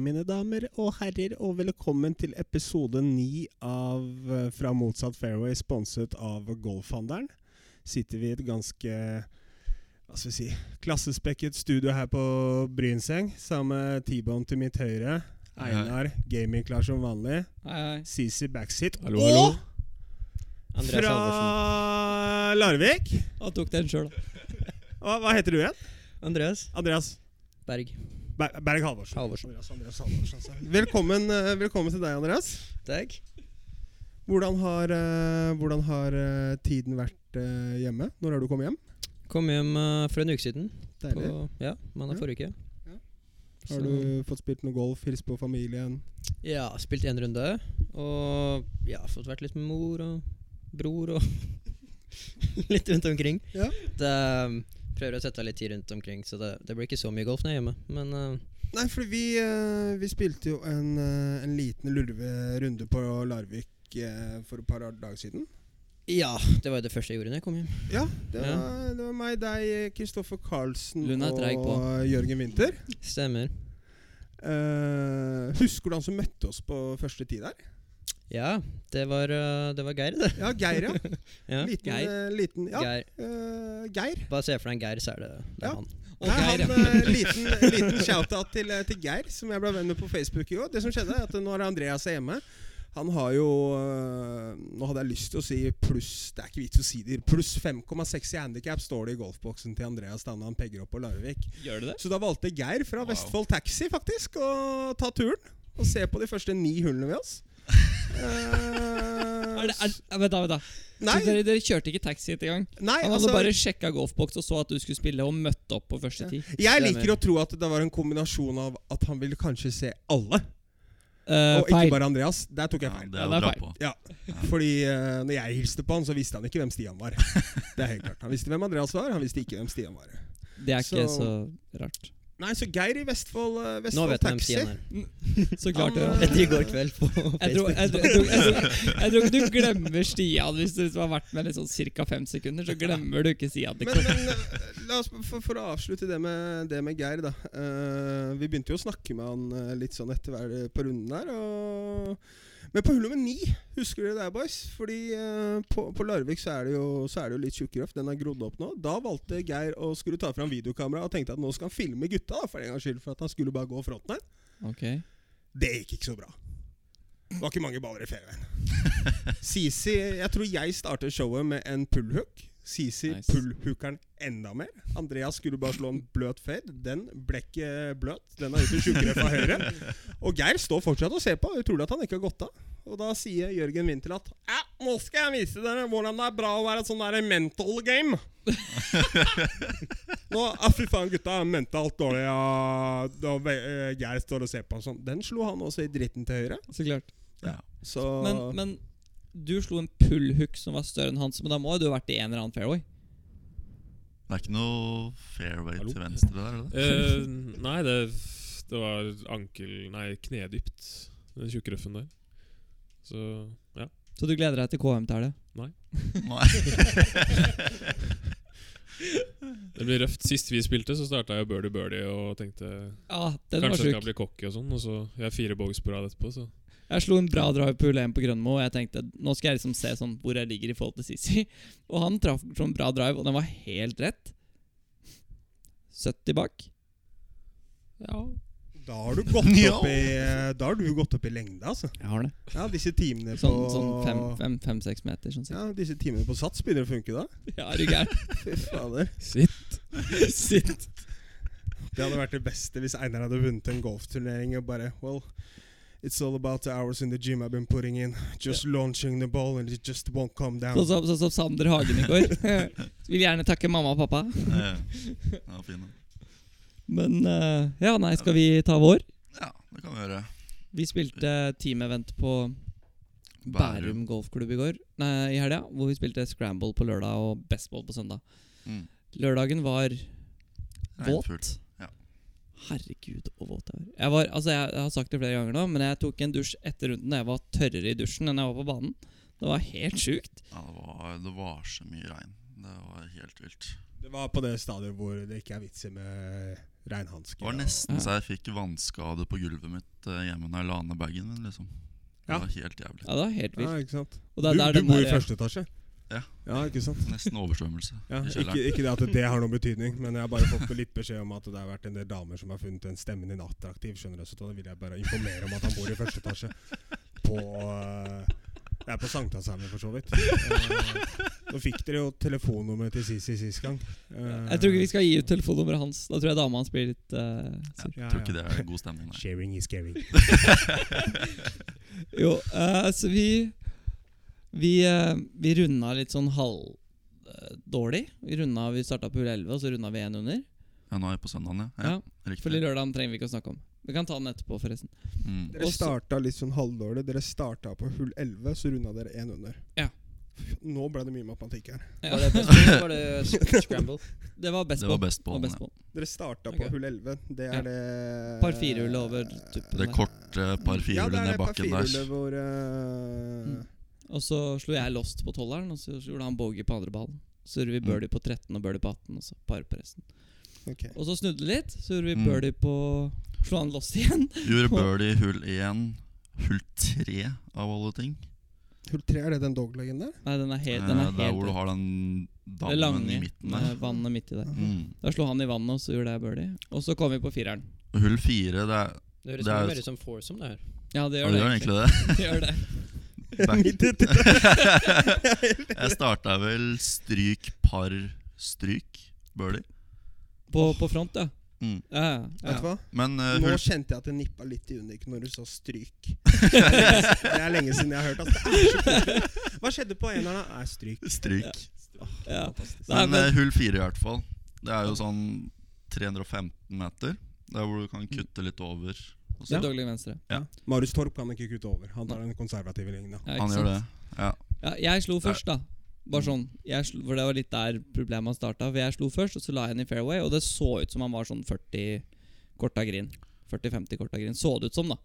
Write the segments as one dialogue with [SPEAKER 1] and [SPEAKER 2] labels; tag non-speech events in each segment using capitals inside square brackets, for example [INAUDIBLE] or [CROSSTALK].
[SPEAKER 1] mine damer og herrer, og velkommen til episode ni av eh, Fra motsatt fairway, sponset av Golfhandelen. Sitter vi i et ganske hva skal vi si, klassespekket studio her på Brynseng, sammen med T-Bone til mitt høyre.
[SPEAKER 2] Hei, hei.
[SPEAKER 1] Einar, gamingklar som vanlig.
[SPEAKER 2] Hei, hei.
[SPEAKER 1] CC backseat.
[SPEAKER 2] Hallo,
[SPEAKER 1] og
[SPEAKER 2] hallo.
[SPEAKER 3] Andreas Halvorsen.
[SPEAKER 1] fra Larvik.
[SPEAKER 2] Jeg tok den sjøl, da.
[SPEAKER 1] Hva, hva heter du igjen?
[SPEAKER 3] Andreas
[SPEAKER 1] Andreas
[SPEAKER 3] Berg.
[SPEAKER 1] Ber Berg Halvorsen.
[SPEAKER 3] Halvorsen.
[SPEAKER 1] Andreas, Andreas Halvorsen altså. velkommen, eh, velkommen til deg, Andreas.
[SPEAKER 3] Takk.
[SPEAKER 1] Hvordan har, eh, hvordan har eh, tiden vært eh, hjemme? Når har du kommet hjem?
[SPEAKER 3] Kom hjem eh, for en uke siden.
[SPEAKER 1] Deilig.
[SPEAKER 3] På, ja, mandag
[SPEAKER 1] Ja.
[SPEAKER 3] forrige uke.
[SPEAKER 1] Ja.
[SPEAKER 3] Så-
[SPEAKER 1] Har du fått spilt noe golf, hilst på familien?
[SPEAKER 3] Ja, spilt én runde. Og ja, fått vært litt med mor og bror og [LAUGHS] litt rundt omkring.
[SPEAKER 1] Ja.
[SPEAKER 3] Det, eh, prøver å sette av litt tid rundt omkring, så det, det blir ikke så mye golf når jeg er hjemme. Men eh,
[SPEAKER 1] Nei, for vi, eh, vi spilte jo en, eh, en liten lurverunde på Larvik eh, for et par dager siden.
[SPEAKER 3] ja, det var jo det første jeg gjorde når jeg kom hjem.
[SPEAKER 1] Ja, det
[SPEAKER 3] Ja.
[SPEAKER 1] var, det var meg, deg, Kristoffer Karlsen
[SPEAKER 2] Lund er
[SPEAKER 1] og
[SPEAKER 2] treig på.
[SPEAKER 1] Jørgen Winther.
[SPEAKER 3] Stemmer.
[SPEAKER 1] Eh, husker du han som møtte oss på første tid der?
[SPEAKER 3] Ja, det var, eh, det var Geir, det.
[SPEAKER 1] Ja, Geir, ja.
[SPEAKER 3] Ja.
[SPEAKER 1] Liten,
[SPEAKER 2] Geir.
[SPEAKER 1] eh, liten ja.
[SPEAKER 3] Geir.
[SPEAKER 1] eh, Geir.
[SPEAKER 3] Bare se for deg en Geir, så er det, det er
[SPEAKER 1] Ja.
[SPEAKER 3] han.
[SPEAKER 2] Og
[SPEAKER 1] Nei,
[SPEAKER 2] Geir,
[SPEAKER 1] han, eh,
[SPEAKER 2] [LAUGHS]
[SPEAKER 1] liten liten shout-out til, eh, til Geir, som jeg ble venn med på Facebook i går. Det som skjedde, er at nå er Andreas hjemme. Han har jo eh, Nå hadde jeg lyst til å si pluss Det er ikke vits å si det. Pluss 5,6 i handikap står det i golfboksen til Andreas da når han pegger opp på Larvik.
[SPEAKER 2] Gjør du det?
[SPEAKER 1] Så da valgte Geir fra
[SPEAKER 2] Wow.
[SPEAKER 1] Vestfold Taxi faktisk å ta turen og se på de første ni hullene ved
[SPEAKER 2] [LAUGHS]
[SPEAKER 1] oss. Eh,
[SPEAKER 2] Er det er, er- vent da, vent da. Så
[SPEAKER 1] nei,
[SPEAKER 2] dere, dere kjørte ikke taxi etter gang?
[SPEAKER 1] nei,
[SPEAKER 2] Han hadde
[SPEAKER 1] altså
[SPEAKER 2] bare sjekka golfboks og så at du skulle spille, og møtte opp på første tid.
[SPEAKER 1] Jeg
[SPEAKER 3] Stemmer.
[SPEAKER 1] liker å tro at det var en kombinasjon av at han ville kanskje se alle,
[SPEAKER 2] Eh,
[SPEAKER 1] og ikke
[SPEAKER 2] feil.
[SPEAKER 1] bare Andreas. Der tok jeg
[SPEAKER 4] Ja,
[SPEAKER 1] feil.
[SPEAKER 4] det
[SPEAKER 2] Ja,
[SPEAKER 4] er
[SPEAKER 2] det
[SPEAKER 4] å
[SPEAKER 2] er
[SPEAKER 4] dra
[SPEAKER 2] feil.
[SPEAKER 4] på.
[SPEAKER 1] Ja, fordi eh, når jeg hilste på han, så visste han ikke hvem Stian var. Det er helt klart. Han visste hvem Andreas var, han visste ikke hvem Stian var.
[SPEAKER 2] Det er ikke så
[SPEAKER 1] Så-
[SPEAKER 2] rart.
[SPEAKER 1] Nei, så Geir i Vestfold, eh,
[SPEAKER 3] Nå
[SPEAKER 1] Vestfold
[SPEAKER 3] vet jeg hvem
[SPEAKER 1] Taxi
[SPEAKER 3] Stian er. [LAUGHS]
[SPEAKER 2] Så klart det.
[SPEAKER 3] Etter
[SPEAKER 1] Ah.
[SPEAKER 3] i går kveld på
[SPEAKER 2] Jeg tror,
[SPEAKER 3] Facebook.
[SPEAKER 2] jeg,
[SPEAKER 3] [LAUGHS]
[SPEAKER 2] tror- jeg, tror- jeg, tror- jeg tror ikke du glemmer Stian hvis du liksom har vært med litt sånn ca. fem sekunder. Så glemmer du ikke Stian.
[SPEAKER 1] Men, men eh, la oss, for, for å avslutte det med, det med Geir, da. Eh, vi begynte jo å snakke med han eh, litt sånn etter hver på runden der. Og, men på hull nummer ni, husker dere det, boys? Fordi eh, på, på Larvik så er det jo, så er det jo litt tjukkere Den har grodd opp nå. Da valgte Geir å skulle ta fram videokamera og tenkte at nå skal han filme gutta, da, for en gangs skyld, for at han skulle bare gå fronten her.
[SPEAKER 2] Ok.
[SPEAKER 1] Det gikk ikke så bra. Det var ikke mange baller i fairwayen. Sisi Jeg tror jeg starter showet med en pullhook. Sisi
[SPEAKER 2] Nice.
[SPEAKER 1] pullhookeren enda mer. Andreas skulle bare slå en bløt fade. Den ble ikke bløt. Den er ute tjukkere fra høyre. Og Geir står fortsatt og ser på. Utrolig at han ikke har gått av. Og da sier Jørgen Winther at ja, nå skal jeg vise dere hvordan det er bra å være et sånn der mental
[SPEAKER 2] [LAUGHS]
[SPEAKER 1] game. nå, ah, Fy faen, gutta er mentalt dårlige. Ja. Da eh, Geir står og ser på. og Sånn. Den slo han også i dritten til høyre.
[SPEAKER 2] Så klart.
[SPEAKER 1] Så
[SPEAKER 2] Men, men du slo en pullhook som var større enn hans, men da må jo du ha vært i en eller annen fairway?
[SPEAKER 4] Det er ikke noe fairway
[SPEAKER 5] Hallo?
[SPEAKER 4] til venstre der, er det det?
[SPEAKER 5] Eh, nei, det, det var ankel... Nei, knedypt. Den tjukkrøffen der. Så ja.
[SPEAKER 2] Så du gleder deg til KM-tallet?
[SPEAKER 4] Nei.
[SPEAKER 5] Det blir røft. Sist vi spilte, så starta jeg birdie birdie og tenkte
[SPEAKER 2] Ja, den
[SPEAKER 5] Kanskje jeg
[SPEAKER 2] var
[SPEAKER 5] skal
[SPEAKER 2] sjuk.
[SPEAKER 5] bli cocky og sånn. Og så Jeg har fire bogeys på rad etterpå, så
[SPEAKER 2] Jeg slo en bra drive på hull 1 på Grønmo, og jeg tenkte nå skal jeg liksom se sånn hvor jeg ligger i forhold til Sisi. [LAUGHS] Og han traff sånn bra drive, og den var helt rett. 70 bak. Ja,
[SPEAKER 1] Da har du
[SPEAKER 2] [LAUGHS]
[SPEAKER 1] gått
[SPEAKER 4] Ja.
[SPEAKER 1] opp i, eh, da har du gått opp i lengde, altså.
[SPEAKER 2] jeg har det.
[SPEAKER 1] Ja, disse timene
[SPEAKER 2] Sånn,
[SPEAKER 1] på
[SPEAKER 2] sånn fem, fem, fem, seks meter, sånn sikkert.
[SPEAKER 1] Ja, disse timene på sats begynner å funke da.
[SPEAKER 2] [LAUGHS] Ja, er du gæren?
[SPEAKER 1] Fy fader.
[SPEAKER 5] Sitt.
[SPEAKER 2] [LAUGHS] Sitt.
[SPEAKER 1] Det hadde vært det beste hvis Einar hadde vunnet en golfturnering og bare Well, it's all about the hours in the gym I've been putting in. Just launching the ball and it just won't come down.
[SPEAKER 2] Sånn som, sånn som Sander Hagen i går. Vil gjerne takke mamma og pappa.
[SPEAKER 4] Eh, Ja, fin den.
[SPEAKER 2] Men eh, ja, nei, skal vi ta vår?
[SPEAKER 4] Ja, det kan vi gjøre.
[SPEAKER 2] Vi spilte teamevent på Bærum golfklubb i går Nei, i helga, hvor vi spilte scramble på lørdag og bestball på søndag.
[SPEAKER 4] Mm.
[SPEAKER 2] Lørdagen var
[SPEAKER 4] Regnfull.
[SPEAKER 2] våt.
[SPEAKER 4] ja.
[SPEAKER 2] Herregud, så våt jeg var. Jeg, var altså, jeg, jeg har sagt det flere ganger nå, men jeg tok en dusj etter runden da jeg var tørrere i dusjen enn jeg var på banen. Det var helt sjukt.
[SPEAKER 4] Ja, det var, det var så mye regn. Det var helt vilt.
[SPEAKER 2] sånn-
[SPEAKER 1] Det var på det stadiet hvor det ikke er vits i med regnhansker.
[SPEAKER 4] Det var
[SPEAKER 1] og-
[SPEAKER 4] nesten
[SPEAKER 2] Ja.
[SPEAKER 4] så jeg fikk vannskade på gulvet mitt eh, hjemme når jeg la ned bagen min. liksom Det
[SPEAKER 1] Ja.
[SPEAKER 4] var helt jævlig.
[SPEAKER 2] Ja, det var helt
[SPEAKER 1] Ja,
[SPEAKER 2] vilt.
[SPEAKER 1] ikke sant?
[SPEAKER 2] Og
[SPEAKER 1] Du,
[SPEAKER 2] det er der
[SPEAKER 1] du
[SPEAKER 2] den
[SPEAKER 1] bor i
[SPEAKER 2] der-
[SPEAKER 1] første etasje?
[SPEAKER 4] Ja.
[SPEAKER 1] Ja, ikke sant?
[SPEAKER 4] Nesten oversvømmelse
[SPEAKER 1] Ja,
[SPEAKER 4] i
[SPEAKER 1] ikke,
[SPEAKER 4] kjelleren.
[SPEAKER 1] ikke det at det har noen betydning, men jeg har bare fått litt beskjed om at det har vært en del damer som har funnet den stemmen din attraktiv. skjønner du, Så da vil jeg bare informere om at han bor i første etasje. På eh, Det er på Sankthanshaugen, for så vidt. Eh, Nå fikk dere jo telefonnummeret til Sisi sist gang. Eh,
[SPEAKER 2] Jeg tror ikke vi skal gi ut telefonnummeret hans. Da tror jeg dama hans blir litt eh, sur.
[SPEAKER 1] ja, ja.
[SPEAKER 4] Tror ikke det er god stemning, nei.
[SPEAKER 1] Sharing is caring.
[SPEAKER 2] Jo, eh, så vi Vi, eh, vi runda litt sånn halv eh, dårlig. Vi, runda- vi starta på hull 11, og så runda vi én under.
[SPEAKER 4] Ja, nå er jeg på søndagen, ja.
[SPEAKER 2] Ja,
[SPEAKER 4] ja,
[SPEAKER 2] For
[SPEAKER 4] Riktig.
[SPEAKER 2] lørdagen trenger vi ikke å snakke om. Vi kan ta den etterpå, forresten.
[SPEAKER 4] Mm.
[SPEAKER 1] Dere
[SPEAKER 2] Også-
[SPEAKER 1] starta litt sånn halvdårlig. Dere starta på hull 11, så runda dere én under.
[SPEAKER 2] Ja.
[SPEAKER 1] Nå ble det mye matematikk her.
[SPEAKER 2] Ja.
[SPEAKER 3] Var det, best ball, var det [LAUGHS] sc- scramble?
[SPEAKER 2] Det var best
[SPEAKER 4] Det var
[SPEAKER 2] på.
[SPEAKER 4] best
[SPEAKER 2] Det
[SPEAKER 4] på.
[SPEAKER 2] var best
[SPEAKER 4] ja.
[SPEAKER 2] på.
[SPEAKER 1] Dere starta
[SPEAKER 2] Ok.
[SPEAKER 1] på hull 11. Det er
[SPEAKER 2] Ja.
[SPEAKER 1] det
[SPEAKER 2] Par firehullet over tuppen
[SPEAKER 4] Det
[SPEAKER 2] der.
[SPEAKER 4] korte eh, par
[SPEAKER 1] Ja,
[SPEAKER 4] firehullet ned bakken
[SPEAKER 1] det er
[SPEAKER 4] der.
[SPEAKER 1] det par firehullet hvor eh,
[SPEAKER 2] Mm. Og så slo jeg lost på tolveren, og så gjorde han bogey på andre ballen. Så gjorde vi
[SPEAKER 4] Mm.
[SPEAKER 2] birdie på 13 og birdie på 18, og så par på resten.
[SPEAKER 1] ok.
[SPEAKER 2] Og så snudde det litt, så gjorde vi
[SPEAKER 4] Mm.
[SPEAKER 2] birdie på Slo han lost igjen. [LAUGHS]
[SPEAKER 4] Gjorde birdie hull én, hull tre av alle ting.
[SPEAKER 1] Hull 3, er det den doglegen der?
[SPEAKER 2] Nei, den er helt, den
[SPEAKER 4] Eh,
[SPEAKER 2] er
[SPEAKER 4] der
[SPEAKER 2] helt
[SPEAKER 4] hvor du har den
[SPEAKER 2] Det
[SPEAKER 4] dammen
[SPEAKER 2] lange
[SPEAKER 4] i midten
[SPEAKER 2] med
[SPEAKER 4] der.
[SPEAKER 2] vannet midt i der.
[SPEAKER 4] [LAUGHS] Mm.
[SPEAKER 2] Da slo han i vannet, og så gjorde jeg birdie. Og så kom vi på fireren.
[SPEAKER 4] Hull fire, det er
[SPEAKER 3] Det høres
[SPEAKER 4] Det er
[SPEAKER 3] mye
[SPEAKER 4] jo
[SPEAKER 3] mer ut som foursome, det her.
[SPEAKER 2] Ja, det
[SPEAKER 4] Ja,
[SPEAKER 2] gjør
[SPEAKER 4] det
[SPEAKER 2] det.
[SPEAKER 4] gjør egentlig
[SPEAKER 2] [LAUGHS]
[SPEAKER 4] det.
[SPEAKER 2] det gjør det.
[SPEAKER 4] [LAUGHS] jeg starta vel stryk par stryk, birdie.
[SPEAKER 2] På, på front, ja.
[SPEAKER 4] Mm.
[SPEAKER 2] Ja, ja.
[SPEAKER 1] Vet du hva?
[SPEAKER 4] Men eh,
[SPEAKER 1] Nå
[SPEAKER 4] hull
[SPEAKER 1] kjente jeg at det nippa litt i uniken når du sa
[SPEAKER 4] [LAUGHS]
[SPEAKER 1] stryk. Det er lenge siden jeg har hørt altså. at det er så kult. Hva skjedde på eneren? da? Er stryk.
[SPEAKER 4] stryk.
[SPEAKER 2] ja. Nei,
[SPEAKER 4] Men
[SPEAKER 2] men,
[SPEAKER 4] eh, hull fire, i hvert fall. Det er jo sånn 315 meter. Der hvor du kan kutte litt over. Og så.
[SPEAKER 2] Selvfølgelig venstre.
[SPEAKER 1] Marius Torp kan ikke kutte over. Han tar den konservative linja.
[SPEAKER 2] Ja, ikke
[SPEAKER 4] Han
[SPEAKER 2] sant?
[SPEAKER 4] gjør det. Ja.
[SPEAKER 2] Ja, jeg slo først, da. Bare sånn. Jeg slo, for Det var litt der problemet starta. For jeg slo først, og så la jeg den i fairway, og det så ut som han var sånn 40 korta green. 40-50 korta green. Så det ut som, da.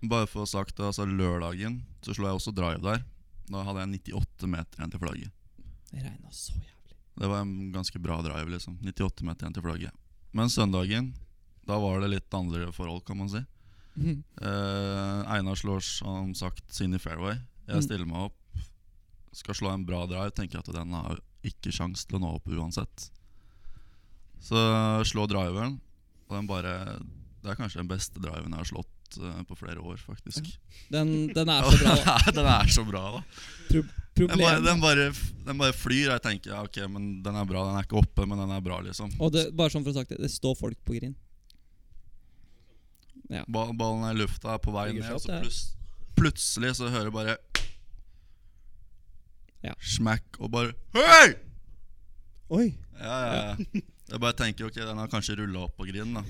[SPEAKER 4] Bare for å ha sagt det, altså lørdagen så slo jeg også drive der. Da hadde jeg 98 meter igjen til flagget.
[SPEAKER 2] Det regna så jævlig. [LAUGHS]
[SPEAKER 4] Det var en ganske bra drive, liksom. 98 meter igjen til flagget. Men søndagen, da var det litt andre forhold, kan man si. Eh, Einar slår som sagt sin i fairway.
[SPEAKER 2] Mm.
[SPEAKER 4] Jeg stiller meg opp, skal slå en bra drive. Tenker at den har ikke sjans til å nå opp uansett. Så slår driveren, og den bare Det er kanskje den beste driven jeg har slått eh, på flere år, faktisk.
[SPEAKER 2] Den, den er så
[SPEAKER 4] [LAUGHS]
[SPEAKER 2] bra. da.
[SPEAKER 4] den er så bra, da. Den bare,
[SPEAKER 2] Problemet
[SPEAKER 4] den bare, den bare flyr. og Jeg tenker ja, ok, men den er bra. Den er ikke oppe, men den er bra, liksom.
[SPEAKER 2] Og det, bare sånn for å ha sagt det, det står folk på green.
[SPEAKER 4] Ba- Ballen er i lufta, er på vei
[SPEAKER 3] Ligger
[SPEAKER 4] ned, og så
[SPEAKER 3] flatt, det.
[SPEAKER 4] pluts- plutselig så hører jeg bare
[SPEAKER 2] Ja.
[SPEAKER 4] Smack og bare Hei!
[SPEAKER 1] Oi!
[SPEAKER 4] Ja, ja,
[SPEAKER 1] [LAUGHS]
[SPEAKER 4] ja. Jeg bare tenker ok, den har kanskje rulla opp på grinen, da.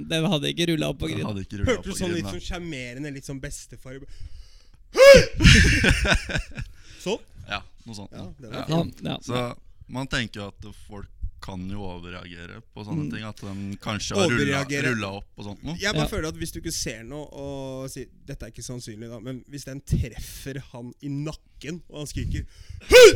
[SPEAKER 2] Den hadde ikke rulla opp på
[SPEAKER 4] Den
[SPEAKER 2] green.
[SPEAKER 4] hadde ikke rullet opp
[SPEAKER 1] Hørte
[SPEAKER 4] på
[SPEAKER 1] du sånn litt
[SPEAKER 4] grinen,
[SPEAKER 1] sånn sjarmerende, litt sånn bestefar
[SPEAKER 4] [LAUGHS]
[SPEAKER 1] i b- Sånn?
[SPEAKER 4] da. Ja, noe sånt.
[SPEAKER 1] Ja,
[SPEAKER 4] da.
[SPEAKER 1] det var
[SPEAKER 2] Han, ja.
[SPEAKER 4] Så man tenker jo at folk kan jo overreagere på sånne ting. At den kanskje
[SPEAKER 1] Mm. Overreagere.
[SPEAKER 4] har rulla opp og sånt noe.
[SPEAKER 1] Jeg bare
[SPEAKER 2] Ja.
[SPEAKER 1] føler at hvis du ikke ser noe og sier Dette er ikke sannsynlig, da, men hvis den treffer han i nakken, og han skriker «Høy!»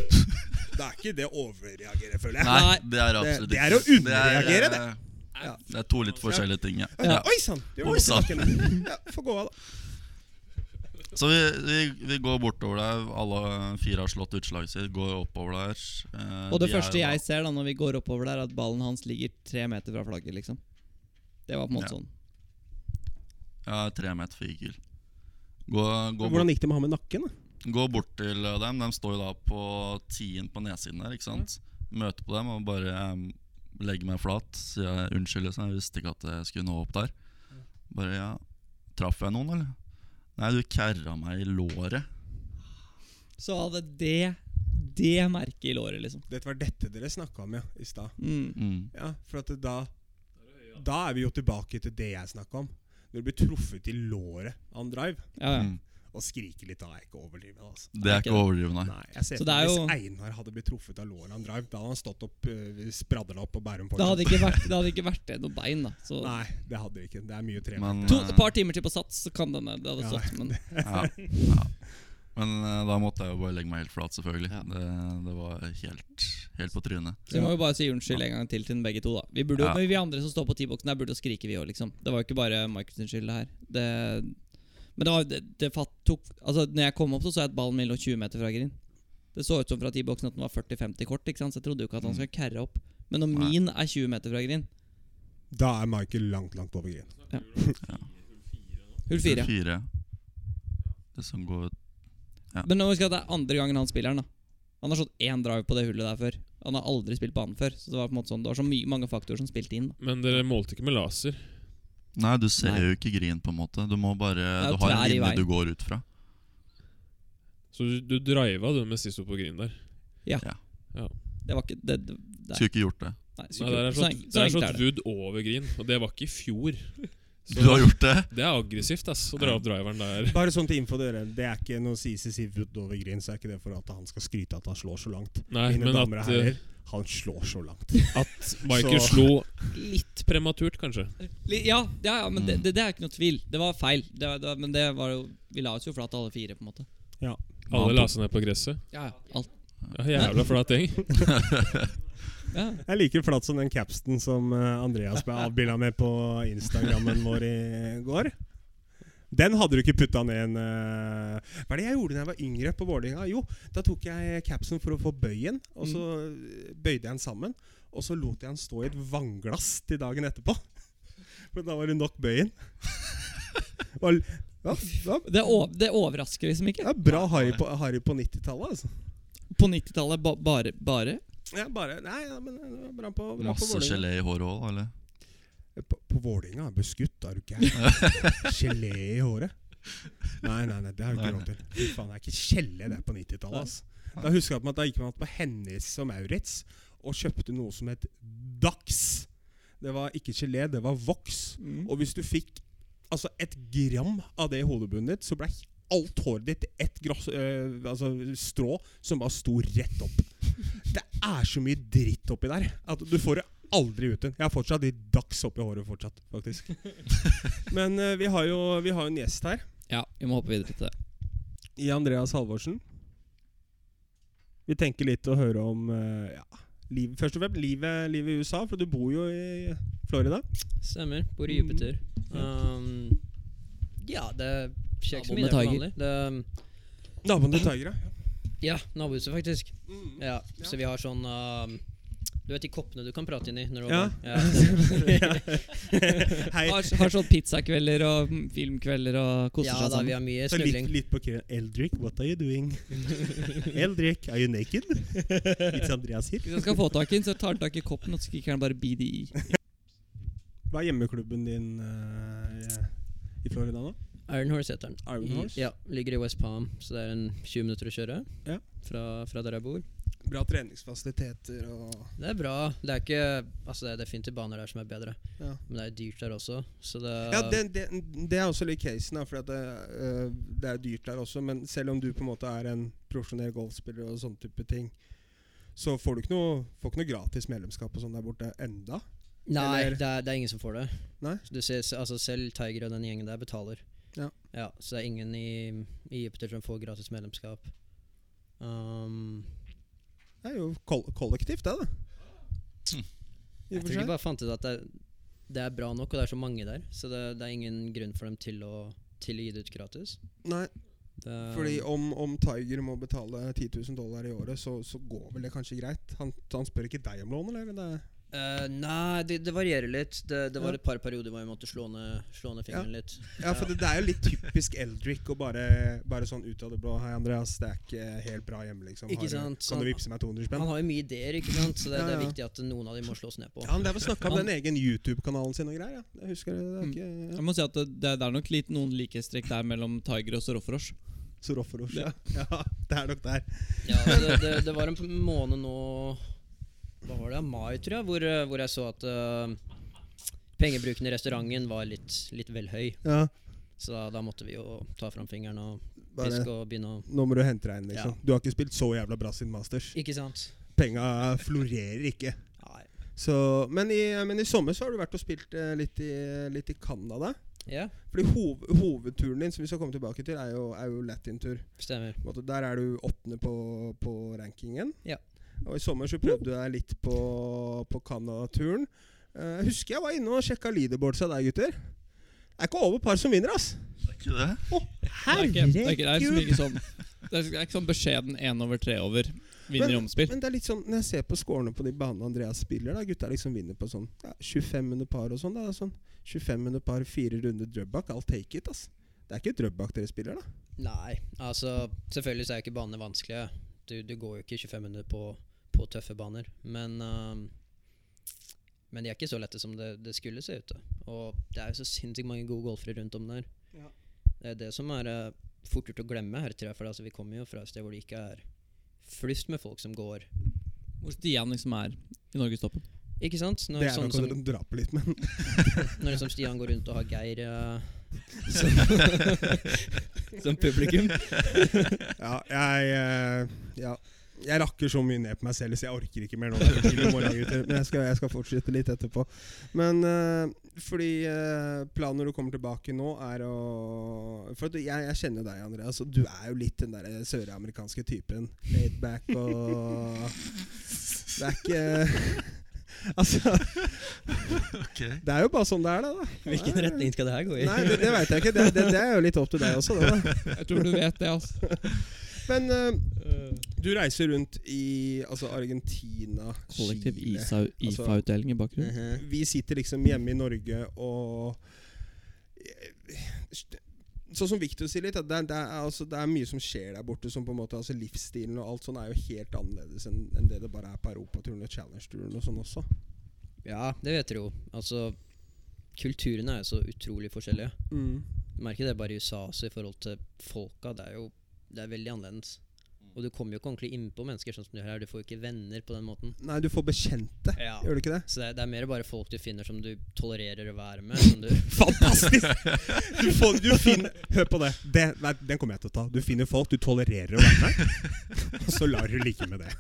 [SPEAKER 1] Da er ikke det å overreagere, føler jeg.
[SPEAKER 4] Nei, det er absolutt
[SPEAKER 1] det
[SPEAKER 4] ikke
[SPEAKER 1] er å underreagere,
[SPEAKER 4] det. er, eh,
[SPEAKER 1] Ja.
[SPEAKER 4] Det er to litt forskjellige ting, ja.
[SPEAKER 2] Ja.
[SPEAKER 4] ja.
[SPEAKER 1] Oi sann! du gjorde
[SPEAKER 4] Oi,
[SPEAKER 1] noe
[SPEAKER 4] sann.
[SPEAKER 1] i nakken. Ja, Få gå av, da.
[SPEAKER 4] Så vi, vi, vi går bortover der. Alle fire har slått utslaget sitt. Går oppover der. Eh,
[SPEAKER 2] Og det
[SPEAKER 4] de er
[SPEAKER 2] første
[SPEAKER 4] jo da-
[SPEAKER 2] jeg ser da når vi går oppover der, er at ballen hans ligger tre meter fra flagget, liksom. Det var på en måte
[SPEAKER 4] Ja.
[SPEAKER 2] sånn.
[SPEAKER 4] Ja, tre meter for eagle. Gå, gå, bort,
[SPEAKER 1] Hvordan gikk det med han med nakken? da?
[SPEAKER 4] gå bort til eh, dem. De står jo da på tien på nedsiden der, ikke sant. Møter på dem og bare eh, legger meg flat. Sier jeg unnskyld, liksom. Jeg visste ikke at jeg skulle nå opp der. Bare ja Traff jeg noen, eller? Nei, du kærra meg i låret.
[SPEAKER 2] Så hadde det det merket i låret, liksom.
[SPEAKER 1] Dette var dette dere snakka om ja, i stad.
[SPEAKER 2] Mm.
[SPEAKER 4] Mm.
[SPEAKER 1] Ja, for at da Da er vi jo tilbake til det jeg snakka om. Når du blir truffet i låret av en drive
[SPEAKER 2] Ja, ja.
[SPEAKER 4] Mm.
[SPEAKER 1] og skriker litt, da er jeg ikke overdriven. Altså.
[SPEAKER 4] Det er ikke å overdrive, nei.
[SPEAKER 1] Nei, jeg ser
[SPEAKER 2] Så
[SPEAKER 1] for meg
[SPEAKER 2] det er
[SPEAKER 1] Hvis Einar hadde blitt truffet av låret av en drive, da hadde han stått opp, øh, spradla opp på Bærum
[SPEAKER 2] Det
[SPEAKER 1] fortsatt.
[SPEAKER 2] hadde ikke vært det hadde ikke vært det noe bein, da. Så
[SPEAKER 1] Nei, det hadde vi ikke. Det er mye tre.
[SPEAKER 4] Men,
[SPEAKER 2] to,
[SPEAKER 4] eh,
[SPEAKER 2] et par timer til på sats, så kan denne det hadde
[SPEAKER 1] Ja.
[SPEAKER 2] stått. Men [LAUGHS]
[SPEAKER 4] ja, ja. Men eh, da måtte jeg jo bare legge meg helt flat, selvfølgelig.
[SPEAKER 2] Ja.
[SPEAKER 4] Det, det var helt helt på trynet.
[SPEAKER 2] Så vi må jo bare si unnskyld en gang til til begge to. da Vi burde jo,
[SPEAKER 4] Ja.
[SPEAKER 2] men vi andre som står på T-boksen der, burde jo skrike, vi òg. Liksom. Det var jo ikke bare Markus sin skyld, det her. Det, men det, var, det, det fatt, tok Altså når jeg kom opp, så så jeg at ballen mellom 20 meter fra green. Det så ut som fra T-boksen at den var 40-50 kort, ikke sant? så jeg trodde jo ikke at han skulle carre opp. Men når
[SPEAKER 4] Nei.
[SPEAKER 2] min er 20 meter fra green,
[SPEAKER 1] Da er Michael langt, langt over green.
[SPEAKER 2] hull fire
[SPEAKER 4] Fire. Det som går
[SPEAKER 2] Men nå husker jeg at det er andre gangen han spiller den. da Han har slått én drive på det hullet der før. Han har aldri spilt banen før. Så det var på en måte sånn Det var så mye, mange faktorer som spilte inn. da
[SPEAKER 5] Men dere målte ikke med laser.
[SPEAKER 4] Nei, du ser
[SPEAKER 2] Nei.
[SPEAKER 4] jo ikke green, på en måte. Du må bare
[SPEAKER 2] er
[SPEAKER 4] Du har
[SPEAKER 2] tvær
[SPEAKER 4] en
[SPEAKER 2] i
[SPEAKER 4] linje
[SPEAKER 2] veien.
[SPEAKER 4] du går ut fra.
[SPEAKER 5] Så du, du driva du mens de sto på green der.
[SPEAKER 2] Det var ikke Det, det, det
[SPEAKER 4] Skulle ikke gjort det.
[SPEAKER 2] Nei,
[SPEAKER 5] Nei, der er
[SPEAKER 2] så
[SPEAKER 5] slått,
[SPEAKER 2] enk- så
[SPEAKER 5] der er
[SPEAKER 2] enkelt
[SPEAKER 5] slått Wood over green, og det var ikke i fjor. Så
[SPEAKER 4] Du har gjort det?
[SPEAKER 5] det er aggressivt ass, å dra opp driveren der.
[SPEAKER 1] Bare sånn til info, dere. Det er ikke noe CC Sivut over green, så er ikke det for at han skal skryte at han slår så langt.
[SPEAKER 5] Nei,
[SPEAKER 1] Mine
[SPEAKER 5] men
[SPEAKER 1] damer
[SPEAKER 5] at,
[SPEAKER 1] og herrer, han slår så langt.
[SPEAKER 5] eh, at Michael
[SPEAKER 1] Så-
[SPEAKER 5] slo litt prematurt, kanskje.
[SPEAKER 2] Li- Ja, ja, ja men det,
[SPEAKER 4] Mm.
[SPEAKER 2] det, det er ikke noe tvil. Det var feil. Det, var- det, var- men det var jo Vi la oss jo flat alle fire, på en måte.
[SPEAKER 4] Han
[SPEAKER 5] Alle
[SPEAKER 4] tok-
[SPEAKER 5] la seg ned på gresset.
[SPEAKER 2] Ja, Alt.
[SPEAKER 5] Ja, jævla flat gjeng.
[SPEAKER 2] Ja.
[SPEAKER 1] Jeg liker flatt som den capsten som eh, Andreas ble avbilda med på Instagrammen vår i går. Den hadde du ikke putta ned en eh, Hva er det jeg gjorde da jeg var yngre på Vålerenga? Jo, da tok jeg capsen for å få bøyen, og så eh, bøyde jeg den sammen. Og så lot jeg den stå i et vannglass til dagen etterpå. [LAUGHS] Men da var det nok bøyen. [LAUGHS] Og, ja, ja,
[SPEAKER 2] Det, o- det overrasker liksom ikke.
[SPEAKER 1] ja, bra Harry på, Harry på 90-tallet, altså.
[SPEAKER 2] På 90-tallet ba, bare, bare
[SPEAKER 1] Ja, bare, nei, ja, men eh, det var bra på, bra på
[SPEAKER 4] Masse
[SPEAKER 1] Vålerenga.
[SPEAKER 4] gelé i håret òg, eller?
[SPEAKER 1] På, på Vålinga? Ble skutt? Er du gæren?
[SPEAKER 4] [LAUGHS]
[SPEAKER 1] Gelé i håret? Nei, nei, nei, det har du ikke
[SPEAKER 4] Nei,
[SPEAKER 1] råd til. Fy faen, det er ikke gelé det er på 90-tallet. ass. Da husker jeg at man, da gikk man på Hennes og Maurits og kjøpte noe som het Dax. Det var ikke gelé, det var voks.
[SPEAKER 4] Mm.
[SPEAKER 1] Og hvis du fikk altså et gram av det i hodebunnen ditt, så ble alt håret ditt ett gross, øh, altså, strå som bare sto rett opp. Det er så mye dritt oppi der at du får det aldri ut igjen. Jeg har fortsatt de dags oppi håret fortsatt, [LAUGHS] faktisk. Men øh, vi, har jo, vi har jo en gjest her.
[SPEAKER 2] Ja, vi må hoppe videre til det.
[SPEAKER 1] I Andreas Halvorsen. Vi tenker litt å høre om øh, ja, liv, først og fremst livet, livet i USA, for du bor jo i Florida.
[SPEAKER 3] Stemmer. Bor i
[SPEAKER 1] Mm.
[SPEAKER 3] Jupiter. Um, ja, det skjer ikke så
[SPEAKER 2] Naboen
[SPEAKER 3] mye der
[SPEAKER 2] med
[SPEAKER 3] for
[SPEAKER 2] tiger.
[SPEAKER 3] vanlig. Det, um,
[SPEAKER 1] Naboen til Tiger, ja.
[SPEAKER 3] ja, nabohuset, faktisk.
[SPEAKER 1] Mm.
[SPEAKER 3] Ja, Så vi har sånn um, Du vet de koppene du kan prate inn i når du
[SPEAKER 1] Ja. [LAUGHS]
[SPEAKER 3] holder? Ja.
[SPEAKER 1] Hei.
[SPEAKER 2] Har, har sånn pizzakvelder og mm, filmkvelder og koser
[SPEAKER 3] ja
[SPEAKER 2] seg
[SPEAKER 3] da, vi
[SPEAKER 2] sammen.
[SPEAKER 3] har mye
[SPEAKER 1] Så litt,
[SPEAKER 3] smugling.
[SPEAKER 1] litt på køen. Eldrik, what are you
[SPEAKER 2] [LAUGHS]
[SPEAKER 1] doing? Eldrik, are you naked? It's Andreas her.
[SPEAKER 2] Hvis jeg skal få tak i den, så tar han tak i koppen og så kikker han bare BDI.
[SPEAKER 1] Hva er hjemmeklubben din eh, i Florida nå?
[SPEAKER 3] Iron Horse heter den.
[SPEAKER 1] Iron Horse?
[SPEAKER 3] Ja, Ligger i West Palm, så det er en 20 minutter å kjøre
[SPEAKER 1] Ja.
[SPEAKER 3] fra, fra der jeg bor.
[SPEAKER 1] Bra treningsfasiliteter og
[SPEAKER 3] Det er bra. Det er ikke Altså, det er definitivt baner der som er bedre,
[SPEAKER 1] Ja.
[SPEAKER 3] men det er dyrt der også, så det
[SPEAKER 1] Ja, det, det, det er også litt casen, da, for at det, eh, det er dyrt der også. Men selv om du på en måte er en profesjonell golfspiller og sånne type ting, så får du ikke noe, får ikke noe gratis medlemskap og sånn der borte enda.
[SPEAKER 3] Nei,
[SPEAKER 1] Eller-
[SPEAKER 3] det er, det er ingen som får det.
[SPEAKER 1] Nei?
[SPEAKER 3] Du ser, se- altså selv Tiger og den gjengen der betaler.
[SPEAKER 1] Ja.
[SPEAKER 3] Så det er ingen i, i Jupiter som får gratis medlemskap. Um,
[SPEAKER 1] Det er jo kol kollektivt, det, da. I og
[SPEAKER 3] jeg
[SPEAKER 1] for
[SPEAKER 3] tror de
[SPEAKER 1] seg.
[SPEAKER 3] bare fant ut at det, er- det er bra nok, og det er så mange der. Så det, det er ingen grunn for dem til å, til å gi det ut gratis.
[SPEAKER 1] Nei,
[SPEAKER 3] Det,
[SPEAKER 1] Fordi om, om Tiger må betale 10 000 dollar i året, så, så går vel det kanskje greit? Han, han spør ikke deg om lån, eller? Det, er-
[SPEAKER 3] Eh, nei, det, det varierer litt. Det, det var
[SPEAKER 1] Ja.
[SPEAKER 3] et par perioder hvor jeg måtte slå ned, slå ned fingeren litt.
[SPEAKER 1] ja, for det, det er jo litt typisk Eldrick å bare, bare sånn ut av det blå Hei, Andreas, det er ikke helt bra hjemme, liksom.
[SPEAKER 3] Ikke
[SPEAKER 1] Har du-
[SPEAKER 3] sant,
[SPEAKER 1] Kan du
[SPEAKER 3] så-
[SPEAKER 1] vippse meg 200
[SPEAKER 3] Han
[SPEAKER 1] spenn?
[SPEAKER 3] har jo mye ideer, ikke sant? så det,
[SPEAKER 1] Ja,
[SPEAKER 3] det er
[SPEAKER 1] ja.
[SPEAKER 3] viktig at noen av dem må slås ned på.
[SPEAKER 1] Ja, Han drev og snakka om
[SPEAKER 2] Han-
[SPEAKER 1] den egen YouTube-kanalen sin og greier. Ja. Jeg husker det, det er
[SPEAKER 2] Mm.
[SPEAKER 1] ikke
[SPEAKER 2] Jeg må si at det, det er nok litt noen likhetstrekk der mellom Tiger og Sorofrosh.
[SPEAKER 1] så rå for oss. Ja. ja, det er nok der.
[SPEAKER 3] Ja, det, det, det var en p- måned nå Hva var det? Mai, tror jeg, hvor, eh, hvor jeg så at eh, pengebruken i restauranten var litt, litt vel høy.
[SPEAKER 1] Ja,
[SPEAKER 3] Så da, da måtte vi jo ta fram fingeren og
[SPEAKER 1] bare
[SPEAKER 3] piske og begynne å
[SPEAKER 1] nå må du hente deg inn, liksom.
[SPEAKER 3] Ja.
[SPEAKER 1] Du har ikke spilt så jævla bra siden Masters.
[SPEAKER 3] Ikke sant?
[SPEAKER 1] Penga florerer ikke.
[SPEAKER 3] Nei.
[SPEAKER 1] Så, men, i, men i sommer så har du vært og spilt eh, litt i, litt i Canada.
[SPEAKER 3] Ja,
[SPEAKER 1] Fordi hov, hovedturen din som vi skal komme tilbake til, er jo, er jo Latin-tur.
[SPEAKER 3] stemmer.
[SPEAKER 1] På en måte, Der er du åttende på, på rankingen.
[SPEAKER 3] Ja.
[SPEAKER 1] Og I sommer så prøvde jeg litt på, på Canada-turen. Eh, Jeg husker jeg var inne og sjekka leaderboardsa der, gutter. Det er ikke over par som vinner, ass.
[SPEAKER 4] Det er ikke det?
[SPEAKER 2] Det er ikke, det er ikke, det er liksom ikke sånn Det er ikke sånn beskjeden én over tre over vinner i omspill.
[SPEAKER 1] Men det er litt sånn, når jeg ser på scorene på de banene Andreas spiller, da gutta liksom vinner på sånn ja, 25 under par og sånn. da sånn 25 under par, fire runder Drøbak. I'll take it, ass. Det er ikke Drøbak dere spiller, da.
[SPEAKER 3] Nei, altså Selvfølgelig så er jo ikke banene vanskelige. Du, du går jo ikke 25 minutter på, på tøffe baner. Men ehm, Men de er ikke så lette som det, det skulle se ut til. Og det er jo så sinnssykt mange gode golfere rundt om der.
[SPEAKER 1] Ja.
[SPEAKER 3] Det er det som er eh, fort gjort å glemme her, tror jeg. For altså, vi kommer jo fra et sted hvor det ikke er flust med folk som går.
[SPEAKER 2] Hvor Stian liksom er i norgestoppen.
[SPEAKER 3] Ikke sant? Når
[SPEAKER 1] Det er
[SPEAKER 2] sånn
[SPEAKER 3] sånne
[SPEAKER 1] nok å
[SPEAKER 3] som,
[SPEAKER 1] dra på litt, men
[SPEAKER 3] når liksom Stian går rundt og har Geir eh,
[SPEAKER 2] [LAUGHS] Som publikum.
[SPEAKER 1] [LAUGHS] Ja, jeg eh, Ja. Jeg rakker så mye ned på meg selv, så jeg orker ikke mer nå. Det er for tidlig i morgen, gutter. Men jeg skal, jeg skal fortsette litt etterpå. Men eh, fordi eh, planen når du kommer tilbake nå, er å For at jeg, jeg kjenner jo deg, Andreas, og du er jo litt den der søramerikanske typen. Laid back og Det er ikke [LAUGHS] Altså,
[SPEAKER 4] Ok.
[SPEAKER 1] det er jo bare sånn det er, det, da.
[SPEAKER 3] [LAUGHS] Hvilken
[SPEAKER 1] Nei.
[SPEAKER 3] retning skal det her gå i?
[SPEAKER 1] Nei, det, det veit jeg ikke. Det, det, det er jo litt opp til deg også, det. da
[SPEAKER 2] Jeg tror du vet det, altså.
[SPEAKER 1] Men eh, du reiser rundt i altså Argentina,
[SPEAKER 2] [LAUGHS] Kollektiv
[SPEAKER 1] Chile Altså-
[SPEAKER 2] IFA-utdeling i bakgrunnen.
[SPEAKER 1] Mhm. Vi sitter liksom hjemme i Norge og Sånn som Victor sier litt, at det, er- det, er, altså, det er mye som skjer der borte. Som på en måte, altså Livsstilen og alt sånn er jo helt annerledes enn enn det det bare er på europaturen og challenge-turen og sånn også.
[SPEAKER 3] [LAUGHS] Ja, det vet dere jo. Altså, kulturene er jo så utrolig forskjellige. Merker det bare i USA også i forhold til folka. Det er jo det er veldig annerledes. Og du kommer jo ikke ordentlig innpå mennesker sånn som du gjør her. Du får jo ikke venner på den måten.
[SPEAKER 1] Nei, du får bekjente,
[SPEAKER 3] Ja.
[SPEAKER 1] gjør du ikke det?
[SPEAKER 3] Så det er, det er mer bare folk du finner som du tolererer å være med. Som du, [LAUGHS]
[SPEAKER 1] Fantastisk! Du, får, du finner Hør på det. det nei, den kommer jeg til å ta. Du finner folk du tolererer å være med, og så lar du ligge med det.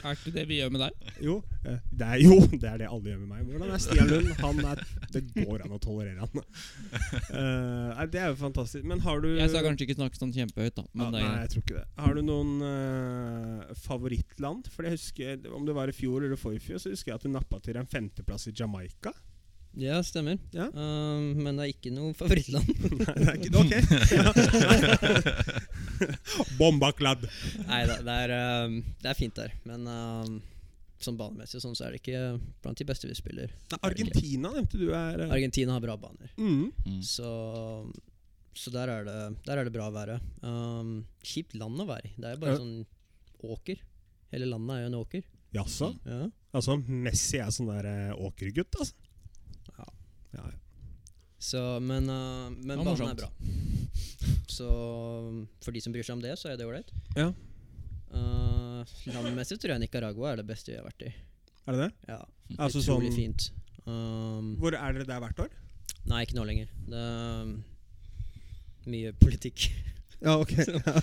[SPEAKER 2] Er ikke det vi gjør med deg?
[SPEAKER 1] Jo, eh, det er, jo, det er det alle gjør med meg. Hvordan er Stian Lund? Han er, det går an å tolerere han. Eh, nei, det er jo fantastisk. Men har du
[SPEAKER 2] Jeg skal kanskje ikke snakke sånn kjempehøyt, da.
[SPEAKER 1] Mm. ja,
[SPEAKER 2] Men
[SPEAKER 1] Nei,
[SPEAKER 2] det er greit.
[SPEAKER 1] jeg tror ikke det. Har du noen eh, favorittland? For jeg husker, Om det var i fjor eller forrige fjor, så husker jeg at du nappa til deg en femteplass i Jamaica. [LAUGHS]
[SPEAKER 3] ja, stemmer.
[SPEAKER 1] Ja.
[SPEAKER 3] Um, men det er ikke noe favorittland.
[SPEAKER 1] Nei, det er ikke Ok. [LAUGHS] Bomba kladd.
[SPEAKER 3] Nei da, det, er, um, det er fint der. Men um, sånn banemessig og sånn, så er det ikke blant de beste vi spiller.
[SPEAKER 1] Argentina nevnte du er eh,
[SPEAKER 3] Argentina har bra baner.
[SPEAKER 1] mm.
[SPEAKER 4] Mm.
[SPEAKER 3] Så, så der, er det, der er det bra været. Um, kjipt land å være i. Det er jo bare
[SPEAKER 1] Ja.
[SPEAKER 3] sånn åker. Hele landet er jo en åker.
[SPEAKER 1] Jaså?
[SPEAKER 3] Ja.
[SPEAKER 1] Altså, Messi er sånn der eh, åkergutt, altså.
[SPEAKER 3] Ja.
[SPEAKER 1] Ja, ja.
[SPEAKER 3] Så, men uh, men
[SPEAKER 2] Det var
[SPEAKER 3] banen
[SPEAKER 2] morsomt.
[SPEAKER 3] er bra. Så um, for de som bryr seg om det, så er det ålreit.
[SPEAKER 1] Ja.
[SPEAKER 3] Uh, landmessig tror jeg Nicaragua er det beste vi har vært i.
[SPEAKER 1] Er det det?
[SPEAKER 3] Ja,
[SPEAKER 1] Altså,
[SPEAKER 3] Utrolig
[SPEAKER 1] sånn-
[SPEAKER 3] fint. Um,
[SPEAKER 1] Hvor er dere der hvert år?
[SPEAKER 3] nei, ikke nå lenger. Det er um, mye politikk
[SPEAKER 1] Ja, ok. Ja.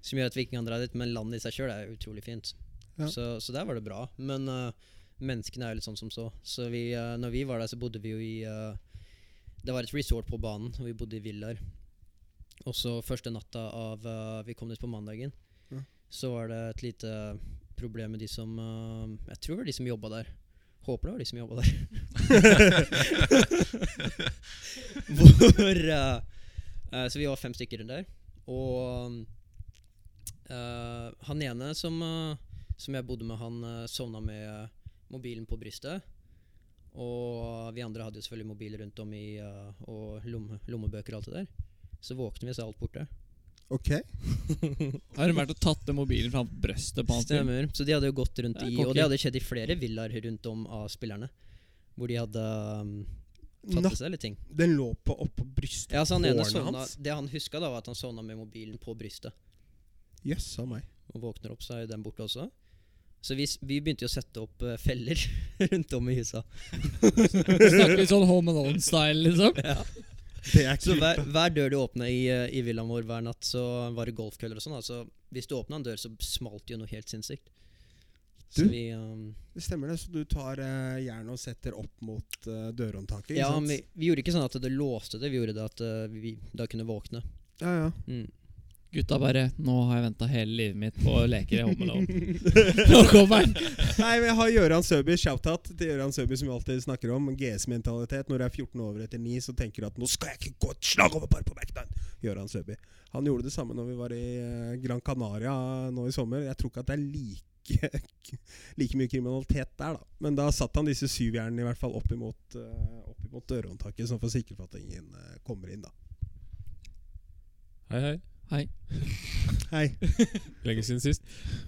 [SPEAKER 3] som gjør at vi ikke kan dra dit, men landet i seg sjøl er utrolig fint.
[SPEAKER 1] Ja.
[SPEAKER 3] Så, så der var det bra. Men eh, menneskene er jo litt sånn som så. Så vi, eh, når vi var der, så bodde vi jo i eh, Det var et resort på banen, og vi bodde i villaer. Og så første natta av eh, Vi kom dit på mandagen.
[SPEAKER 1] Ja.
[SPEAKER 3] Så var det et lite problem med de som eh, Jeg tror det var de som jobba der. Håper det var de som jobba der.
[SPEAKER 1] [LAUGHS]
[SPEAKER 3] [LAUGHS] Hvor eh, eh, Så vi var fem stykker der. Og eh, han ene som, eh, som jeg bodde med, han eh, sovna med eh, mobilen på brystet. Og vi andre hadde jo selvfølgelig mobil rundt om i eh, og lomme, lommebøker og alt det der. Så våkner vi og så er alt borte.
[SPEAKER 1] Ok.
[SPEAKER 2] Har hun vært og tatt den mobilen fra brøstet på hans bil?
[SPEAKER 3] Stemmer. Så de hadde jo gått rundt
[SPEAKER 2] Det er
[SPEAKER 3] i Og
[SPEAKER 2] cocky.
[SPEAKER 3] det hadde skjedd i flere villaer rundt om av spillerne. Hvor de hadde um, tatt
[SPEAKER 1] Natt,
[SPEAKER 3] til seg litt ting.
[SPEAKER 1] den lå på oppå brystet.
[SPEAKER 3] Ja, så han ene
[SPEAKER 1] Hårene
[SPEAKER 3] sovna,
[SPEAKER 1] hans?
[SPEAKER 3] Det han huska, da, var at han sovna med mobilen på brystet.
[SPEAKER 1] Jøssa meg.
[SPEAKER 3] og våkner opp, så er jo den borte også. Så vi, s- vi begynte jo å sette opp eh, feller [LAUGHS] rundt om i husa.
[SPEAKER 2] Snakker litt sånn Home Alone-style, liksom?
[SPEAKER 1] Det er
[SPEAKER 3] [LAUGHS] Så hver,
[SPEAKER 1] kult.
[SPEAKER 3] hver dør du åpna i, eh, i villaen vår hver natt, så var det golfkøller og sånn. da. Så hvis du åpna en dør, så smalt det jo noe helt sinnssykt. Så
[SPEAKER 1] Du?
[SPEAKER 3] vi, um,
[SPEAKER 1] Det stemmer det. Så du tar eh, jernet og setter opp mot eh, dørhåndtaket? ikke
[SPEAKER 3] ja,
[SPEAKER 1] sant?
[SPEAKER 3] men vi, vi gjorde ikke sånn at det låste det, vi gjorde det at eh, vi da kunne våkne.
[SPEAKER 1] ja, ja.
[SPEAKER 3] Mm.
[SPEAKER 2] Gutta bare 'Nå har jeg venta hele livet mitt på å leke i Home Alone'. Nå kommer den!
[SPEAKER 1] Nei, men jeg har Gøran Søby, shout-out til Gøran Søby, som vi alltid snakker om. GS-mentalitet. Når du er 14 over etter 9, så tenker du at 'nå skal jeg ikke gå et slag over par på backdown'. Gøran Søby. Han gjorde det samme når vi var i eh, Gran Canaria nå i sommer. Jeg tror ikke at det er like, [LAUGHS] like mye kriminalitet der, da. Men da satt han disse syvjernene i hvert fall opp imot, eh, opp imot dørhåndtaket, sånn for å sikre for at ingen eh, kommer inn, da.
[SPEAKER 5] Hei, hei.
[SPEAKER 1] Hei.
[SPEAKER 5] Lenge siden sist.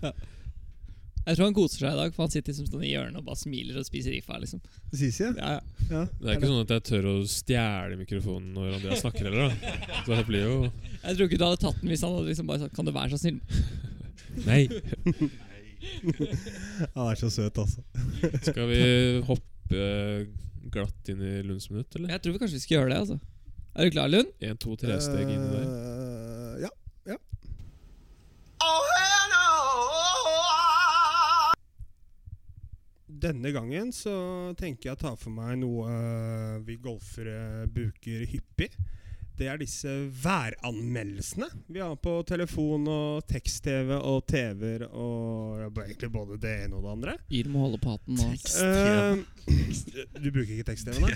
[SPEAKER 2] Jeg tror han koser seg i dag, for han sitter liksom sånn i hjørnet og bare smiler og spiser rifa. liksom
[SPEAKER 1] Sisi, ja?
[SPEAKER 2] ja, ja.
[SPEAKER 1] ja.
[SPEAKER 5] Det er ikke sånn at jeg tør å stjele mikrofonen når Andreas snakker heller, da. Så det blir jo
[SPEAKER 2] Jeg tror ikke du hadde tatt den hvis han hadde liksom bare sagt 'Kan du være så snill?'
[SPEAKER 5] Nei.
[SPEAKER 1] Han er så søt, altså.
[SPEAKER 5] Skal vi hoppe eh, glatt inn i Lunds minutt, eller?
[SPEAKER 2] Jeg tror vi kanskje vi skal gjøre det. altså Er du klar, Lund?
[SPEAKER 5] Én, to, tre steg inn der.
[SPEAKER 1] Eh, ja. Denne gangen så tenker jeg å ta for meg noe eh, vi golfere bruker hyppig. Det er disse væranmeldelsene vi har på telefon og tekst-TV og TV-er og ja, egentlig både det ene og det andre.
[SPEAKER 2] Yr må holde på hatten nå.
[SPEAKER 4] Tekst-TV.
[SPEAKER 1] Eh, [CLEARS THROAT] du bruker ikke tekst-TV, nei?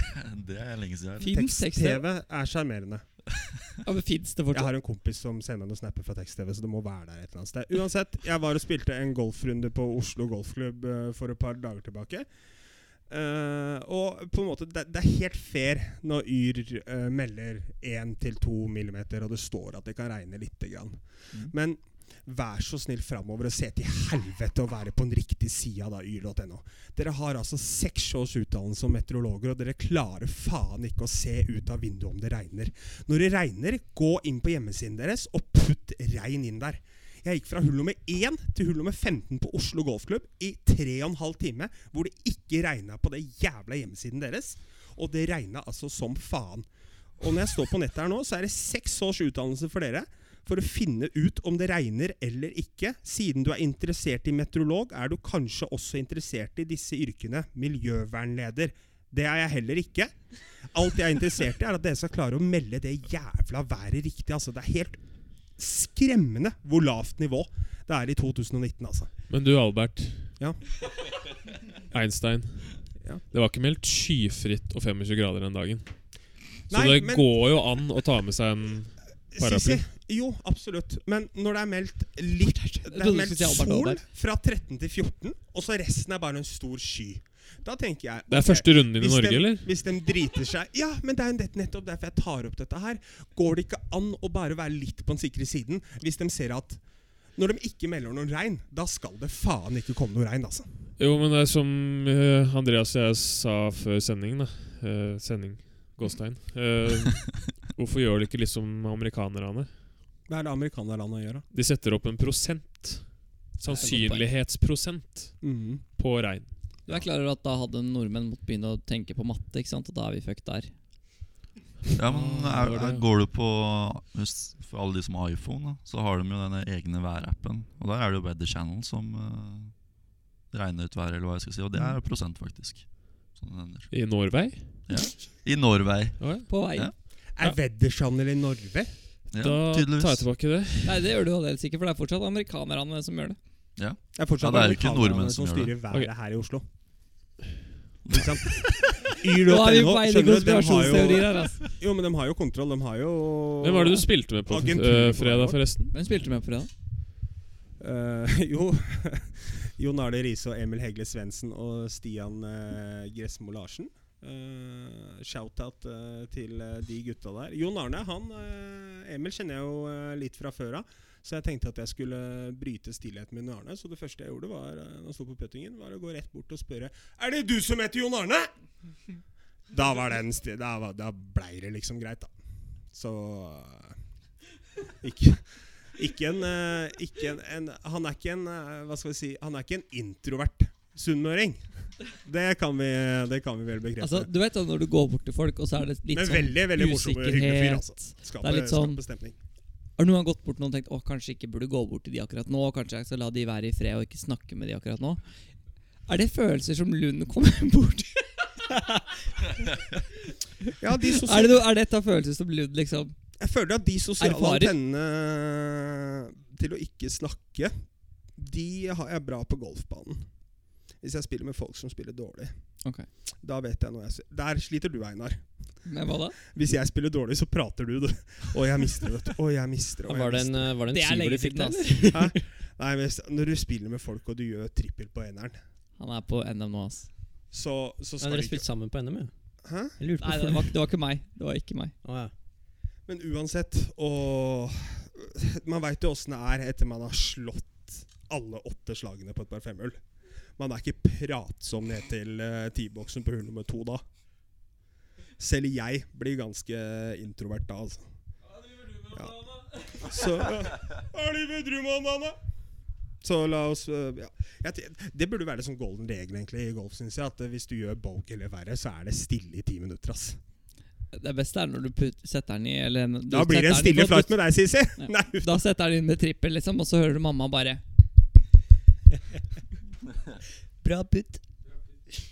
[SPEAKER 4] Det er lenge siden. jeg
[SPEAKER 2] Fins tekst-TV?
[SPEAKER 1] Tekst-TV er sjarmerende.
[SPEAKER 2] Ja, men finnes det
[SPEAKER 1] Jeg
[SPEAKER 2] fortsatt?
[SPEAKER 1] har en kompis som sender noen snapper fra tekst-TV, så det må være der et eller annet sted. Uansett, jeg var og spilte en golfrunde på Oslo Golfklubb eh, for et par dager tilbake. Eh, og på en måte, det, det er helt fair når Yr eh, melder 1-2 millimeter, og det står at det kan regne lite grann.
[SPEAKER 4] Mm.
[SPEAKER 1] Men vær så snill framover og se til helvete å være på den riktige sida av yr.no. Dere har altså seks års utdannelse som meteorologer, og dere klarer faen ikke å se ut av vinduet om det regner. Når det regner, gå inn på hjemmesiden deres og putt regn inn der. Jeg gikk fra hull nummer 1 til hull nummer 15 på Oslo Golfklubb i 3,5 time, hvor det ikke regna på det jævla hjemmesiden deres. Og det regna altså som faen. Og når jeg står på nettet her nå, så er det seks års utdannelse for dere for å finne ut om det regner eller ikke. Siden du er interessert i meteorolog, er du kanskje også interessert i disse yrkene. Miljøvernleder. Det er jeg heller ikke. Alt jeg er interessert i, er at dere skal klare å melde det jævla været riktig. Altså, det er helt skremmende hvor lavt nivå det er i 2019, altså.
[SPEAKER 5] Men du, Albert.
[SPEAKER 1] Ja.
[SPEAKER 5] Einstein.
[SPEAKER 1] Ja.
[SPEAKER 5] Det var ikke meldt skyfritt og 25 grader den dagen. Så
[SPEAKER 1] Nei,
[SPEAKER 5] det
[SPEAKER 1] men-
[SPEAKER 5] går jo an å ta med seg en paraply.
[SPEAKER 1] Sissi, jo, absolutt. Men når det er meldt litt Det
[SPEAKER 2] trodde
[SPEAKER 1] er
[SPEAKER 2] du
[SPEAKER 1] meldt
[SPEAKER 2] skulle si Albert
[SPEAKER 1] sol
[SPEAKER 2] Albert.
[SPEAKER 1] fra 13 til 14, og så resten er bare en stor sky. Da tenker jeg
[SPEAKER 5] Det er
[SPEAKER 1] ok,
[SPEAKER 5] første runden din i
[SPEAKER 1] hvis
[SPEAKER 5] Norge,
[SPEAKER 1] de,
[SPEAKER 5] eller?
[SPEAKER 1] Hvis de driter seg Ja, men det er jo nett- nettopp derfor jeg tar opp dette her. Går det ikke an å bare være litt på den sikre siden hvis de ser at når de ikke melder noen regn, da skal det faen ikke komme noe regn, altså.
[SPEAKER 5] Jo, men det er som eh, Andreas og jeg sa før sendingen, da. Eh, sending. Gåstein. Eh, hvorfor gjør de ikke litt som amerikanerne?
[SPEAKER 1] Hva er det amerikanerlandet gjør, da?
[SPEAKER 5] De setter opp en prosent. Sannsynlighetsprosent
[SPEAKER 1] Mm.
[SPEAKER 5] på regn.
[SPEAKER 2] Du er klar over at da hadde nordmenn måttet begynne å tenke på matte, ikke sant? og da er vi fucked der.
[SPEAKER 4] tror. Ja, men er,
[SPEAKER 5] det var
[SPEAKER 4] er,
[SPEAKER 5] det.
[SPEAKER 4] går du på hvis- For alle de som har iPhone, da, så har de jo denne egne værappen. Og der er det jo Weather Channel som eh, regner ut været, eller hva jeg skal si. Og det er prosent, faktisk. Sånn det ender.
[SPEAKER 5] I Norvei?
[SPEAKER 4] I Norway.
[SPEAKER 2] På vei.
[SPEAKER 4] Ja.
[SPEAKER 1] Er Wedderchannel i Norge?
[SPEAKER 4] Ja,
[SPEAKER 5] Da tar jeg
[SPEAKER 4] tydeligvis.
[SPEAKER 5] tilbake det.
[SPEAKER 2] Nei, det gjør du jo helt sikkert, for det er fortsatt amerikanerne som gjør det.
[SPEAKER 1] Det er fortsatt
[SPEAKER 4] Ja, det er jo ikke
[SPEAKER 1] amerikanerne
[SPEAKER 4] nordmenn
[SPEAKER 1] som
[SPEAKER 4] som gjør det.
[SPEAKER 1] styrer været
[SPEAKER 5] Ok.
[SPEAKER 1] her i
[SPEAKER 4] [LAUGHS]
[SPEAKER 1] Oslo. Ikke sant? Yr.no,
[SPEAKER 2] Nå er vi på vei til
[SPEAKER 1] skjønner du, de har jo-
[SPEAKER 2] konspirasjonsteorier her, altså.
[SPEAKER 1] Jo, men de har jo kontroll. De har jo
[SPEAKER 5] Hvem var det du spilte med på
[SPEAKER 1] Agentur-
[SPEAKER 5] eh, fredag, forresten?
[SPEAKER 2] Hvem spilte med på fredag?
[SPEAKER 1] Eh, [LAUGHS] jo. Jon Arne Riise og Emil Hegle Svendsen og Stian eh, Gressmo Larsen. Eh, Shout-out eh, til eh, de gutta der. Jon Arne, han eh, Emil kjenner jeg jo eh, litt fra før av. Så jeg tenkte at jeg skulle bryte stillheten min med Arne. Så det første jeg gjorde, var eh, når han sto på puttingen, var å gå rett bort og spørre Er det du som heter Jon Arne?
[SPEAKER 2] [LAUGHS]
[SPEAKER 1] Da var den sti da, var, da blei det liksom greit, da. Så eh, ikke, ikke en, eh, ikke en, en Han er ikke en eh, Hva skal vi si Han er ikke en introvert sunnmøring. Det kan vi, det kan vi vel bekrefte.
[SPEAKER 2] Altså, du vet da når du går bort til folk, og så er det litt
[SPEAKER 1] Men
[SPEAKER 2] sånn
[SPEAKER 1] veldig, veldig morsom og hyggelig fyr. Altså. Skaper,
[SPEAKER 2] Det er litt sånn-
[SPEAKER 1] skaper stemning.
[SPEAKER 2] Har du noen gang gått bort til noen og tenkt å, kanskje ikke burde gå bort til de akkurat nå? Kanskje jeg skal la de være i fred og ikke snakke med de akkurat nå? Er det følelser som Lund kommer [LAUGHS] bort til?
[SPEAKER 1] Ja, de
[SPEAKER 2] Er, det
[SPEAKER 1] sosiale,
[SPEAKER 2] noe- er dette følelser som Lund liksom
[SPEAKER 1] jeg føler at de sosiale
[SPEAKER 2] Erfarer?
[SPEAKER 1] antennene til å ikke snakke, de har jeg bra på golfbanen. Hvis jeg spiller med folk som spiller dårlig.
[SPEAKER 2] Ok.
[SPEAKER 1] Da vet jeg når jeg s- Der sliter du, Einar.
[SPEAKER 2] Men hva da?
[SPEAKER 1] Hvis jeg spiller dårlig, så prater du. du. Å, jeg mister, vet du. Å, jeg mister. Å, jeg
[SPEAKER 3] Var det
[SPEAKER 1] mister.
[SPEAKER 3] en, eh, var det
[SPEAKER 2] Det
[SPEAKER 3] en
[SPEAKER 2] er
[SPEAKER 3] syver du
[SPEAKER 2] lenge
[SPEAKER 3] fikk,
[SPEAKER 2] siden,
[SPEAKER 3] da? ass?
[SPEAKER 1] Nei, men s- når du spiller med folk og du gjør trippel på eneren,
[SPEAKER 2] Han er på NM nå, ass.
[SPEAKER 1] så, så skal
[SPEAKER 3] Nei, dere
[SPEAKER 1] du ikke
[SPEAKER 3] spilte sammen på NM, ja?
[SPEAKER 1] Hæ?
[SPEAKER 3] Jeg lurte på
[SPEAKER 2] Nei, det
[SPEAKER 3] hvorfor
[SPEAKER 2] var, det var ikke meg. Det var ikke meg.
[SPEAKER 3] det- Å, ja.
[SPEAKER 1] Men uansett, og Man veit jo åssen det er etter man har slått alle åtte slagene på et par femhull. Man er ikke pratsom ned til eh, T-boksen på hull nummer to da. Selv jeg blir ganske introvert da, altså. Ja. Så Hva driver du med om dagen, da? Så la oss eh, ja. Jeg t- Det burde være sånn golden regel egentlig i golf, syns jeg. At eh, hvis du gjør bogey eller verre, så er det stille i ti minutter. ass.
[SPEAKER 2] Det beste er når du put, setter den i eller, du
[SPEAKER 1] Da blir det en
[SPEAKER 2] setter den i-
[SPEAKER 1] stille flight med deg, Sisi!
[SPEAKER 2] Ja.
[SPEAKER 1] Nei,
[SPEAKER 2] Da setter den inn med trippel, liksom, og så hører du mamma
[SPEAKER 3] [LAUGHS]
[SPEAKER 2] bare Bra putt.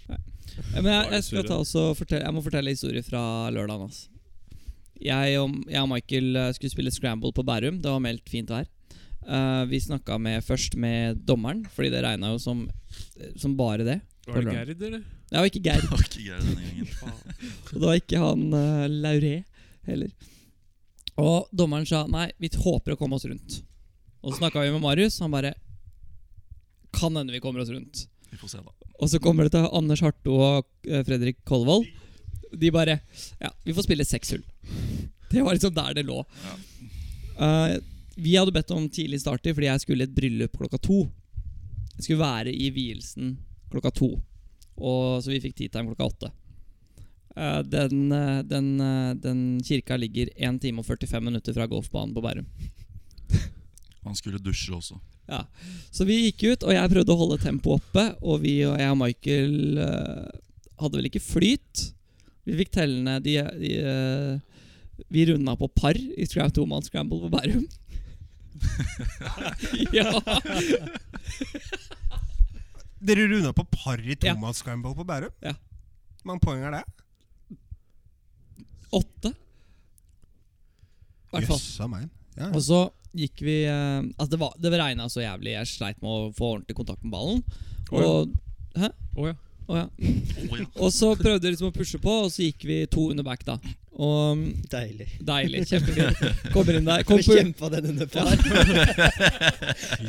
[SPEAKER 2] Nei. Ja, Men jeg, jeg skal ta også fortelle Jeg må fortelle en historie fra lørdagen. Altså. Jeg, og, jeg og Michael eh, skulle spille scramble på Bærum. Det var meldt fint vær. Eh, vi snakka med, først med dommeren, fordi det regna jo som, som bare det.
[SPEAKER 5] Var det Gerd, eller?
[SPEAKER 2] Det var ikke Geir.
[SPEAKER 4] [LAUGHS] Det var ikke greit denne gangen.
[SPEAKER 2] Og det var ikke han uh, Lauré heller. Og dommeren sa nei, vi håper å komme oss rundt. Og så snakka vi med Marius. Han bare Kan hende vi kommer oss rundt.
[SPEAKER 4] Vi får se, da.
[SPEAKER 2] Og så kommer det til Anders Harto og eh, Fredrik Kolvold. De bare Ja, vi får spille seks hull. Det var liksom der det lå. Eh, vi hadde bedt om tidlig starter fordi jeg skulle i et bryllup klokka to. Jeg skulle være i vielsen klokka to, og, så vi fikk tid time klokka åtte. Eh, den, eh, den, eh, den kirka ligger 1 time og 45 minutter fra golfbanen på Bærum.
[SPEAKER 4] Han skulle dusje også.
[SPEAKER 2] Så vi gikk ut, og jeg prøvde å holde tempoet oppe. Og vi og jeg og Michael eh, hadde vel ikke flyt. Vi fikk tellende de, de, eh, Vi runda på par i Scram Toman Scramble på Bærum. ja.
[SPEAKER 1] Dere runda på par i
[SPEAKER 2] Ja.
[SPEAKER 1] tomat-scramble på Bærum?
[SPEAKER 2] Ja.
[SPEAKER 1] Mange poeng er det?
[SPEAKER 2] Åtte. I hvert fall.
[SPEAKER 1] Jøssa meg. Ja.
[SPEAKER 2] Og så gikk vi eh, Altså, det, var- det regna så jævlig. Jeg sleit med å få ordentlig kontakt med ballen.
[SPEAKER 5] Å ja.
[SPEAKER 2] Og,
[SPEAKER 5] Å ja.
[SPEAKER 2] og ja.
[SPEAKER 4] Å ja.
[SPEAKER 2] Og så prøvde jeg liksom å pushe på, og så gikk vi to under back, da. Og mm,
[SPEAKER 3] Deilig.
[SPEAKER 2] deilig. Kjempefint. Kommer inn der. Kom
[SPEAKER 3] Kom
[SPEAKER 2] på,
[SPEAKER 3] kjempa den under par.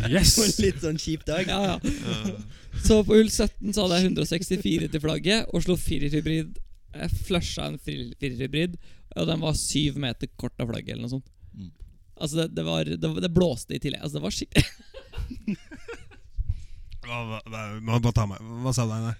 [SPEAKER 5] Yes!
[SPEAKER 3] På en litt sånn kjip dag.
[SPEAKER 2] ja, ja. Så på hull 17 så hadde jeg 164 til flagget og slo firerhybrid. Jeg flusha en fri- firerhybrid, og den var syv meter kort av flagget. eller noe sånt
[SPEAKER 4] Mm.
[SPEAKER 2] Altså det, det, var, det, var- det blåste i tillegg. Altså det var skikkelig
[SPEAKER 1] Hva, hva- hva- hva tar meg- hva sa du, Einar?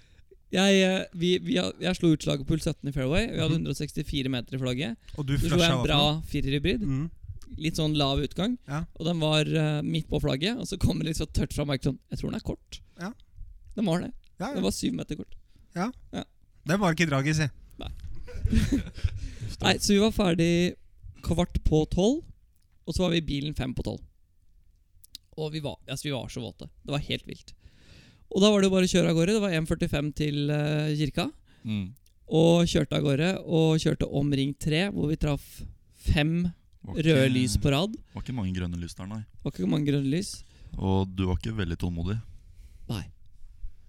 [SPEAKER 2] Jeg, eh, vi, vi, ha- jeg slo utslaget på hull 17 i fairway. Vi hadde 164 meter i flagget.
[SPEAKER 1] Og du
[SPEAKER 2] Så slo jeg
[SPEAKER 1] flasha
[SPEAKER 2] en
[SPEAKER 1] hva for
[SPEAKER 2] bra
[SPEAKER 1] noe?
[SPEAKER 2] firerhybrid.
[SPEAKER 1] Mm.
[SPEAKER 2] Litt sånn lav utgang.
[SPEAKER 1] Ja.
[SPEAKER 2] Og den var eh, midt på flagget. Og så kom det litt så tørt fra Mike sånn Jeg tror den er kort.
[SPEAKER 1] Ja.
[SPEAKER 2] Den var det.
[SPEAKER 1] Ja,
[SPEAKER 2] Den
[SPEAKER 1] ja.
[SPEAKER 2] var syv meter kort.
[SPEAKER 1] Den var ikke drag i, si.
[SPEAKER 2] [LAUGHS] Nei, så vi var ferdig kvart på tolv, og så var vi i bilen fem på tolv. Og vi var, altså vi var så våte. Det var helt vilt. Og da var det jo bare å kjøre av gårde. Det var 1,45 til eh, kirka.
[SPEAKER 4] Mm.
[SPEAKER 2] Og kjørte av gårde, og kjørte om Ring 3, hvor vi traff fem
[SPEAKER 4] Var ikke-
[SPEAKER 2] røde lys på rad.
[SPEAKER 4] Var ikke mange grønne lys der, nei.
[SPEAKER 2] Det var ikke mange grønne lys.
[SPEAKER 4] Og du var ikke veldig tålmodig.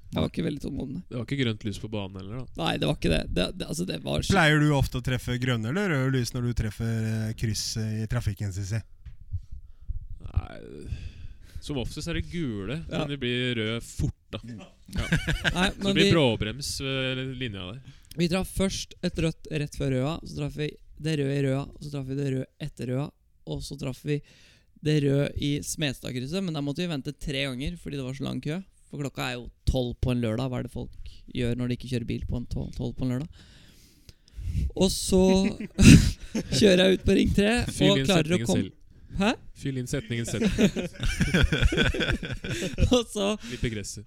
[SPEAKER 2] Jeg var ikke veldig tålmodig.
[SPEAKER 5] [LAUGHS] Det var ikke grønt lys på banen heller, da.
[SPEAKER 2] Nei, det var ikke det. Det, det, altså, det var skikkelig
[SPEAKER 1] Pleier du ofte å treffe grønne eller røde lys når du treffer eh, kryss eh, i trafikken, Sisi?
[SPEAKER 5] Nei Som oftest er det gule,
[SPEAKER 2] Ja.
[SPEAKER 5] men de blir røde fort, da.
[SPEAKER 2] Nei,
[SPEAKER 5] Så det
[SPEAKER 2] men
[SPEAKER 5] blir
[SPEAKER 2] vi,
[SPEAKER 5] bråbrems ved linja der.
[SPEAKER 2] vi traff først et rødt rett før røda, så traff vi det røde i røda, og så traff vi det røde etter røda, og så traff vi det røde i Smedstadkrysset, men der måtte vi vente tre ganger fordi det var så lang kø. For klokka er jo tolv på en lørdag. Hva er det folk gjør når de ikke kjører bil på en tolv, tolv på en lørdag? Og så [LAUGHS] kjører jeg ut på Ring 3 og
[SPEAKER 5] Fyll inn
[SPEAKER 2] klarer å
[SPEAKER 5] setningen
[SPEAKER 2] komme
[SPEAKER 5] selv.
[SPEAKER 2] Hæ? [LAUGHS]
[SPEAKER 5] Fyll inn setningen selv.
[SPEAKER 2] Og så
[SPEAKER 5] Litt begresset.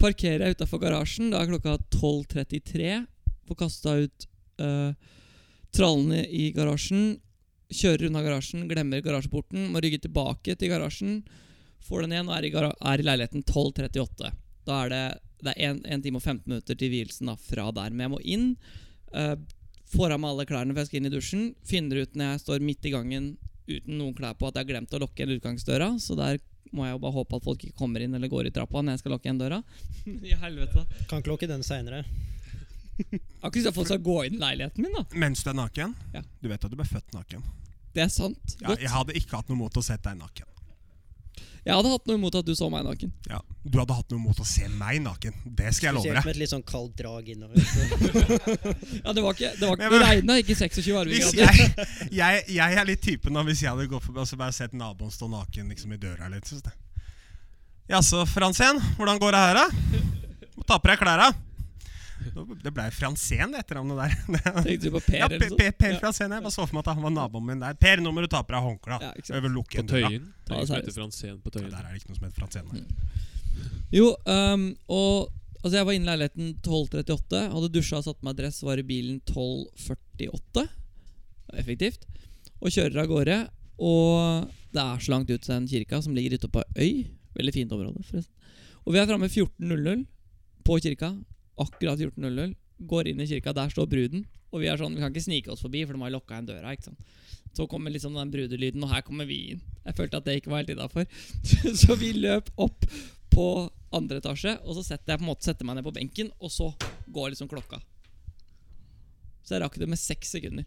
[SPEAKER 2] parkerer jeg utafor garasjen. Da er klokka 12.33. Får kasta ut eh, trallene i garasjen. Kjører unna garasjen, glemmer garasjeporten. Må rygge tilbake til garasjen. Får den igjen og er i, gara er i leiligheten 12.38. Da er det Det er 1 time og 15 minutter til vielsen da, fra der. Men jeg må inn. eh, får av meg alle klærne, for jeg skal inn i dusjen. Finner ut når jeg står midt i gangen uten noen klær på at jeg har glemt å lukke igjen utgangsdøra. Så der må jeg jo bare håpe at folk ikke kommer inn eller går i trappa når jeg skal lukke igjen døra. I helvete.
[SPEAKER 3] Kan ikke lukke den seinere.
[SPEAKER 2] Har ikke lyst til at folk skal gå inn i leiligheten min, da.
[SPEAKER 1] Mens du er naken?
[SPEAKER 2] Ja.
[SPEAKER 1] Du vet at du ble født naken.
[SPEAKER 2] Det er sant.
[SPEAKER 1] Ja,
[SPEAKER 2] Godt.
[SPEAKER 1] jeg hadde ikke hatt noe mot å se deg naken.
[SPEAKER 2] Jeg hadde hatt noe imot at du så meg naken.
[SPEAKER 1] Ja. Du hadde hatt noe mot å se meg naken. Det skal jeg love
[SPEAKER 3] Spesielt
[SPEAKER 1] deg.
[SPEAKER 3] med et litt sånn kaldt drag innover. Så.
[SPEAKER 2] Ja, Det var ikke, det var ikke,
[SPEAKER 1] Men-
[SPEAKER 2] det regna ikke 26
[SPEAKER 1] Hvis
[SPEAKER 2] [LAUGHS] arvegrader.
[SPEAKER 1] jeg, jeg, jeg er litt typen da hvis jeg hadde gått forbi og så bare sett naboen stå naken liksom i døra litt. synes jeg. Jaså, Franzén, hvordan går det her, da? Må ta på deg klærne. Nå- Det blei Franzén, det etternavnet der. [LAUGHS]
[SPEAKER 2] Tenkte du på Per
[SPEAKER 1] Ja,
[SPEAKER 2] eller
[SPEAKER 1] per,
[SPEAKER 2] noe sånt?
[SPEAKER 1] per, per Franzén. Jeg bare så for meg at han var naboen min der. Per, nå må du ta på deg håndkleet.
[SPEAKER 2] Ja, ikke
[SPEAKER 1] da.
[SPEAKER 2] sant.
[SPEAKER 1] Over lukke
[SPEAKER 5] På
[SPEAKER 1] igjen døra.
[SPEAKER 5] Tøyen. Det er
[SPEAKER 2] Ja,
[SPEAKER 5] ingen som
[SPEAKER 2] seriøst.
[SPEAKER 5] heter Franzén på
[SPEAKER 1] Ja,
[SPEAKER 5] Tøyen.
[SPEAKER 1] Der er det ikke noe som heter Franzén. nei.
[SPEAKER 2] Jo, ehm, og altså jeg var inne i leiligheten 12.38. Hadde dusja og satt på meg dress, var i bilen 12.48. Effektivt. Og kjører av gårde. Og det er så langt ut til den kirka, som ligger ute på øy. Veldig fint område, forresten. Og vi er framme 14.00 på kirka. Akkurat 14.00. Går inn i kirka, der står bruden. Og vi er sånn, vi kan ikke snike oss forbi, for de har lukka igjen døra. ikke sant? Så kommer liksom den brudelyden, og her kommer vi inn. Jeg følte at det ikke var helt innafor. [LAUGHS] Så vi løp opp på andre etasje, og så setter jeg på en måte setter meg ned på benken, og så går liksom klokka. Så jeg rakk det med seks sekunder.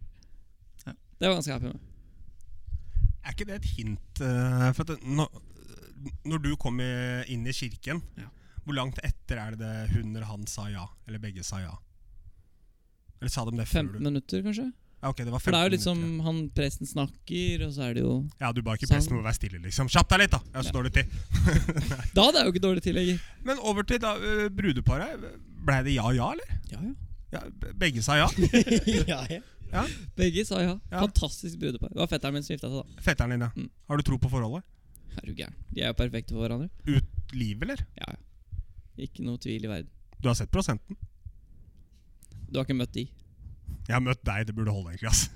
[SPEAKER 4] Ja.
[SPEAKER 2] Det var jeg ganske happy med.
[SPEAKER 1] Er ikke det et hint? eh, For at det- nå- når du kommer inn i kirken,
[SPEAKER 2] Ja.
[SPEAKER 1] hvor langt etter er det det hun eller han sa ja? Eller begge sa ja? Eller sa de det før
[SPEAKER 2] 15
[SPEAKER 1] du
[SPEAKER 2] minutter, kanskje?
[SPEAKER 1] ja, ok, det var 15
[SPEAKER 2] For det er jo liksom
[SPEAKER 1] minutter,
[SPEAKER 2] han presten snakker, og så er det jo
[SPEAKER 1] ja. ja, du ba ikke
[SPEAKER 2] Sang.
[SPEAKER 1] presten om å være stille, liksom. Kjapp deg litt, da! Jeg har så dårlig tid.
[SPEAKER 2] Da hadde jeg jo ikke dårlig tillegger.
[SPEAKER 1] Men over til da, eh, brudeparet. Blei det ja ja, eller?
[SPEAKER 2] Ja, ja.
[SPEAKER 1] Ja, be- begge sa ja.
[SPEAKER 3] ja, ja.
[SPEAKER 2] Begge sa ja.
[SPEAKER 1] Ja.
[SPEAKER 2] Fantastisk brudepar. Det var fetteren min som gifta seg, da.
[SPEAKER 1] Fetteren din, ja.
[SPEAKER 2] Mm.
[SPEAKER 1] Har du tro på forholdet?
[SPEAKER 2] Er du gæren. De er jo perfekte for hverandre.
[SPEAKER 1] Liv, eller?
[SPEAKER 2] Ja, ja. Ikke noe tvil i verden.
[SPEAKER 1] Du har sett prosenten.
[SPEAKER 2] Du har ikke møtt de.
[SPEAKER 1] Jeg har møtt deg, det burde holde, egentlig. ass.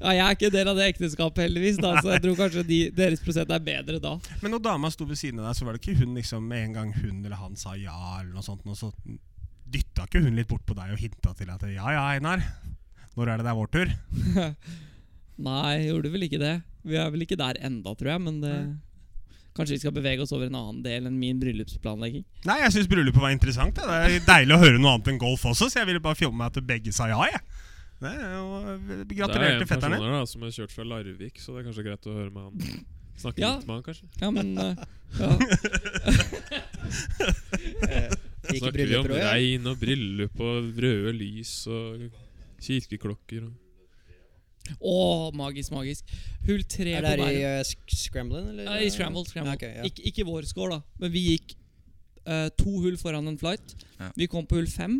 [SPEAKER 2] Ja, Jeg er ikke del av det ekteskapet, heldigvis, da, så jeg tror kanskje de, deres prosent er bedre da.
[SPEAKER 1] Men når dama sto ved siden av deg, så var det ikke hun liksom med en gang hun eller han sa ja, eller noe sånt, og så dytta ikke hun litt bort på deg og hinta til at ja ja, Einar, når er det det er vår tur?
[SPEAKER 2] Nei, gjorde vel ikke det. Vi er vel ikke der enda, tror jeg, men det Kanskje vi skal bevege oss over en annen del enn min bryllupsplanlegging.
[SPEAKER 1] Nei, jeg syns bryllupet var interessant. Ja. Det er deilig å høre noe annet enn golf også, så jeg ville bare fjolle meg at begge sa ja, jeg. Det er jo, eh, gratulerer til fetteren
[SPEAKER 5] Det
[SPEAKER 1] din.
[SPEAKER 5] er en person her da, som har kjørt fra Larvik, så det er kanskje greit å høre med han. Snakke
[SPEAKER 2] Ja.
[SPEAKER 5] litt med han, kanskje.
[SPEAKER 2] Ja, men
[SPEAKER 3] [LAUGHS]
[SPEAKER 2] eh, ja.
[SPEAKER 3] Gikk i
[SPEAKER 5] Snakker vi om
[SPEAKER 3] brylluper også, ja.
[SPEAKER 5] regn og bryllup og røde lys og kirkeklokker og
[SPEAKER 2] Å, magisk, magisk. Hull tre
[SPEAKER 3] Er
[SPEAKER 2] på
[SPEAKER 3] det her i
[SPEAKER 2] Bærum.
[SPEAKER 3] eh, sk- Scramblen, eller?
[SPEAKER 2] Nei, I Scramble. scramble.
[SPEAKER 3] Ja, ok, ja.
[SPEAKER 2] Ikke, ikke vår score, da, men vi gikk eh, to hull foran en flight.
[SPEAKER 4] Ja.
[SPEAKER 2] Vi kom på hull fem,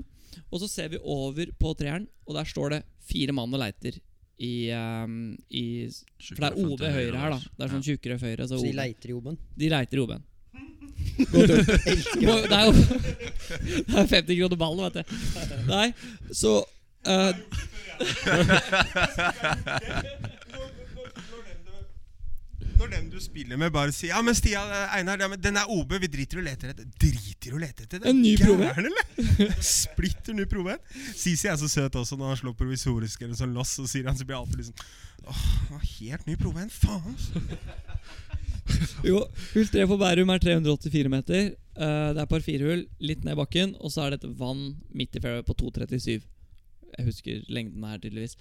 [SPEAKER 2] og så ser vi over på treeren, og der står det fire mann og leiter i, eh, i For det er OB høyre her, da. Det er sånn tjukkere høyre.
[SPEAKER 3] Så
[SPEAKER 2] Så
[SPEAKER 3] de
[SPEAKER 2] OB.
[SPEAKER 3] leiter i jobben?
[SPEAKER 2] De leiter i OB-en. Godt gjort. [LAUGHS] Må- Det er jo [LAUGHS] Det er 50 kroner ballen, vet du. Nei, så eh,
[SPEAKER 1] Når den du spiller med, bare sier 'ja, men Stia, Einar, ja, men den er OB, vi driter i å lete etter'. Driter i å lete etter det?
[SPEAKER 2] En ny prove.
[SPEAKER 1] Gæren, eller? [LAUGHS] Splitter ny prove. Sisi er så søt også når han slår provisorisk eller sånn loss, så sier han så blir jeg alltid liksom Åh, det var helt ny prove, en faen. altså».
[SPEAKER 2] Jo, hull 3 på Bærum er 384 meter. Eh, det er par firehull, litt ned i bakken, og så er det et vann midt i fairway på 2,37. Jeg husker lengden her, tydeligvis.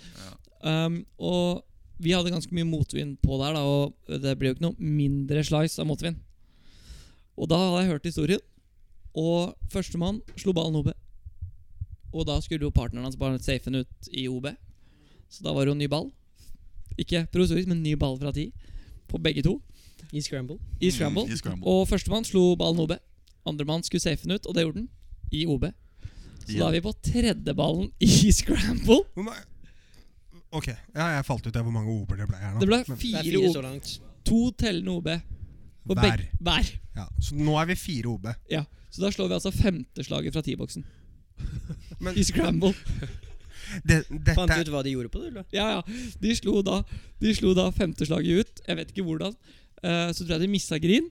[SPEAKER 2] Um, og vi hadde ganske mye motvind på der, da, og det ble jo ikke noe mindre slice av motvind. Og da hadde jeg hørt historien, og førstemann slo ballen OB. Og da skulle jo partneren hans bare safe den ut i OB, så da var det jo ny ball. Ikke provisorisk, men ny ball fra ti på begge to
[SPEAKER 3] I Scramble?
[SPEAKER 2] i scramble.
[SPEAKER 4] Mm, i
[SPEAKER 2] [LAUGHS]
[SPEAKER 4] scramble.
[SPEAKER 2] Og førstemann slo ballen OB. Andremann skulle safe den ut, og det gjorde den. I OB. Så da er vi på tredjeballen i [LAUGHS] scramble.
[SPEAKER 1] Hvor ma- Ok, ja, jeg falt ut av hvor mange OB-er det ble her nå.
[SPEAKER 2] Det ble
[SPEAKER 1] Men-
[SPEAKER 3] Det
[SPEAKER 2] fire,
[SPEAKER 3] er fire
[SPEAKER 2] OB.
[SPEAKER 3] så langt.
[SPEAKER 2] To tellende OB. Og
[SPEAKER 1] Hver.
[SPEAKER 2] begge- Hver.
[SPEAKER 1] ja, så nå er vi fire OB.
[SPEAKER 2] Ja. Så da slår vi altså femteslaget fra T-boksen.
[SPEAKER 1] Men-
[SPEAKER 2] I scramble.
[SPEAKER 1] Det,
[SPEAKER 3] Fant du
[SPEAKER 1] dette
[SPEAKER 3] ut hva de gjorde på det, eller?
[SPEAKER 2] Ja, ja. De slo da, de slo da femteslaget ut. Jeg vet ikke hvordan. Eh, så tror jeg de missa green,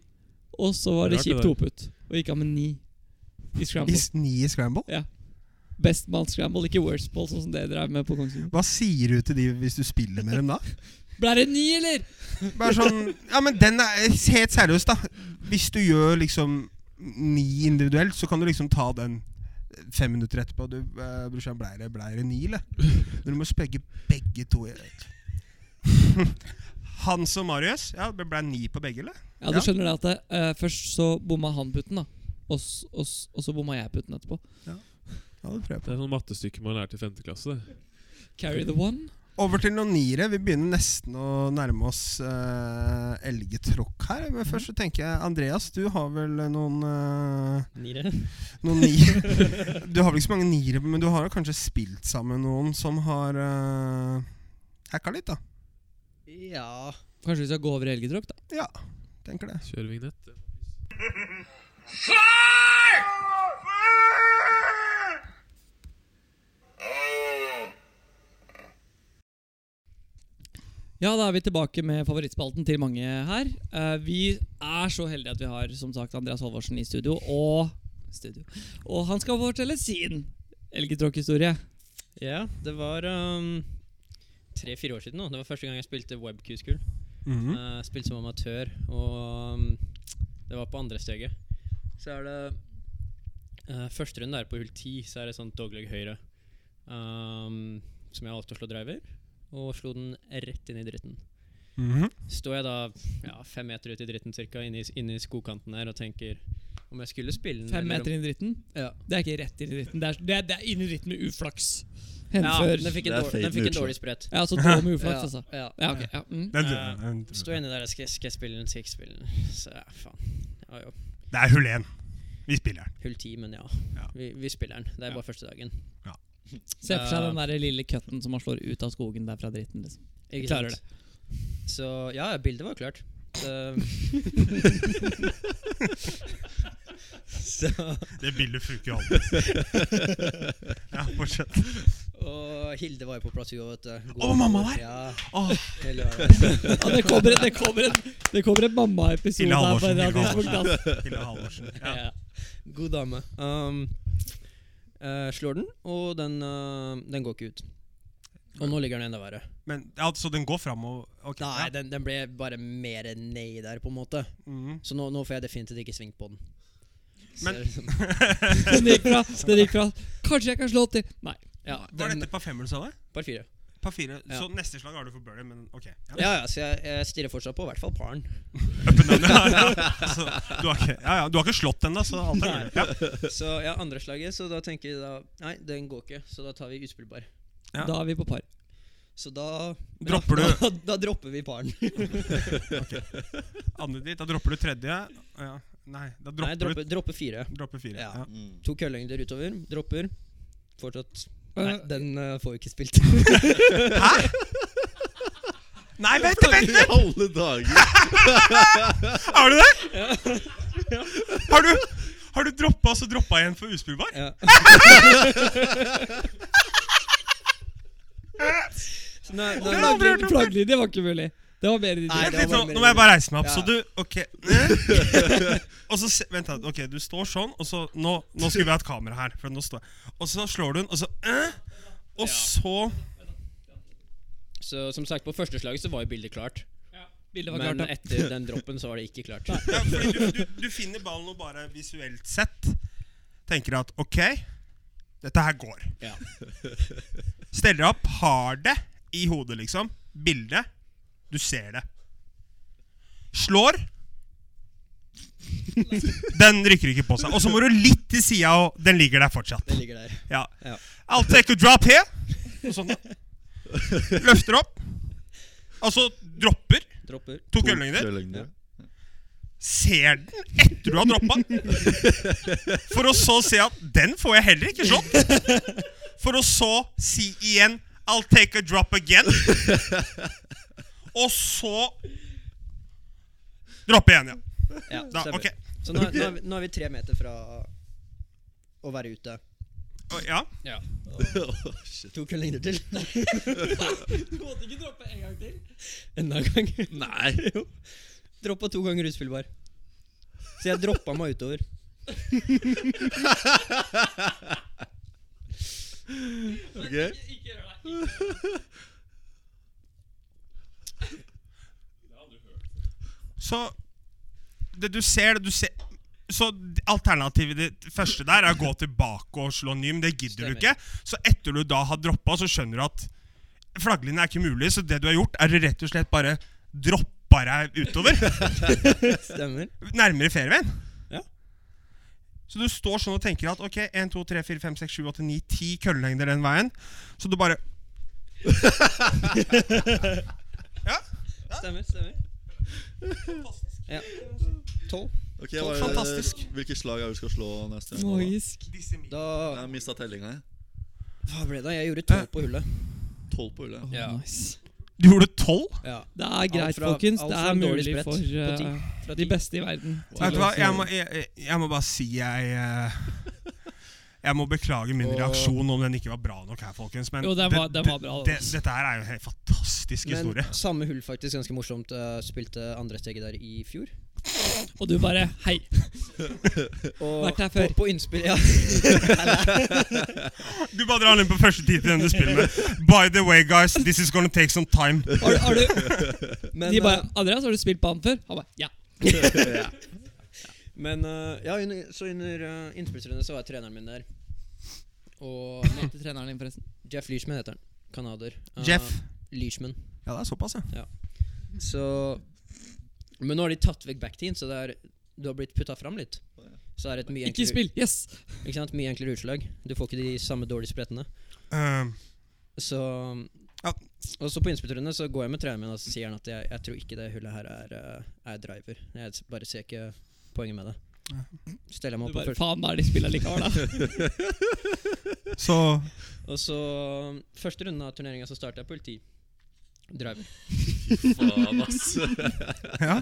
[SPEAKER 2] og så var det
[SPEAKER 5] Rart det
[SPEAKER 2] kjipt
[SPEAKER 5] der.
[SPEAKER 2] hoputt. Og gikk av med ni i
[SPEAKER 1] i
[SPEAKER 2] scramble.
[SPEAKER 1] s- ni i scramble?
[SPEAKER 2] Best man scramble, ikke worst ball, sånn som det dere drev med på Kongsvinger.
[SPEAKER 1] Hva sier du til de hvis du spiller med dem da?
[SPEAKER 2] Ble det ny, eller?
[SPEAKER 1] Bare sånn Ja, men den er Helt seriøst, da. Hvis du gjør liksom ni individuelt, så kan du liksom ta den fem minutter etterpå. Du, eh, brorsan, blei det blei det ni, eller? Men du må spegge begge to. i [LAUGHS] Hans og Marius. Ja, det blei ni på begge, eller?
[SPEAKER 2] Ja, du
[SPEAKER 1] Ja.
[SPEAKER 2] skjønner det at det, eh, først så bomma han putten, da. Og, s- og, s- og så bomma jeg putten etterpå.
[SPEAKER 1] Ja, det tror jeg
[SPEAKER 5] Det er sånn mattestykke man lærte i femte klasse. det.
[SPEAKER 2] Carry the one.
[SPEAKER 1] Over til noen niere. Vi begynner nesten å nærme oss eh, elgetråkk her. Men først så tenker jeg Andreas, du har vel noen eh,
[SPEAKER 3] Nire.
[SPEAKER 1] Noen ni [LAUGHS] Du har vel ikke så mange niere, men du har jo kanskje spilt sammen med noen som har eh, hacka litt, da.
[SPEAKER 3] Ja
[SPEAKER 2] Kanskje vi skal gå over i elgetråkk, da.
[SPEAKER 1] Ja, tenker det.
[SPEAKER 5] Kjøre vignett.
[SPEAKER 2] Ja, da er vi tilbake med favorittspalten til mange her. Eh, vi er så heldige at vi har som sagt Andreas Halvorsen i studio, og studio. Og han skal fortelle sin elgetråkkhistorie.
[SPEAKER 3] Ja, det var um, tre-fire år siden nå. Det var første gang jeg spilte webq-school.
[SPEAKER 1] Mm.
[SPEAKER 3] Eh, spilte som amatør, og um, det var på andre steget. Så er det eh, Første runde er på hull 10, så er det sånn dogleg høyre. Um, som jeg valgte å slå driver, og slo den rett inn i dritten.
[SPEAKER 1] Mhm.
[SPEAKER 3] Står jeg da ja, fem meter ut i dritten cirka, inne i, inne i skogkanten her og tenker om jeg skulle spille den
[SPEAKER 2] Fem
[SPEAKER 3] eller om-
[SPEAKER 2] meter inn i dritten.
[SPEAKER 3] Ja.
[SPEAKER 2] Det er ikke rett inn i dritten. Det er, det er, det er inn i dritten med uflaks.
[SPEAKER 3] Ja,
[SPEAKER 2] Henfør.
[SPEAKER 3] den fikk en dårlig,
[SPEAKER 4] Det er
[SPEAKER 3] den fikk
[SPEAKER 4] fade
[SPEAKER 3] en
[SPEAKER 4] neutral.
[SPEAKER 3] dårlig sprett.
[SPEAKER 2] [LAUGHS] Ja, så dra med uflaks, altså.
[SPEAKER 3] Ja,
[SPEAKER 2] Ja, ok. Ja, mm.
[SPEAKER 1] Det, er
[SPEAKER 3] Eh,
[SPEAKER 1] drømmen.
[SPEAKER 3] Står inne der, skal, skal jeg spille den, skal jeg ikke spille den. Så ja, faen. Ja, jo.
[SPEAKER 1] det er hull én. Vi spiller den.
[SPEAKER 3] Hull 10, men ja.
[SPEAKER 1] Ja.
[SPEAKER 3] Vi, vi spiller den. Det er
[SPEAKER 1] Ja.
[SPEAKER 3] bare første dagen.
[SPEAKER 2] Se for seg den der lille cutten som man slår ut av skogen der fra dritten. liksom
[SPEAKER 3] Ikke
[SPEAKER 2] klarer
[SPEAKER 3] sant? Så ja, ja, bildet var klart.
[SPEAKER 1] [LAUGHS]
[SPEAKER 3] Så, [LAUGHS] så
[SPEAKER 1] Det bildet funker jo
[SPEAKER 3] [LAUGHS]
[SPEAKER 1] alltid. ja, fortsett.
[SPEAKER 3] Og Hilde var jo på plass i går, vet du. God-
[SPEAKER 1] Å, mamma var her?
[SPEAKER 3] Ja,
[SPEAKER 1] Åh,
[SPEAKER 3] hele veien.
[SPEAKER 2] Ja, det kommer en, det kommer en, det kommer en mammaepisode
[SPEAKER 1] Hilde
[SPEAKER 2] her. på
[SPEAKER 1] Halvorsen,
[SPEAKER 2] et eller annet
[SPEAKER 1] Hilde
[SPEAKER 2] tidspunkt, altså.
[SPEAKER 1] Hilde Halvorsen. Ja.
[SPEAKER 3] Ja. God dame. Um, eh, slår den, og den, eh, den går ikke ut. Og nå ligger den enda verre.
[SPEAKER 1] Men ja, Så den går framover? Okay,
[SPEAKER 3] Nei,
[SPEAKER 1] ja.
[SPEAKER 3] den, den ble bare mer nei der, på en måte. [LAUGHS]
[SPEAKER 1] Mhm.
[SPEAKER 3] Så nå, nå får jeg definitivt ikke svingt på den. Så
[SPEAKER 1] Men-
[SPEAKER 3] jeg liksom-
[SPEAKER 2] Den gikk fra, den gikk fra Kanskje jeg kan slå til Nei.
[SPEAKER 3] ja,
[SPEAKER 1] Var
[SPEAKER 3] den-
[SPEAKER 1] dette par femmer, sa du?
[SPEAKER 3] Par fire.
[SPEAKER 1] Par fire.
[SPEAKER 3] Ja.
[SPEAKER 1] Så neste slag har du for birdie, men ok. Ja.
[SPEAKER 3] Ja, ja, så jeg, jeg stirrer fortsatt på i hvert fall paren.
[SPEAKER 1] [LAUGHS] Så du, har ikke, ja, ja, du har ikke slått den, da, så alt er
[SPEAKER 3] Nei. [LAUGHS]
[SPEAKER 1] mulig. Ja.
[SPEAKER 3] Så ja, andre slaget, så da tenker vi da Nei, den går ikke, så da tar vi utspillbar.
[SPEAKER 1] Ja.
[SPEAKER 2] Da er vi på par.
[SPEAKER 3] Så da
[SPEAKER 1] Dropper
[SPEAKER 3] ja,
[SPEAKER 1] du
[SPEAKER 3] Da, [LAUGHS] da dropper vi paren.
[SPEAKER 1] Andre dit, da dropper du tredje. Ja. Nei, da dropper
[SPEAKER 3] Nei, dropper, dropper fire.
[SPEAKER 1] du dropper fire.
[SPEAKER 3] Ja.
[SPEAKER 1] Ja.
[SPEAKER 4] Mm.
[SPEAKER 3] To køllengder utover. Dropper. Fortsatt Nei,
[SPEAKER 2] Eh,
[SPEAKER 3] den eh, får vi ikke spilt. [LAUGHS]
[SPEAKER 1] Nei, vent, vent!
[SPEAKER 4] I alle [LAUGHS] dager!
[SPEAKER 1] Har du det?! Har du, har du droppa og så droppa igjen for uspillbar?
[SPEAKER 3] ja. Så nå- nå-
[SPEAKER 1] Det har jeg aldri hørt
[SPEAKER 2] Flagglinje
[SPEAKER 1] om.
[SPEAKER 2] flagglinje var ikke mulig. Det var bedre
[SPEAKER 3] Nei,
[SPEAKER 2] ditt.
[SPEAKER 1] Vent
[SPEAKER 3] det
[SPEAKER 1] litt
[SPEAKER 3] var
[SPEAKER 1] nå,
[SPEAKER 3] bare
[SPEAKER 1] nå må jeg bare reise meg opp.
[SPEAKER 3] Ja.
[SPEAKER 1] Så du, ok
[SPEAKER 3] [LAUGHS]
[SPEAKER 1] Og så se- Vent, da. ok, du står sånn, og så Nå, nå skulle vi ha et kamera her. For nå står jeg Og så slår du den, og så eh, Og så
[SPEAKER 3] Så som sagt, på første slaget så var jo bildet klart.
[SPEAKER 2] Bildet var
[SPEAKER 3] Men
[SPEAKER 2] klart, da. [LAUGHS]
[SPEAKER 3] etter den droppen så var det ikke klart.
[SPEAKER 1] ja, fordi du, du, du finner ballen og bare visuelt sett tenker at ok, dette her går.
[SPEAKER 3] Ja.
[SPEAKER 1] Steller opp, har det i hodet, liksom. Bildet. Du ser det. Slår. Den rykker ikke på seg. Og så må du litt til sida, og den ligger der fortsatt.
[SPEAKER 3] Den ligger der.
[SPEAKER 1] Ja.
[SPEAKER 3] Ja.
[SPEAKER 1] I'll take a drop here. Og sånn. Løfter opp. Og så dropper.
[SPEAKER 3] Dropper.
[SPEAKER 1] To køllengder.
[SPEAKER 4] Køløgner.
[SPEAKER 1] Ser den etter du har droppa den. For å så se at den får jeg heller ikke slått. For å så si igjen I'll take a drop again. Og så droppe igjen, ja.
[SPEAKER 3] Ja,
[SPEAKER 1] Da,
[SPEAKER 3] stemmer.
[SPEAKER 1] ok.
[SPEAKER 3] Så nå, nå, er vi, nå er vi tre meter fra å være ute.
[SPEAKER 1] Å, Ja.
[SPEAKER 3] Ja.
[SPEAKER 4] Åh, shit.
[SPEAKER 3] To køller til.
[SPEAKER 2] Du [LAUGHS] måtte ikke droppe en gang til.
[SPEAKER 3] Enda en gang.
[SPEAKER 4] Nei!
[SPEAKER 3] [LAUGHS] Jo. Droppa to ganger utspillbar. Så jeg droppa meg utover.
[SPEAKER 4] Ok.
[SPEAKER 1] Så det du ser, det du ser så alternativet ditt første der er å gå tilbake og slå ny, men det gidder du
[SPEAKER 3] Stemmer.
[SPEAKER 1] ikke. Så etter du da har droppa, så skjønner du at flagglinjen er ikke mulig, så det du har gjort, er å rett og slett bare droppa deg
[SPEAKER 3] [LAUGHS]
[SPEAKER 1] utover.
[SPEAKER 3] Stemmer.
[SPEAKER 1] Nærmere ferieveien.
[SPEAKER 3] Ja.
[SPEAKER 1] Så du står sånn og tenker at ok, 1, 2, 3, 4, 5, 6, 7, 8, 9, 10 køllelengder den veien. Så du bare
[SPEAKER 3] Stemmer, stemmer. Ja. Tolv.
[SPEAKER 4] Ok, hva er det-
[SPEAKER 1] Fantastisk.
[SPEAKER 4] Hvilke slag er det du skal slå neste gang? da?
[SPEAKER 2] Magisk.
[SPEAKER 4] Jeg
[SPEAKER 3] Da
[SPEAKER 4] har mista tellinga.
[SPEAKER 3] Hva ble det? Jeg gjorde tolv på hullet.
[SPEAKER 4] Tolv på hullet.
[SPEAKER 2] Å,
[SPEAKER 3] Ja.
[SPEAKER 2] nice.
[SPEAKER 1] Du gjorde 12?
[SPEAKER 3] Ja.
[SPEAKER 2] Det er greit,
[SPEAKER 3] Alt fra-
[SPEAKER 2] folkens.
[SPEAKER 3] alt
[SPEAKER 2] Det
[SPEAKER 3] fra
[SPEAKER 2] er
[SPEAKER 3] en dårlig
[SPEAKER 2] mulig
[SPEAKER 3] sprett
[SPEAKER 2] for
[SPEAKER 3] på ti.
[SPEAKER 2] eh,
[SPEAKER 3] Fra
[SPEAKER 2] de
[SPEAKER 3] ti.
[SPEAKER 2] beste i verden.
[SPEAKER 1] Vet du hva, jeg må, jeg, jeg- jeg må bare si jeg eh, [LAUGHS] Jeg må beklage min
[SPEAKER 3] Og-
[SPEAKER 1] reaksjon om den ikke var bra nok her, folkens. Men
[SPEAKER 2] Jo, den var- den var bra, den,
[SPEAKER 1] det,
[SPEAKER 2] altså.
[SPEAKER 1] dette her er jo en helt fantastisk
[SPEAKER 3] Men
[SPEAKER 1] historie. [LAUGHS]
[SPEAKER 3] samme hull, faktisk. Ganske morsomt. eh, spilte andre steget der i fjor.
[SPEAKER 2] Og du bare Hei.
[SPEAKER 3] Og
[SPEAKER 2] Vært her før.
[SPEAKER 3] På, på innspill, ja.
[SPEAKER 1] Du bare drar den inn på første tid til den du spiller med. By the way, guys, this is gonna take some time.
[SPEAKER 2] [LAUGHS] Har, du- har du,
[SPEAKER 3] Men,
[SPEAKER 2] de bare
[SPEAKER 3] eh,
[SPEAKER 2] 'Andreas, har du spilt på han før?' Han bare [LAUGHS] 'Ja'.
[SPEAKER 3] Men eh, ja, under, så under uh, innspillsrunden så var treneren min der. Og
[SPEAKER 2] Han heter treneren din, forresten.
[SPEAKER 3] Jeff Leishman heter han. Canadier. Eh,
[SPEAKER 1] Jeff.
[SPEAKER 3] Leishman.
[SPEAKER 1] Ja, det er såpass, ja.
[SPEAKER 3] Så Men nå har de tatt vekk backtien, så det er, du har blitt putta fram litt. Så det er et mye
[SPEAKER 2] Ikke
[SPEAKER 3] enklere,
[SPEAKER 2] spill! Yes!
[SPEAKER 3] ikke sant? mye enklere utslag. Du får ikke de samme dårlige sprettene.
[SPEAKER 1] Eh,
[SPEAKER 3] Så
[SPEAKER 1] Ja.
[SPEAKER 3] Og så på innspillrunde så går jeg med treneren min og så sier han at jeg, jeg tror ikke det hullet her er, eh, er driver. Jeg s- bare ser ikke poenget med det. Steller jeg meg
[SPEAKER 2] Du
[SPEAKER 3] opp på
[SPEAKER 2] bare,
[SPEAKER 3] første
[SPEAKER 2] Faen, da er de spilla likevel,
[SPEAKER 3] [LAUGHS]
[SPEAKER 2] da.
[SPEAKER 1] så
[SPEAKER 3] Og så Første runden av turneringa så starter jeg på hull 10. Driver.
[SPEAKER 4] Faen, ass.
[SPEAKER 1] Ja.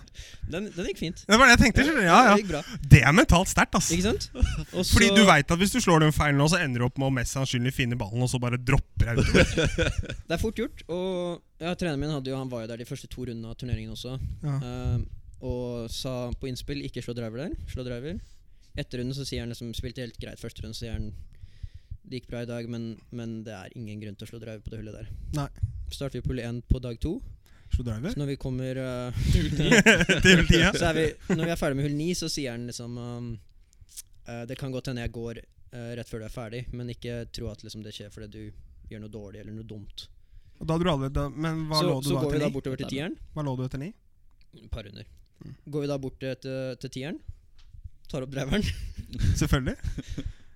[SPEAKER 3] Den, den gikk fint.
[SPEAKER 1] Det var det jeg tenkte. skjønner du. Ja, ja.
[SPEAKER 3] Det gikk bra.
[SPEAKER 1] Det er mentalt sterkt, ass.
[SPEAKER 3] Ikke
[SPEAKER 1] [LAUGHS]
[SPEAKER 3] sant? Og
[SPEAKER 1] Fordi
[SPEAKER 3] så-
[SPEAKER 1] du veit at hvis du slår den feilen nå, så ender du opp med å mest sannsynlig finne ballen, og så bare dropper jeg utover.
[SPEAKER 3] Det er fort gjort. Og ja, treneren min hadde jo, han var jo der de første to rundene av turneringen også.
[SPEAKER 1] Ja.
[SPEAKER 3] Ehm, og sa på innspill ikke slå driver der. Slå driver. Etter runden så sier han liksom spilte helt greit første runde, så sier han det gikk bra i dag, men, men det er ingen grunn til å slå driver på det hullet der.
[SPEAKER 1] Nei.
[SPEAKER 3] Starter vi på hull 1 på dag to.
[SPEAKER 1] Så driver [LAUGHS]
[SPEAKER 3] Så når vi kommer eh, [LAUGHS]
[SPEAKER 1] til hull 10, ja.
[SPEAKER 3] så er vi, Når vi er ferdig med hull 9, så sier han liksom ehm, eh, Det kan godt hende jeg går eh, rett før du er ferdig, men ikke tro at liksom, det skjer fordi du gjør noe dårlig eller noe dumt.
[SPEAKER 1] Og Da dro alle, da, men hva
[SPEAKER 3] så
[SPEAKER 1] lå du
[SPEAKER 3] så
[SPEAKER 1] da
[SPEAKER 3] går vi
[SPEAKER 1] etter
[SPEAKER 3] da
[SPEAKER 1] ni?
[SPEAKER 3] bortover til tieren.
[SPEAKER 1] Hva lå du etter ni? Mm.
[SPEAKER 3] Et par runder. Går vi da bort til, til, til tieren, tar opp driveren, [LAUGHS]
[SPEAKER 1] Selvfølgelig.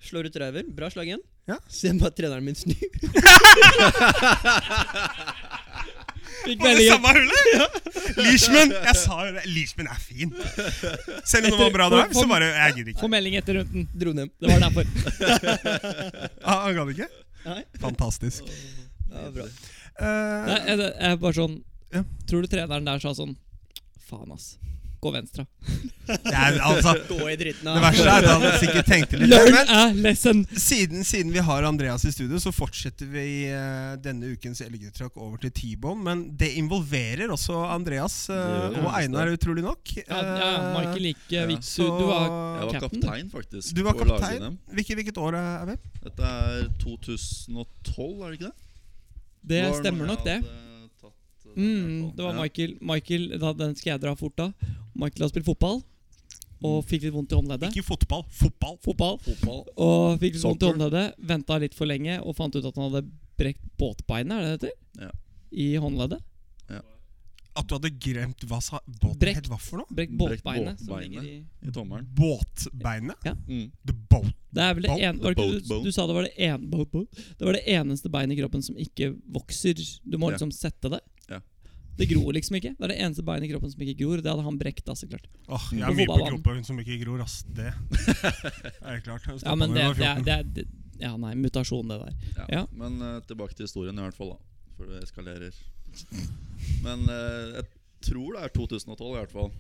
[SPEAKER 3] slår ut driver, bra slag igjen.
[SPEAKER 1] Ja.
[SPEAKER 3] Ser bare treneren min snu.
[SPEAKER 2] Fikk
[SPEAKER 1] Var det
[SPEAKER 2] meldingen.
[SPEAKER 1] samme
[SPEAKER 2] [LAUGHS]
[SPEAKER 1] hullet? Leishman! Jeg sa jo det. Leishman er fin. Selv om det var bra drive, så bare Jeg gidder ikke.
[SPEAKER 2] Få melding etter runden.
[SPEAKER 3] Dro den hjem.
[SPEAKER 2] Det var
[SPEAKER 4] [LAUGHS]
[SPEAKER 2] derfor.
[SPEAKER 1] Ah, han gadd ikke?
[SPEAKER 3] Nei.
[SPEAKER 1] Fantastisk.
[SPEAKER 3] Ja, bra.
[SPEAKER 1] Eh,
[SPEAKER 2] Nei, jeg, jeg er bare sånn
[SPEAKER 1] Ja.
[SPEAKER 2] Tror du treneren der sa sånn Faen, ass. Gå venstre.
[SPEAKER 1] det er, altså,
[SPEAKER 3] Gå i dritten
[SPEAKER 1] det verste er at han sikkert tenkte litt.
[SPEAKER 2] Learn
[SPEAKER 1] Men
[SPEAKER 2] a lesson!
[SPEAKER 1] siden, siden vi har Andreas i studio, så fortsetter vi eh, denne ukens elgtrakk over til T-bone. Men det involverer også Andreas eh,
[SPEAKER 4] Det gjør
[SPEAKER 1] og
[SPEAKER 4] det.
[SPEAKER 1] Einar, utrolig nok.
[SPEAKER 2] Ja, ja, Michael gikk
[SPEAKER 4] Ja.
[SPEAKER 2] eh, Viksu. Du var
[SPEAKER 4] Jeg var
[SPEAKER 2] Captain,
[SPEAKER 4] kaptein, faktisk.
[SPEAKER 1] Du var
[SPEAKER 4] på
[SPEAKER 1] kaptein.
[SPEAKER 4] lag-NM.
[SPEAKER 1] Hvilket, hvilket år er vi?
[SPEAKER 4] Dette er 2012, er det ikke det?
[SPEAKER 2] Det
[SPEAKER 4] Var
[SPEAKER 2] stemmer
[SPEAKER 4] når jeg
[SPEAKER 2] nok, det.
[SPEAKER 4] hadde tatt, eh, den
[SPEAKER 2] Mm,
[SPEAKER 4] kontrollen.
[SPEAKER 2] det var
[SPEAKER 4] Ja.
[SPEAKER 2] Michael. Michael da, den skal jeg dra fort av. Michael har spilt fotball og
[SPEAKER 4] Mm.
[SPEAKER 2] fikk litt vondt i håndleddet.
[SPEAKER 1] Ikke fotball. Fotball.
[SPEAKER 2] Fotball.
[SPEAKER 4] Fotball.
[SPEAKER 2] Og fikk litt vondt i
[SPEAKER 4] Soccer.
[SPEAKER 2] håndleddet. Venta litt for lenge og fant ut at han hadde brekt båtbeinet, er det det heter?
[SPEAKER 4] Ja.
[SPEAKER 2] I håndleddet.
[SPEAKER 1] At du hadde glemt hva sa båten
[SPEAKER 2] Brekk.
[SPEAKER 1] het hva for noe?
[SPEAKER 2] Brekt
[SPEAKER 4] Brekt
[SPEAKER 2] båtbeinet. som
[SPEAKER 4] båtbeinet.
[SPEAKER 2] ligger i
[SPEAKER 4] I tommelen.
[SPEAKER 1] Båtbeinet?
[SPEAKER 4] Mm.
[SPEAKER 1] The boat.
[SPEAKER 2] Det er vel det
[SPEAKER 1] Boat-
[SPEAKER 2] en, var det ikke, du,
[SPEAKER 4] boat bone.
[SPEAKER 2] du sa det var det, en, boat bone. det var det eneste beinet i kroppen som ikke vokser. Du må
[SPEAKER 4] Ja.
[SPEAKER 2] liksom sette det.
[SPEAKER 4] Ja.
[SPEAKER 2] Det gror liksom ikke. Det er det eneste beinet i kroppen som ikke gror. Det hadde han brekt, da, så klart.
[SPEAKER 1] Åh, jeg
[SPEAKER 2] På
[SPEAKER 1] er mye på
[SPEAKER 2] fotballbanen.
[SPEAKER 1] kroppa hun som ikke gror, ass. Det er klart. Jeg
[SPEAKER 2] Ja,
[SPEAKER 1] stoppet
[SPEAKER 2] men
[SPEAKER 1] når
[SPEAKER 2] det,
[SPEAKER 1] jeg var
[SPEAKER 2] det, er-
[SPEAKER 1] 14.
[SPEAKER 2] det, er- det Ja, nei, mutasjon, det der.
[SPEAKER 4] Ja.
[SPEAKER 2] Ja.
[SPEAKER 4] Men eh, tilbake til historien, i hvert fall. da Før det eskalerer. Men eh, jeg tror det er 2012, i hvert fall.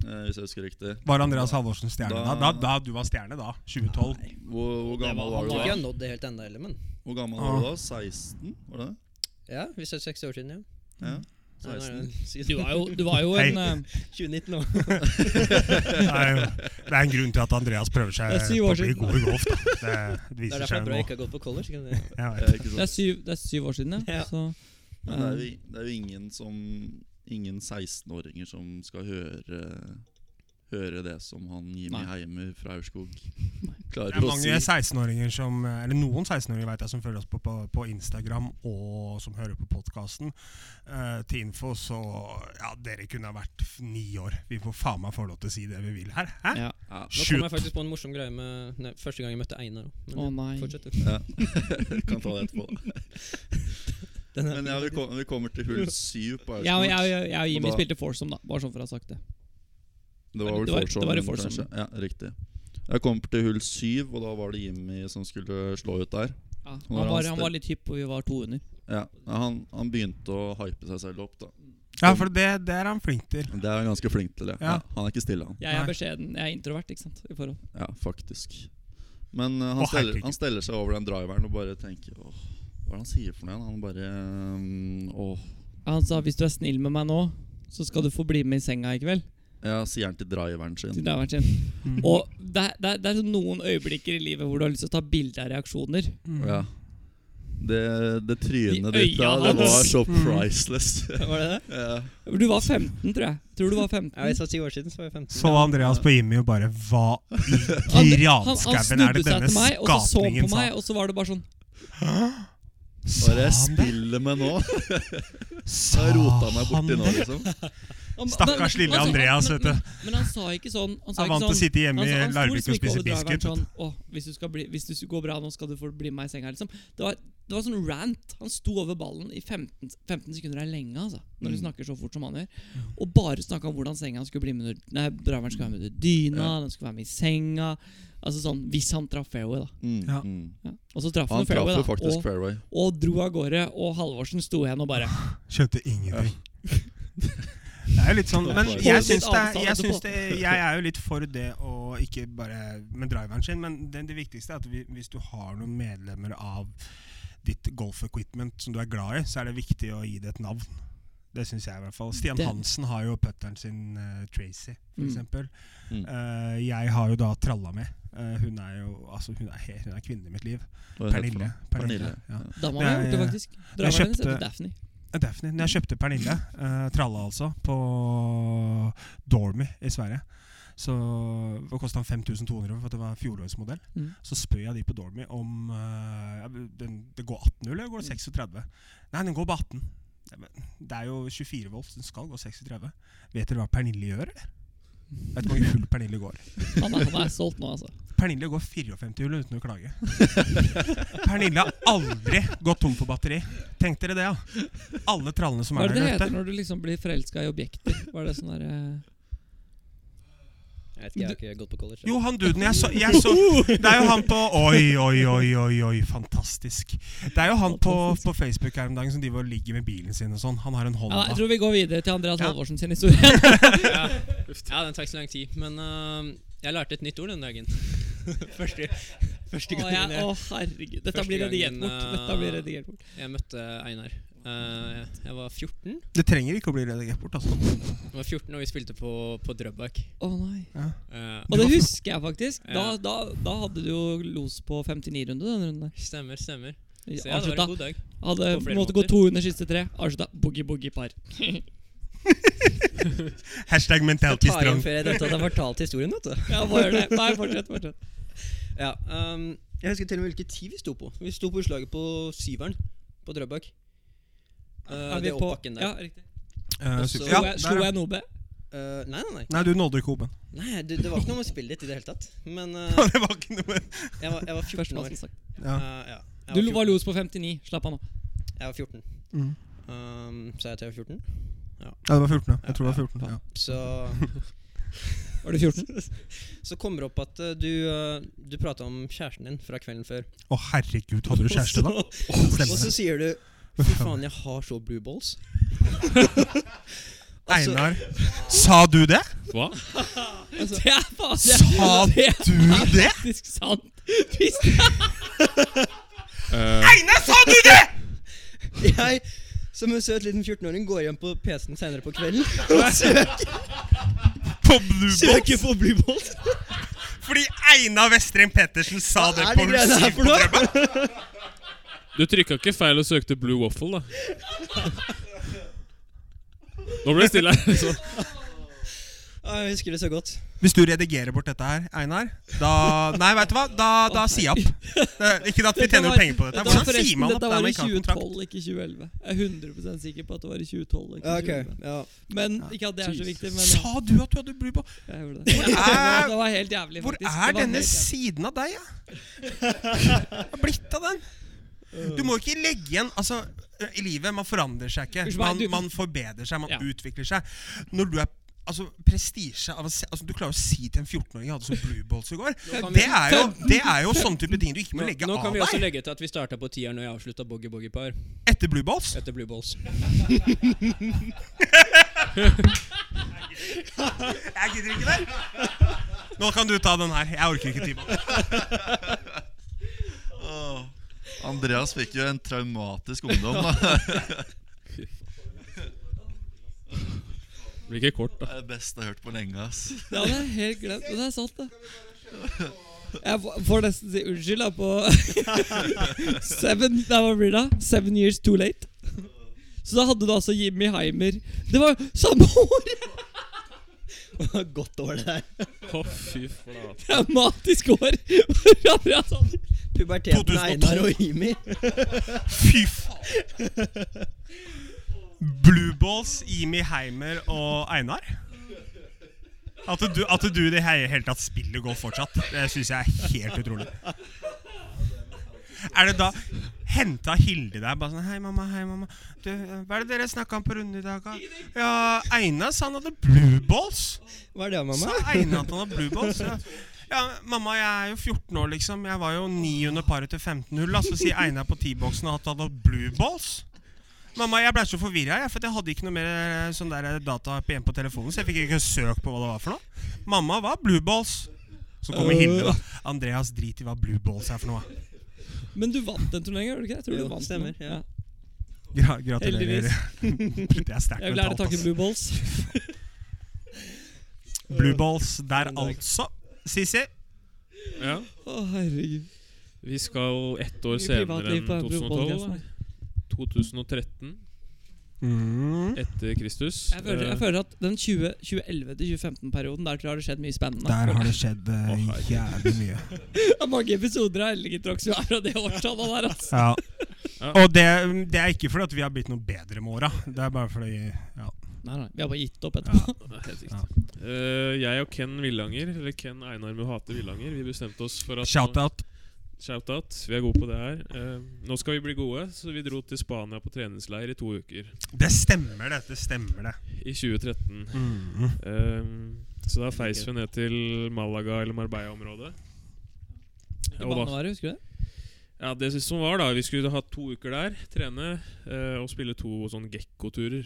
[SPEAKER 4] eh, hvis jeg husker riktig.
[SPEAKER 1] Var Andreas Halvorsen stjerne da?
[SPEAKER 4] Da-
[SPEAKER 1] da, da du var stjerne da? 2012?
[SPEAKER 4] Hvor, hvor gammel var,
[SPEAKER 3] Jeg tror ikke jeg
[SPEAKER 4] du da?
[SPEAKER 3] har nådd det helt ennå heller, men
[SPEAKER 4] Hvor gammel var du
[SPEAKER 2] Ah.
[SPEAKER 4] da? 16? Var det det?
[SPEAKER 3] ja, vi ses 60 år siden, ja.
[SPEAKER 4] Ja.
[SPEAKER 2] Mm.
[SPEAKER 3] Nei, nå er
[SPEAKER 4] 16.
[SPEAKER 3] det
[SPEAKER 2] Du
[SPEAKER 3] siden
[SPEAKER 2] var
[SPEAKER 3] [LAUGHS]
[SPEAKER 2] jo, du var jo
[SPEAKER 1] Hei.
[SPEAKER 2] en eh,
[SPEAKER 3] 2019 nå.
[SPEAKER 1] Det er, jo, det er en grunn til at Andreas prøver seg
[SPEAKER 2] Det er syv
[SPEAKER 1] på
[SPEAKER 2] år
[SPEAKER 1] å bli
[SPEAKER 2] siden.
[SPEAKER 1] god i golf. Da. Det, det
[SPEAKER 3] Det er
[SPEAKER 1] viser
[SPEAKER 3] derfor
[SPEAKER 1] seg
[SPEAKER 3] det
[SPEAKER 1] jo
[SPEAKER 3] er bra
[SPEAKER 1] nå.
[SPEAKER 3] jeg ikke har gått på college. ikke sant?
[SPEAKER 1] Jeg
[SPEAKER 4] Ja,
[SPEAKER 1] vet.
[SPEAKER 2] det,
[SPEAKER 4] ikke
[SPEAKER 2] er
[SPEAKER 4] sant?
[SPEAKER 2] syv, det er syv år siden, ja.
[SPEAKER 3] Ja.
[SPEAKER 2] Så,
[SPEAKER 4] Men det er, jo, i- det er jo ingen som ingen 16-åringer som skal høre Høre det som han Jimmy
[SPEAKER 2] Nei.
[SPEAKER 4] Heimer fra Aurskog
[SPEAKER 1] Det
[SPEAKER 4] klarer
[SPEAKER 1] er
[SPEAKER 4] å si.
[SPEAKER 1] mange 16-åringer som Eller noen 16-åringer vet jeg som følger oss på, på, på Instagram og som hører på podkasten. til info så Ja, dere kunne ha vært f- ni år. Vi får faen meg få lov til å si det vi vil her. Hæ?
[SPEAKER 2] Ja.
[SPEAKER 4] Ja.
[SPEAKER 1] Shit.
[SPEAKER 3] Nå kom jeg faktisk på en morsom greie med nei, første gang jeg møtte Einar. også. Men
[SPEAKER 2] Å nei.
[SPEAKER 3] fortsett, du.
[SPEAKER 4] Ja. [LAUGHS] kan ta det etterpå.
[SPEAKER 3] Den er-
[SPEAKER 4] Men ja, vi, kom, vi kommer til hull syv
[SPEAKER 2] Jeg og-
[SPEAKER 4] på
[SPEAKER 2] jeg og-
[SPEAKER 4] Aurskog.
[SPEAKER 2] jeg og Jimmy
[SPEAKER 4] Og da-
[SPEAKER 2] spilte foursome, da. Bare sånn for å ha sagt det.
[SPEAKER 4] Det var vel
[SPEAKER 2] Det var- det var i
[SPEAKER 4] Forsholmen,
[SPEAKER 2] Forsholmen.
[SPEAKER 4] kanskje. Ja, riktig. Jeg kom til hull syv, og da var det Jimmy som skulle slå ut der.
[SPEAKER 2] Ja. Han,
[SPEAKER 4] var
[SPEAKER 2] var,
[SPEAKER 4] han
[SPEAKER 2] han var litt hypp, og vi var to under.
[SPEAKER 4] Ja, Han, han begynte å hype seg selv opp, da.
[SPEAKER 1] Ja, for det, det er han flink til.
[SPEAKER 4] Det er han ganske flink til. det
[SPEAKER 1] Ja.
[SPEAKER 4] ja. Han er ikke stille, han.
[SPEAKER 2] Jeg er
[SPEAKER 1] Nei.
[SPEAKER 2] beskjeden. Jeg er introvert, ikke sant. I forhold.
[SPEAKER 4] Ja, faktisk. Men eh, han,
[SPEAKER 1] Og
[SPEAKER 4] steller,
[SPEAKER 1] hyper ikke.
[SPEAKER 4] han steller seg over den driveren og bare tenker Åh, Hva er det han sier for noe? igjen?» Han bare mm, Åh
[SPEAKER 2] Han sa hvis du er snill med meg nå, så skal du få bli med i senga i kveld.
[SPEAKER 4] Ja, sier han til driveren
[SPEAKER 2] Til
[SPEAKER 4] sin.
[SPEAKER 2] det har vært sin.
[SPEAKER 1] Mm.
[SPEAKER 2] Og det, er- det, er- det er sånn noen øyeblikker i livet hvor du har lyst til å ta bilde av reaksjoner.
[SPEAKER 1] Mm.
[SPEAKER 4] Ja. Det, det trynet
[SPEAKER 2] I
[SPEAKER 4] ditt da,
[SPEAKER 2] øya
[SPEAKER 4] det var
[SPEAKER 2] hans. Mm.
[SPEAKER 4] så
[SPEAKER 2] [LAUGHS]
[SPEAKER 4] priceless.
[SPEAKER 3] Var det det?
[SPEAKER 4] ja.
[SPEAKER 2] Du var 15, tror jeg. Tror du var 15.
[SPEAKER 3] Ja, jeg sa ti år siden, så var jeg 15.
[SPEAKER 1] Så Andreas på Jimmy og bare Hva
[SPEAKER 2] [LAUGHS] Han-
[SPEAKER 1] i
[SPEAKER 2] han- han
[SPEAKER 1] granskauen er det
[SPEAKER 2] snudde seg
[SPEAKER 1] denne
[SPEAKER 2] til meg, og så så han
[SPEAKER 1] skapningen
[SPEAKER 2] på
[SPEAKER 1] sa?
[SPEAKER 2] meg, og så var det bare sånn
[SPEAKER 4] Hva
[SPEAKER 1] Sa
[SPEAKER 4] er det jeg
[SPEAKER 1] han det?
[SPEAKER 4] spiller med nå?
[SPEAKER 1] Sa
[SPEAKER 4] Så jeg rota meg
[SPEAKER 1] han
[SPEAKER 4] borti nå,
[SPEAKER 1] det?
[SPEAKER 4] liksom.
[SPEAKER 2] han- men-
[SPEAKER 1] Stakkars
[SPEAKER 2] men-
[SPEAKER 1] lille
[SPEAKER 2] altså, han-
[SPEAKER 1] Andreas,
[SPEAKER 2] men-
[SPEAKER 1] vet du.
[SPEAKER 2] Men, men han sa ikke sånn. Han
[SPEAKER 1] Han
[SPEAKER 2] sa
[SPEAKER 1] er
[SPEAKER 2] ikke
[SPEAKER 1] vant til å
[SPEAKER 2] sånn
[SPEAKER 1] sitte hjemme i
[SPEAKER 2] Han- han sto
[SPEAKER 1] Larvik
[SPEAKER 2] liksom
[SPEAKER 1] og
[SPEAKER 2] ikke
[SPEAKER 1] spise
[SPEAKER 2] over driveren
[SPEAKER 1] biskuit.
[SPEAKER 2] Sånn, Åh, hvis, du skal bli, hvis du går bra nå, skal du få bli med i senga. Liksom. Det, var, det var sånn rant. Han sto over ballen i 15, 15 sekunder. er lenge, altså. Når du
[SPEAKER 4] Mm.
[SPEAKER 2] snakker så fort som han gjør. Og bare snakka om hvordan senga skulle bli med under, Nei, driveren skulle være med under dyna, den skulle være med i senga. Altså sånn, Hvis han traff fairway, da.
[SPEAKER 4] Mm,
[SPEAKER 1] Ja.
[SPEAKER 4] mm.
[SPEAKER 2] Ja. Og så traff han,
[SPEAKER 4] Han traff
[SPEAKER 2] fairway,
[SPEAKER 4] jo
[SPEAKER 2] da.
[SPEAKER 4] faktisk
[SPEAKER 2] Og,
[SPEAKER 4] fairway.
[SPEAKER 2] og dro av gårde. Og Halvorsen sto igjen og bare
[SPEAKER 1] Skjønte ingenting. Det er jo litt sånn, men
[SPEAKER 4] Folk
[SPEAKER 1] jeg
[SPEAKER 2] litt
[SPEAKER 1] syns det,
[SPEAKER 2] avstand
[SPEAKER 1] jeg, syns
[SPEAKER 2] etterpå.
[SPEAKER 1] det, jeg er jo litt for det å ikke bare med driveren sin, men det, det viktigste er at vi, hvis du har noen medlemmer av ditt golf-equipment som du er glad i, så er det viktig å gi det et navn. Det syns jeg i hvert fall. Stian
[SPEAKER 2] Det-
[SPEAKER 1] Hansen har jo putteren sin eh, Tracy, for
[SPEAKER 2] Mm.
[SPEAKER 1] eksempel.
[SPEAKER 4] Mm.
[SPEAKER 1] Eh, jeg har jo da tralla med. Eh, hun er jo altså, hun er, hun er kvinnen i mitt liv.
[SPEAKER 4] Hva er det for
[SPEAKER 1] Pernille.
[SPEAKER 4] noe?
[SPEAKER 1] Pernille. Ja.
[SPEAKER 2] Dama mi
[SPEAKER 1] Det
[SPEAKER 2] har gjort
[SPEAKER 1] er-
[SPEAKER 2] det, faktisk. Driveren hennes
[SPEAKER 1] kjøpte-
[SPEAKER 2] heter Daphne.
[SPEAKER 1] Daphne. Når jeg kjøpte Pernille, eh, tralla altså, på Dormy i Sverige Så det kosta 5200 for at det var fjorårsmodell.
[SPEAKER 2] Mm.
[SPEAKER 1] Så spør jeg de på Dormy om eh, ja, den, Det går 18 eller går det 36? Nei, den går bare 18. Ja, men Det er jo 24 volt, den skal gå 36. Vet dere hva Pernille gjør, eller? Vet du hvor mange hull Pernille går?
[SPEAKER 2] Han er, han er solgt nå, altså.
[SPEAKER 1] Pernille går 54 hull uten å klage. Pernille har aldri gått tom for batteri. Tenk dere det, ja. Alle trallene som
[SPEAKER 2] Hva
[SPEAKER 1] er
[SPEAKER 2] er det det
[SPEAKER 1] der
[SPEAKER 2] heter
[SPEAKER 1] ute.
[SPEAKER 2] når du liksom blir forelska i objekter? Hva er det sånn der, eh,
[SPEAKER 3] Jeg vet ikke, jeg har ikke gått på college.
[SPEAKER 1] Jo, han duden jeg så, jeg så Det er jo han på Oi, oi, oi, oi, oi, fantastisk. Det er jo han på, på Facebook her om dagen som driver og ligger med bilen sin og sånn. Han har en
[SPEAKER 2] ja, Jeg
[SPEAKER 1] Honda.
[SPEAKER 2] tror vi går videre til Andreas
[SPEAKER 1] Ja.
[SPEAKER 2] Halvorsen sin historie.
[SPEAKER 3] ja. ja, den tar ikke så lang tid. Men øh, jeg lærte et nytt ord den dagen. [LAUGHS] første, første
[SPEAKER 2] Å,
[SPEAKER 3] gangen
[SPEAKER 2] jeg,
[SPEAKER 3] jeg,
[SPEAKER 2] å herregud, Dette
[SPEAKER 3] Første
[SPEAKER 2] blir redigert
[SPEAKER 3] gangen,
[SPEAKER 2] bort.
[SPEAKER 3] eh,
[SPEAKER 2] Dette blir redigert bort
[SPEAKER 3] jeg møtte Einar. Eh, jeg var 14,
[SPEAKER 1] Det trenger ikke å bli redigert bort, altså.
[SPEAKER 3] jeg var 14 og vi spilte på, på Drøbak.
[SPEAKER 2] Å nei
[SPEAKER 1] Ja.
[SPEAKER 3] Eh,
[SPEAKER 2] Og det husker jeg faktisk. Da,
[SPEAKER 3] Ja.
[SPEAKER 2] da, da hadde du jo los på 59-runde. den runden der
[SPEAKER 3] stemmer, stemmer. Så ja, det var
[SPEAKER 2] Avslutta.
[SPEAKER 3] en god dag.
[SPEAKER 2] Hadde
[SPEAKER 3] på flere
[SPEAKER 2] måtte gå
[SPEAKER 3] måter.
[SPEAKER 2] to under siste tre. Avslutta boogie-boogie-par.
[SPEAKER 1] Hashtag mentality
[SPEAKER 3] Ta igjen
[SPEAKER 1] strong.
[SPEAKER 3] før jeg dømte at jeg fortalte historien, vet du.
[SPEAKER 2] Ja, bare gjør det. Nei, fortsett. fortsett
[SPEAKER 3] Ja, ehm, jeg husker til og med hvilken tid vi sto på. Vi sto på utslaget på syveren på Drøbak. Eh,
[SPEAKER 2] Er vi
[SPEAKER 3] det er
[SPEAKER 2] på-
[SPEAKER 3] oppbakken der.
[SPEAKER 2] Ja, riktig.
[SPEAKER 1] Eh,
[SPEAKER 3] Også-
[SPEAKER 1] super.
[SPEAKER 2] Slo
[SPEAKER 1] Ja,
[SPEAKER 2] jeg,
[SPEAKER 1] der,
[SPEAKER 2] slo
[SPEAKER 1] ja.
[SPEAKER 2] jeg Nobe?
[SPEAKER 3] Eh, nei, nei, nei.
[SPEAKER 1] Nei, du nådde ikke Oben.
[SPEAKER 3] nei det, det var ikke noe med spillet ditt i det hele tatt. Men eh,
[SPEAKER 1] [LAUGHS]
[SPEAKER 3] [LAUGHS]
[SPEAKER 1] Det var ikke noe
[SPEAKER 3] jeg, var, jeg var
[SPEAKER 2] Først,
[SPEAKER 3] 14 år.
[SPEAKER 2] altså, sagt.
[SPEAKER 1] ja.
[SPEAKER 3] Eh, ja. Jeg
[SPEAKER 2] Du var
[SPEAKER 3] 14.
[SPEAKER 2] los på 59. Slapp av nå.
[SPEAKER 3] Jeg var 14.
[SPEAKER 1] Mm.
[SPEAKER 3] Um, sa jeg at jeg var 14?
[SPEAKER 1] ja, det var 14. ja. Jeg tror det var 14. Ja. [LAUGHS]
[SPEAKER 3] Så,
[SPEAKER 2] Var du 14?
[SPEAKER 3] så kommer det opp at eh, du, eh, du prata om kjæresten din fra kvelden før.
[SPEAKER 1] Å, herregud, hadde du kjæreste da?
[SPEAKER 3] Og så, og
[SPEAKER 1] Stemmer
[SPEAKER 3] så
[SPEAKER 1] det.
[SPEAKER 3] sier du
[SPEAKER 1] [LAUGHS]
[SPEAKER 3] Fy faen, jeg har så blue balls. altså-
[SPEAKER 1] Einar, sa du det?
[SPEAKER 5] Hva?
[SPEAKER 2] Altså, Det er faen
[SPEAKER 1] Sa
[SPEAKER 2] [LAUGHS] det er
[SPEAKER 1] Du det?
[SPEAKER 2] faktisk sant! Hvis
[SPEAKER 5] Eh,
[SPEAKER 1] Einar, sa du det?!
[SPEAKER 3] Jeg, som en søt liten 14-åring, går hjem på PC-en senere på
[SPEAKER 1] [LAUGHS]
[SPEAKER 3] kvelden og [LAUGHS] søker,
[SPEAKER 1] På Blue Box?
[SPEAKER 3] søker på blue balls.
[SPEAKER 1] Fordi Einar Vestreng Pettersen sa
[SPEAKER 3] Hva
[SPEAKER 1] det
[SPEAKER 3] er
[SPEAKER 1] på
[SPEAKER 3] de greiene her for noe?
[SPEAKER 5] du trykka ikke feil og søkte Blue Waffle, da. Nå ble det stille her. Så.
[SPEAKER 6] Ja, jeg husker det så godt.
[SPEAKER 1] Hvis du redigerer bort dette her, Einar da, Nei, vet du hva? Da, da sier jeg opp. Det- Ikke at vi
[SPEAKER 2] Dette
[SPEAKER 1] tjener
[SPEAKER 2] var-
[SPEAKER 1] jo penger på dette.
[SPEAKER 2] dette var
[SPEAKER 1] Hvordan
[SPEAKER 2] forresten-
[SPEAKER 1] sier man opp
[SPEAKER 2] Dette
[SPEAKER 1] der
[SPEAKER 2] var
[SPEAKER 1] man
[SPEAKER 2] i
[SPEAKER 1] ikke har kontrakt?
[SPEAKER 2] 2012, ikke 2011. Jeg er 100 sikker på at det var i 2012. Ikke 2011.
[SPEAKER 6] ja.
[SPEAKER 2] Men ikke at det er så viktig. Men
[SPEAKER 1] Sa du at du hadde blue ball?
[SPEAKER 2] jeg gjorde [LAUGHS] det.
[SPEAKER 1] er-
[SPEAKER 2] det var helt jævlig,
[SPEAKER 1] Hvor
[SPEAKER 2] faktisk.
[SPEAKER 1] er
[SPEAKER 2] Det var
[SPEAKER 1] denne
[SPEAKER 2] helt jævlig.
[SPEAKER 1] siden av
[SPEAKER 2] [LAUGHS]
[SPEAKER 1] deg, ja? Hva er blitt av den? Du må ikke legge igjen Altså, i livet, man forandrer seg ikke.
[SPEAKER 2] Unnskyld meg,
[SPEAKER 1] Man,
[SPEAKER 2] du-
[SPEAKER 1] man forbedrer seg, man
[SPEAKER 2] Ja.
[SPEAKER 1] utvikler seg. Når du er Altså, prestisje av å se- altså, Du klarer å si til en 14-åring jeg hadde som blue balls i går.
[SPEAKER 3] kan
[SPEAKER 1] Det er, jo, det er jo sånne type ting du ikke må
[SPEAKER 3] Nå,
[SPEAKER 1] legge
[SPEAKER 3] nå
[SPEAKER 1] av
[SPEAKER 3] kan vi også
[SPEAKER 1] deg
[SPEAKER 3] legge til at vi starta på tieren når jeg avslutta Boogie Boogie Par
[SPEAKER 1] etter blue balls.
[SPEAKER 3] etter Blue Balls.
[SPEAKER 1] Jeg gidder ikke det. Nå kan du ta den her. Jeg orker ikke Timon.
[SPEAKER 4] Andreas fikk jo en traumatisk ungdom. da [LAUGHS]
[SPEAKER 5] Det blir ikke kort, da.
[SPEAKER 4] Det er det beste jeg har hørt på lenge. ass
[SPEAKER 2] Det hadde jeg helt glemt. Men det er sant, det. Jeg får- får nesten si unnskyld da på [LAUGHS] Seven Nei, hva blir det? da? Seven years too late. Så da hadde du altså Jimmy Heimer Det var jo samme år!
[SPEAKER 6] [LAUGHS] Godt år, det der.
[SPEAKER 5] Å, fy flate.
[SPEAKER 2] Dramatisk år! [LAUGHS] sånn. For Andreas hadde-
[SPEAKER 6] Puberteten
[SPEAKER 1] 2012.
[SPEAKER 6] er Einar og Jimmy.
[SPEAKER 1] Fy faen. Blue balls, Imi Heimer og Einar. At du, at du i det he- hele tatt spiller golf fortsatt, det syns jeg er helt utrolig. Er det da Henta Hilde deg bare sånn 'Hei, mamma. Hei, mamma. Du, eh, hva er det dere snakka om på runde i dag, da?' Ja, Einar sa han hadde blue balls.
[SPEAKER 6] Hva er det, mamma?
[SPEAKER 1] Sa Einar at han har blue balls? Ja. ja, mamma, jeg er jo 14 år, liksom. Jeg var jo 9 under paret til 15 hull. da. Så sier Einar på T-boksen at han har blue balls. Mamma, jeg ble så forvirra, jeg, for jeg hadde ikke noe mer eh, sånn der data på- igjen på telefonen. Så jeg fikk ikke søkt på hva det var for noe. Mamma, hva er blue balls? Så kommer
[SPEAKER 6] Øh.
[SPEAKER 1] Hilde, da. Andreas, drit i hva blue balls er for noe.
[SPEAKER 2] Men du vant den turneringen, gjorde du ikke? det? Jeg tror
[SPEAKER 6] Jo,
[SPEAKER 2] du vant
[SPEAKER 6] stemmer,
[SPEAKER 2] den.
[SPEAKER 6] ja.
[SPEAKER 1] Gra gratulerer.
[SPEAKER 2] Heldigvis.
[SPEAKER 1] [LAUGHS] Det er sterkt
[SPEAKER 2] Jeg vil gjerne
[SPEAKER 1] mentalt.
[SPEAKER 2] takke
[SPEAKER 1] ass.
[SPEAKER 2] Blue Balls.
[SPEAKER 1] Blue balls der,
[SPEAKER 6] En dag.
[SPEAKER 1] altså. Sisi,
[SPEAKER 5] Ja.
[SPEAKER 2] Å, herregud.
[SPEAKER 5] Vi skal ett år
[SPEAKER 2] Mye
[SPEAKER 5] senere
[SPEAKER 2] privatliv
[SPEAKER 5] enn
[SPEAKER 2] på altså. denne
[SPEAKER 5] 2012.
[SPEAKER 2] podcasten
[SPEAKER 5] da.
[SPEAKER 2] her.
[SPEAKER 5] 2013
[SPEAKER 1] Mm.
[SPEAKER 5] etter Kristus.
[SPEAKER 2] Jeg føler, jeg føler at den 20, 2011 til 2015-perioden, der tror jeg har det skjedd mye spennende.
[SPEAKER 1] der har det skjedd eh,
[SPEAKER 5] Å, herregud.
[SPEAKER 1] jævlig
[SPEAKER 5] [LAUGHS]
[SPEAKER 1] mye.
[SPEAKER 2] Det er mange episoder av Elgetrox som er fra det årstallet der,
[SPEAKER 1] [LAUGHS]
[SPEAKER 2] altså.
[SPEAKER 1] Ja.
[SPEAKER 5] Ja.
[SPEAKER 1] Og det, det er ikke fordi at vi har blitt noe bedre med åra. Det er bare fordi ja.
[SPEAKER 2] Nei, nei, vi har bare gitt opp etterpå.
[SPEAKER 5] Nei, helt riktig. Eh, jeg og Ken Villanger, eller Ken Einar med å hate Villanger, vi bestemte oss for at
[SPEAKER 1] Shout-out.
[SPEAKER 5] Shoutout. Vi er gode på det her. Eh, nå skal vi bli gode, så vi dro til Spania på treningsleir i to uker.
[SPEAKER 1] Det stemmer, det. Det stemmer, det.
[SPEAKER 5] I 2013.
[SPEAKER 1] Mm.
[SPEAKER 5] Eh, så da feis vi ned til Malaga eller Marbella-området.
[SPEAKER 2] I
[SPEAKER 5] Og da-
[SPEAKER 2] Banevaret, husker du det?
[SPEAKER 5] Ja, det siste som var da Vi skulle ha to uker der, trene eh, og spille to sånn gekkoturer.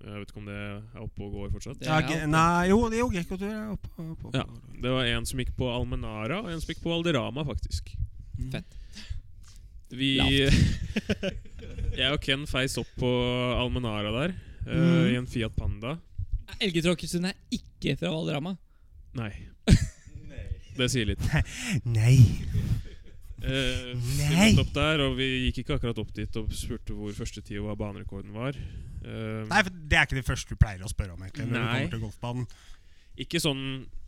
[SPEAKER 5] Jeg vet ikke om det er oppe og går fortsatt.
[SPEAKER 1] Ja, ge- nei, jo, det er jo Gekko-tur. er opp- opp- opp-
[SPEAKER 5] Ja. Det var en som gikk på Almenara, og en som gikk på Valderama, faktisk.
[SPEAKER 1] Mm.
[SPEAKER 2] Fett.
[SPEAKER 5] Vi [LAUGHS] Jeg og Ken feis opp på Almenara der, eh,
[SPEAKER 1] Mm.
[SPEAKER 5] i en Fiat Panda.
[SPEAKER 2] Elgetråkkesund er ikke fra Valderama.
[SPEAKER 5] Nei.
[SPEAKER 1] [LAUGHS]
[SPEAKER 5] Det sier litt.
[SPEAKER 1] Nei.
[SPEAKER 5] Eh, vi
[SPEAKER 1] Nei.
[SPEAKER 5] møtte opp der, og vi gikk ikke akkurat opp dit og spurte hvor første tid og hva banerekorden var. Eh,
[SPEAKER 1] nei, for det er ikke det første du pleier å spørre om, egentlig. Når
[SPEAKER 5] Nei.
[SPEAKER 1] du kommer til golfbanen
[SPEAKER 5] Ikke sånn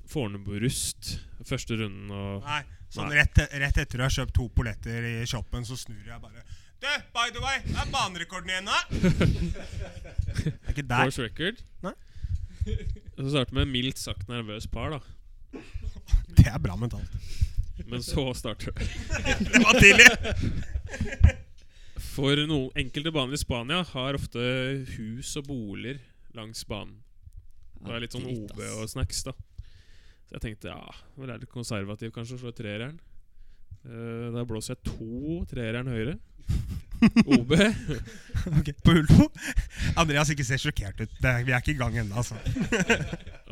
[SPEAKER 5] Fornebu-rust første runden og
[SPEAKER 1] Nei, sånn
[SPEAKER 5] Nei.
[SPEAKER 1] Rett, rett etter du har kjøpt to polletter i shoppen, så snur jeg bare Du, by the way, det er banerekorden igjen [LAUGHS] nå! Det er ikke der.
[SPEAKER 5] course record.
[SPEAKER 1] Nei.
[SPEAKER 5] Og så starter med en mildt sagt nervøs par, da.
[SPEAKER 1] Det er bra mentalt.
[SPEAKER 5] Men så starter det.
[SPEAKER 1] Det var tidlig!
[SPEAKER 5] For noen enkelte baner i Spania har ofte hus og boliger langs banen. Det er litt sånn
[SPEAKER 2] Drit,
[SPEAKER 5] OB
[SPEAKER 2] ass.
[SPEAKER 5] og snacks, da. Så jeg tenkte ja, nå er jeg litt konservativ kanskje og slår treeren. Eh, da blåser jeg to treeren
[SPEAKER 2] [LAUGHS]
[SPEAKER 5] høyre. OB.
[SPEAKER 1] [LAUGHS] Ok, På hull to. Andreas ikke ser sjokkert ut. Det, vi er ikke i gang ennå, altså.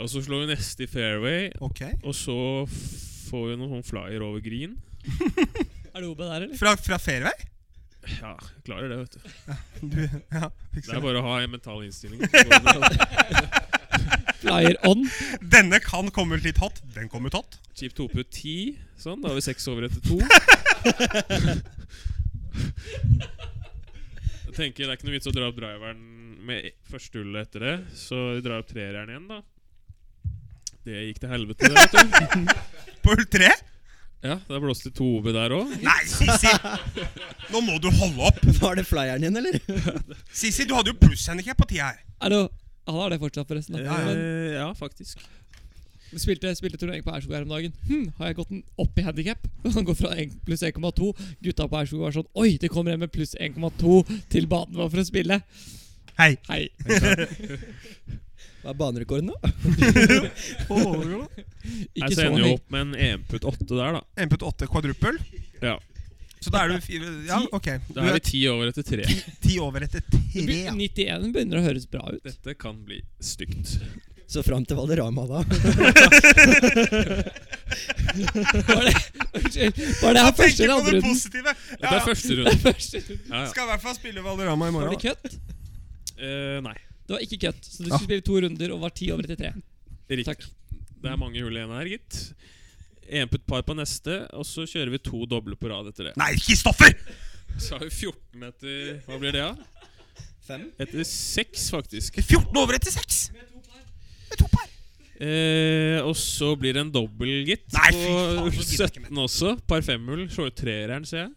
[SPEAKER 5] Og så slår vi neste i fairway,
[SPEAKER 1] Ok.
[SPEAKER 5] og så får vi noen sånn flyer over green.
[SPEAKER 2] Er det OB der, eller?
[SPEAKER 1] Fra, fra fairway?
[SPEAKER 5] Ja, klarer det, vet du.
[SPEAKER 1] Du, ja,
[SPEAKER 5] Det er
[SPEAKER 1] fikser det.
[SPEAKER 5] bare å ha en mental
[SPEAKER 2] [LAUGHS]
[SPEAKER 5] innstilling. så går det bra.
[SPEAKER 2] Flyer on.
[SPEAKER 1] Denne kan komme ut litt hot. Den kom ut hot.
[SPEAKER 5] Chip 2 på 10. Sånn, da har vi seks over etter to. Jeg tenker det er ikke noe vits å dra opp driveren med e- første hullet etter det, så vi drar opp trereren igjen, da. Det gikk til helvete, det, vet du.
[SPEAKER 1] På hull tre?
[SPEAKER 5] Ja, da blåste det to OB der òg.
[SPEAKER 1] Nei, [LAUGHS] Sissi! Nå må du holde opp!
[SPEAKER 3] [LAUGHS] Var det flyeren din, eller?
[SPEAKER 1] Sissi, du hadde jo plusshandikap på tida her.
[SPEAKER 2] Er det, han har det fortsatt, forresten. Da. Men
[SPEAKER 5] Eh, ja, faktisk.
[SPEAKER 2] Vi spilte, spilte turnering på Aurskog her om dagen. Hm, har jeg gått en opp i handikap? [LAUGHS] Han går fra 1 pluss 1,2. Gutta på Aurskog var sånn Oi, det kommer en med pluss 1,2 til banen vår for å spille.
[SPEAKER 1] Hei.
[SPEAKER 2] Hei.
[SPEAKER 3] Hva er banerekorden nå?
[SPEAKER 2] Ikke
[SPEAKER 5] [LAUGHS] jeg
[SPEAKER 2] så
[SPEAKER 5] sender jo
[SPEAKER 2] høy.
[SPEAKER 5] opp med en E EM-putt 8 der, da.
[SPEAKER 1] MPT 8 kvadruppel.
[SPEAKER 5] Ja.
[SPEAKER 1] Så da er du fire Ja, ok. Du
[SPEAKER 5] Da er
[SPEAKER 1] er
[SPEAKER 5] vi ti over etter tre.
[SPEAKER 1] ti over etter tre.
[SPEAKER 2] Det
[SPEAKER 1] ja.
[SPEAKER 2] be- 91 begynner å høres bra ut.
[SPEAKER 5] Dette kan bli stygt.
[SPEAKER 3] Så fram til Valderama, da.
[SPEAKER 2] Var det, unnskyld, var det her første
[SPEAKER 1] Tenker
[SPEAKER 2] eller
[SPEAKER 1] på
[SPEAKER 2] andre
[SPEAKER 1] det
[SPEAKER 2] runden?
[SPEAKER 1] positive.
[SPEAKER 5] Det
[SPEAKER 1] Ja,
[SPEAKER 5] er
[SPEAKER 1] ja.
[SPEAKER 5] første runde.
[SPEAKER 2] [LAUGHS] Første runden.
[SPEAKER 5] Ja, ja.
[SPEAKER 1] Skal i hvert fall spille Valderama i
[SPEAKER 2] Var
[SPEAKER 1] morgen.
[SPEAKER 2] det køtt?
[SPEAKER 5] Eh, nei,
[SPEAKER 2] Det var ikke køtt. Så du
[SPEAKER 1] Ja.
[SPEAKER 2] skulle spille to runder og var ti over etter tre.
[SPEAKER 5] riktig.
[SPEAKER 2] Takk.
[SPEAKER 5] Det er mange hull igjen her, gitt. EM-putt par på neste, og så kjører vi to doble på rad etter det.
[SPEAKER 1] Nei, Kristoffer!
[SPEAKER 5] Så har vi 14 meter Hva blir det, da?
[SPEAKER 3] Fem?
[SPEAKER 5] Etter seks, faktisk.
[SPEAKER 1] 14 over etter 6! Med to par.
[SPEAKER 5] Eh, og så blir det en dobbel, gitt.
[SPEAKER 1] Nei, fy faen,
[SPEAKER 5] på
[SPEAKER 1] det gidder jeg ikke
[SPEAKER 5] 17 også. Par femhull. Slår ut treeren, ser jeg.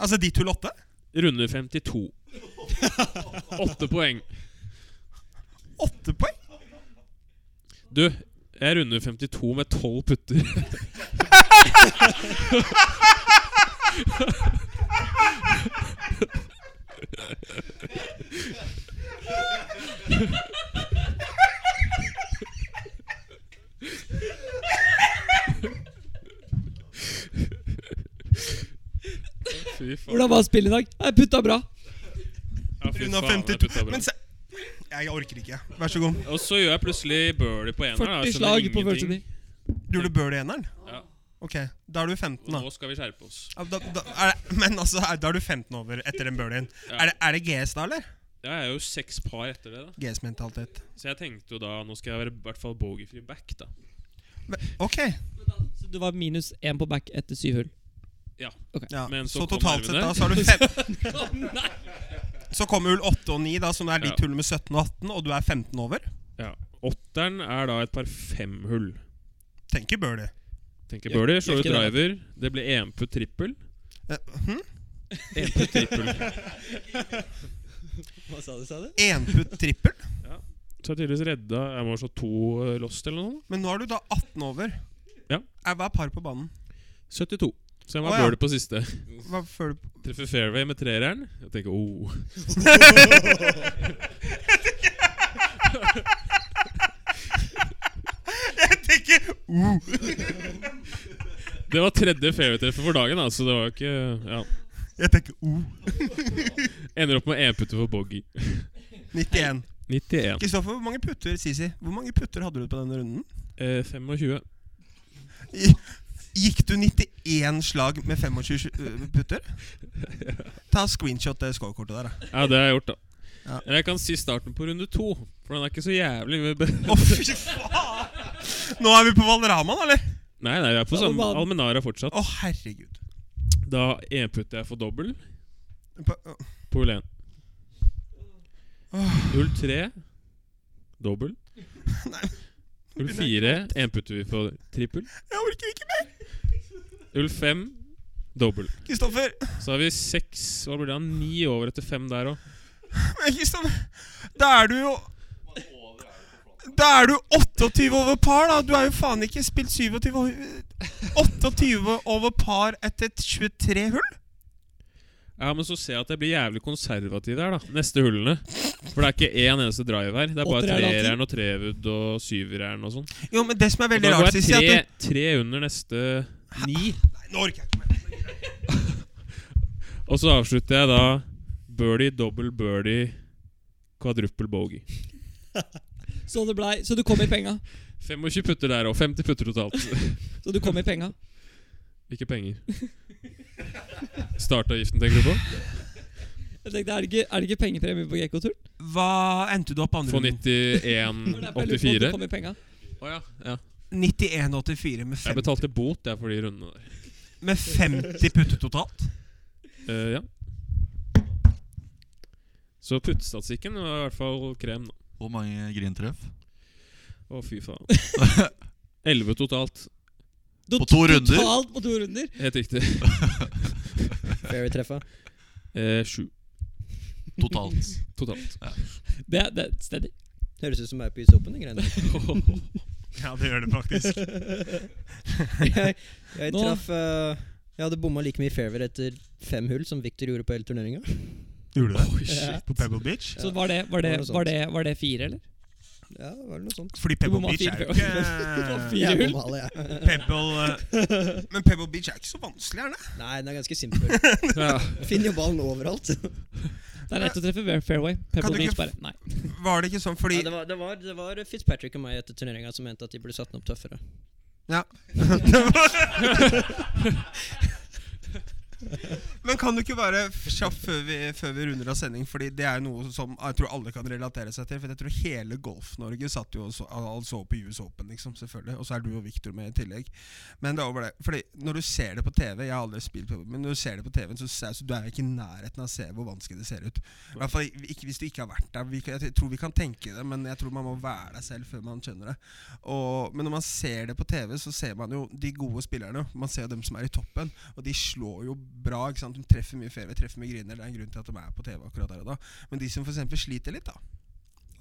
[SPEAKER 1] Altså ditt hull 8? [LAUGHS]
[SPEAKER 5] Runde 52. Åtte poeng.
[SPEAKER 1] 8 poeng?
[SPEAKER 5] Du, jeg runder 52 med 12 putter. Fy faen.
[SPEAKER 2] Hvordan var spillet i dag? Jeg putta bra.
[SPEAKER 5] Ja, fy
[SPEAKER 1] Runda
[SPEAKER 5] faen, jeg
[SPEAKER 1] 52.
[SPEAKER 5] putta bra.
[SPEAKER 1] Men se Jeg orker ikke. Vær så god.
[SPEAKER 5] Og så gjør jeg plutselig birdie på eneren. da,
[SPEAKER 2] 40
[SPEAKER 5] så det er altså
[SPEAKER 2] slag på
[SPEAKER 5] ingenting.
[SPEAKER 2] første tee.
[SPEAKER 1] Du gjorde birdie i eneren?
[SPEAKER 5] Ja.
[SPEAKER 1] Ok, da er du 15, da.
[SPEAKER 5] Nå skal vi skjerpe oss.
[SPEAKER 1] Ja, da, da er det, men altså, er, da er du 15 over etter den birdien.
[SPEAKER 5] Ja.
[SPEAKER 1] Er, det- er det GS da, eller?
[SPEAKER 5] Jeg er jo seks par etter det, da.
[SPEAKER 1] GS-mentalitet.
[SPEAKER 5] Så jeg tenkte jo da nå skal jeg være i hvert fall bogeyfri back, da.
[SPEAKER 1] Men- Ok.
[SPEAKER 2] Så du var minus én på back etter syv hull.
[SPEAKER 1] Ja.
[SPEAKER 5] Men
[SPEAKER 1] så,
[SPEAKER 5] så kom
[SPEAKER 1] totalt sett
[SPEAKER 5] nervene.
[SPEAKER 1] da, så har du fem
[SPEAKER 5] [LAUGHS]
[SPEAKER 1] Så kommer hull 8 og 9, da, som er ditt
[SPEAKER 5] Ja.
[SPEAKER 1] hull med 17 og 18, og du er 15 over.
[SPEAKER 5] Ja. Åtteren er da et par femhull.
[SPEAKER 1] Tenker birdie.
[SPEAKER 5] Tenker
[SPEAKER 2] Gjør-
[SPEAKER 5] birdie,
[SPEAKER 2] gjør
[SPEAKER 5] slår ut
[SPEAKER 2] ikke det, da.
[SPEAKER 5] driver. Det blir EM-putt trippel.
[SPEAKER 1] Eh, hm?
[SPEAKER 5] EM-putt [LAUGHS] trippel.
[SPEAKER 3] Hva sa du, sa du?
[SPEAKER 1] Enputt trippel.
[SPEAKER 5] Så jeg tydeligvis redda Jeg må slå to eh, lost eller noe.
[SPEAKER 1] Men nå er du da 18 over.
[SPEAKER 5] Ja.
[SPEAKER 1] Er, hva er par på banen?
[SPEAKER 5] 72. Så jeg må
[SPEAKER 1] Å,
[SPEAKER 5] ha
[SPEAKER 1] ja.
[SPEAKER 5] birdie på siste.
[SPEAKER 1] Hva føler du på?
[SPEAKER 5] Treffer fairway med treeren. Jeg tenker oh.
[SPEAKER 1] [LAUGHS] Jeg tenker uh.
[SPEAKER 5] Det var tredje fairway-treffet for dagen, da, så det var jo ikke Ja.
[SPEAKER 1] Jeg tenker uh.
[SPEAKER 5] Ender opp med EM-putter for bogey.
[SPEAKER 1] 91.
[SPEAKER 5] 91.
[SPEAKER 1] Kristoffer, hvor mange putter Sisi, hvor mange putter hadde du på denne runden?
[SPEAKER 5] Eh, 25.
[SPEAKER 1] I- Gikk du 91 slag med 25 øh, putter? Ta screenshot det scorekortet der, da.
[SPEAKER 5] Ja, det har jeg gjort, da.
[SPEAKER 1] Ja.
[SPEAKER 5] Eller jeg kan si starten på runde to, for den er ikke så jævlig [LAUGHS] mye bedre.
[SPEAKER 1] Å, fy faen! Nå er vi på Valderamaen, eller?
[SPEAKER 5] Nei, nei, vi er på
[SPEAKER 2] Ja, men
[SPEAKER 5] samme
[SPEAKER 2] hva-
[SPEAKER 5] Almenara fortsatt.
[SPEAKER 1] Å, herregud.
[SPEAKER 5] Da enputter jeg for dobbel
[SPEAKER 1] Pa- å,
[SPEAKER 5] på hull 1. Hull 3 dobbel. Hull 4 enputter vi for trippel.
[SPEAKER 1] Jeg orker ikke mer!
[SPEAKER 5] Hull 5 dobbel.
[SPEAKER 1] Kristoffer!
[SPEAKER 5] Så har vi seks Hva blir det? da? Ni over etter fem der òg.
[SPEAKER 1] Men Kristoffer, da er du jo Da er du 28 over par, da! Du har jo faen ikke spilt 27 over 28 over par etter 23 hull?
[SPEAKER 5] Ja, men så ser jeg at jeg blir jævlig konservativ der, da. Neste hullene. For det er ikke én eneste drive her. Det er bare
[SPEAKER 2] Åtter er det alltid.
[SPEAKER 5] treeren og trewood og syvereren og sånn.
[SPEAKER 1] Jo, men det som er
[SPEAKER 5] Og
[SPEAKER 1] veldig
[SPEAKER 5] Da
[SPEAKER 1] rart,
[SPEAKER 5] går jeg
[SPEAKER 1] Sisi, er
[SPEAKER 5] tre,
[SPEAKER 1] at
[SPEAKER 5] tre under neste ni.
[SPEAKER 1] du Nei, Nå orker jeg ikke mer.
[SPEAKER 5] Og så avslutter jeg da birdie, double birdie, kvadruppel bogey.
[SPEAKER 2] Så, det blei, så du kom i penga.
[SPEAKER 5] 25 putter der og 50 putter totalt. [LAUGHS]
[SPEAKER 2] Så du kom i penga.
[SPEAKER 5] Ikke penger. Startavgiften, tenker du på?
[SPEAKER 2] Jeg tenkte, er det ikke, er det ikke pengepremie på Gekko-turen?
[SPEAKER 1] Hva endte du opp andre
[SPEAKER 5] Få
[SPEAKER 1] runden?
[SPEAKER 2] [LAUGHS] Det var derfor jeg lurte på om du kom
[SPEAKER 5] 91,84.
[SPEAKER 2] i penga.
[SPEAKER 5] Å ja, ja.
[SPEAKER 1] 91,84 med,
[SPEAKER 5] Jeg
[SPEAKER 1] fem,
[SPEAKER 5] betalte bot jeg, for de rundene der.
[SPEAKER 1] med 50 putter totalt.
[SPEAKER 5] Eh, ja. Så puttestatistikken var i hvert fall krem. da.
[SPEAKER 4] Hvor mange grintreff?
[SPEAKER 5] Å, fy faen.
[SPEAKER 1] [LAUGHS]
[SPEAKER 5] Elleve totalt.
[SPEAKER 2] Do-
[SPEAKER 4] På to runder?
[SPEAKER 2] Totalt på to runder.
[SPEAKER 5] Helt riktig.
[SPEAKER 3] Fairy-treffa.
[SPEAKER 5] Eh, Sju
[SPEAKER 4] Totalt.
[SPEAKER 5] totalt.
[SPEAKER 2] [LAUGHS] Det, er- det er steady.
[SPEAKER 3] Høres ut som meg på Isåpen, de greiene.
[SPEAKER 1] Ja, det gjør det faktisk.
[SPEAKER 3] jeg jeg
[SPEAKER 2] Nå-
[SPEAKER 3] traff eh, Jeg hadde bomma like mye fairway etter fem hull som Victor gjorde på hele turneringa.
[SPEAKER 1] Gjorde du det?
[SPEAKER 3] shit.
[SPEAKER 1] På Pebble Beach?
[SPEAKER 2] Så var det, var,
[SPEAKER 3] Var
[SPEAKER 2] det,
[SPEAKER 3] det
[SPEAKER 2] var, det, var det fire, eller?
[SPEAKER 3] Ja, det var det noe sånt.
[SPEAKER 1] Fordi
[SPEAKER 2] Du
[SPEAKER 1] Pebble
[SPEAKER 2] må ha
[SPEAKER 1] Beach er jo
[SPEAKER 2] fire
[SPEAKER 5] [LAUGHS]
[SPEAKER 1] ikke
[SPEAKER 2] Fire
[SPEAKER 3] Jeg
[SPEAKER 2] hull?
[SPEAKER 3] bomma alle, jeg.
[SPEAKER 1] Pebble eh, [LAUGHS] Men Pebble Beach er ikke så vanskelig, er det?
[SPEAKER 3] Nei, den er ganske
[SPEAKER 2] [LAUGHS]
[SPEAKER 3] simpel.
[SPEAKER 5] Ja.
[SPEAKER 3] Finner jo ballen overalt.
[SPEAKER 2] Det er lett å treffe fair- fairway. Pebble
[SPEAKER 1] Kan du
[SPEAKER 2] Beach
[SPEAKER 1] ikke
[SPEAKER 2] bare Nei.
[SPEAKER 1] Var det ikke sånn fordi
[SPEAKER 3] Ja, det, var, det, var, det var Fitzpatrick og meg etter turneringa som mente at de burde satt den opp tøffere.
[SPEAKER 1] Men kan du ikke bare f- kjapt før vi, før vi runder av sending, Fordi det er noe som jeg tror alle kan relatere seg til. For jeg tror hele Golf-Norge satt jo og så, al- al- så på US Open, liksom, selvfølgelig. Og så er du og Victor med i tillegg. Men det er over det. Fordi når du ser det på TV Jeg har aldri spilt på men når du ser det på TV, så, ser- så du er jo ikke i nærheten av å se hvor vanskelig det ser ut. I hvert fall ikke hvis du ikke har vært der. Vi, kan- jeg tror vi kan tenke det, men jeg tror man må være der selv før man skjønner det. Og, men når man ser det på TV, så ser man jo de gode spillerne. Man ser jo dem som er i toppen. Og de slår jo bra. ikke sant? De treffer mye fairway, treffer mye griner. Det er en grunn til at de er på TV akkurat der og da. Men de som for eksempel sliter litt, da.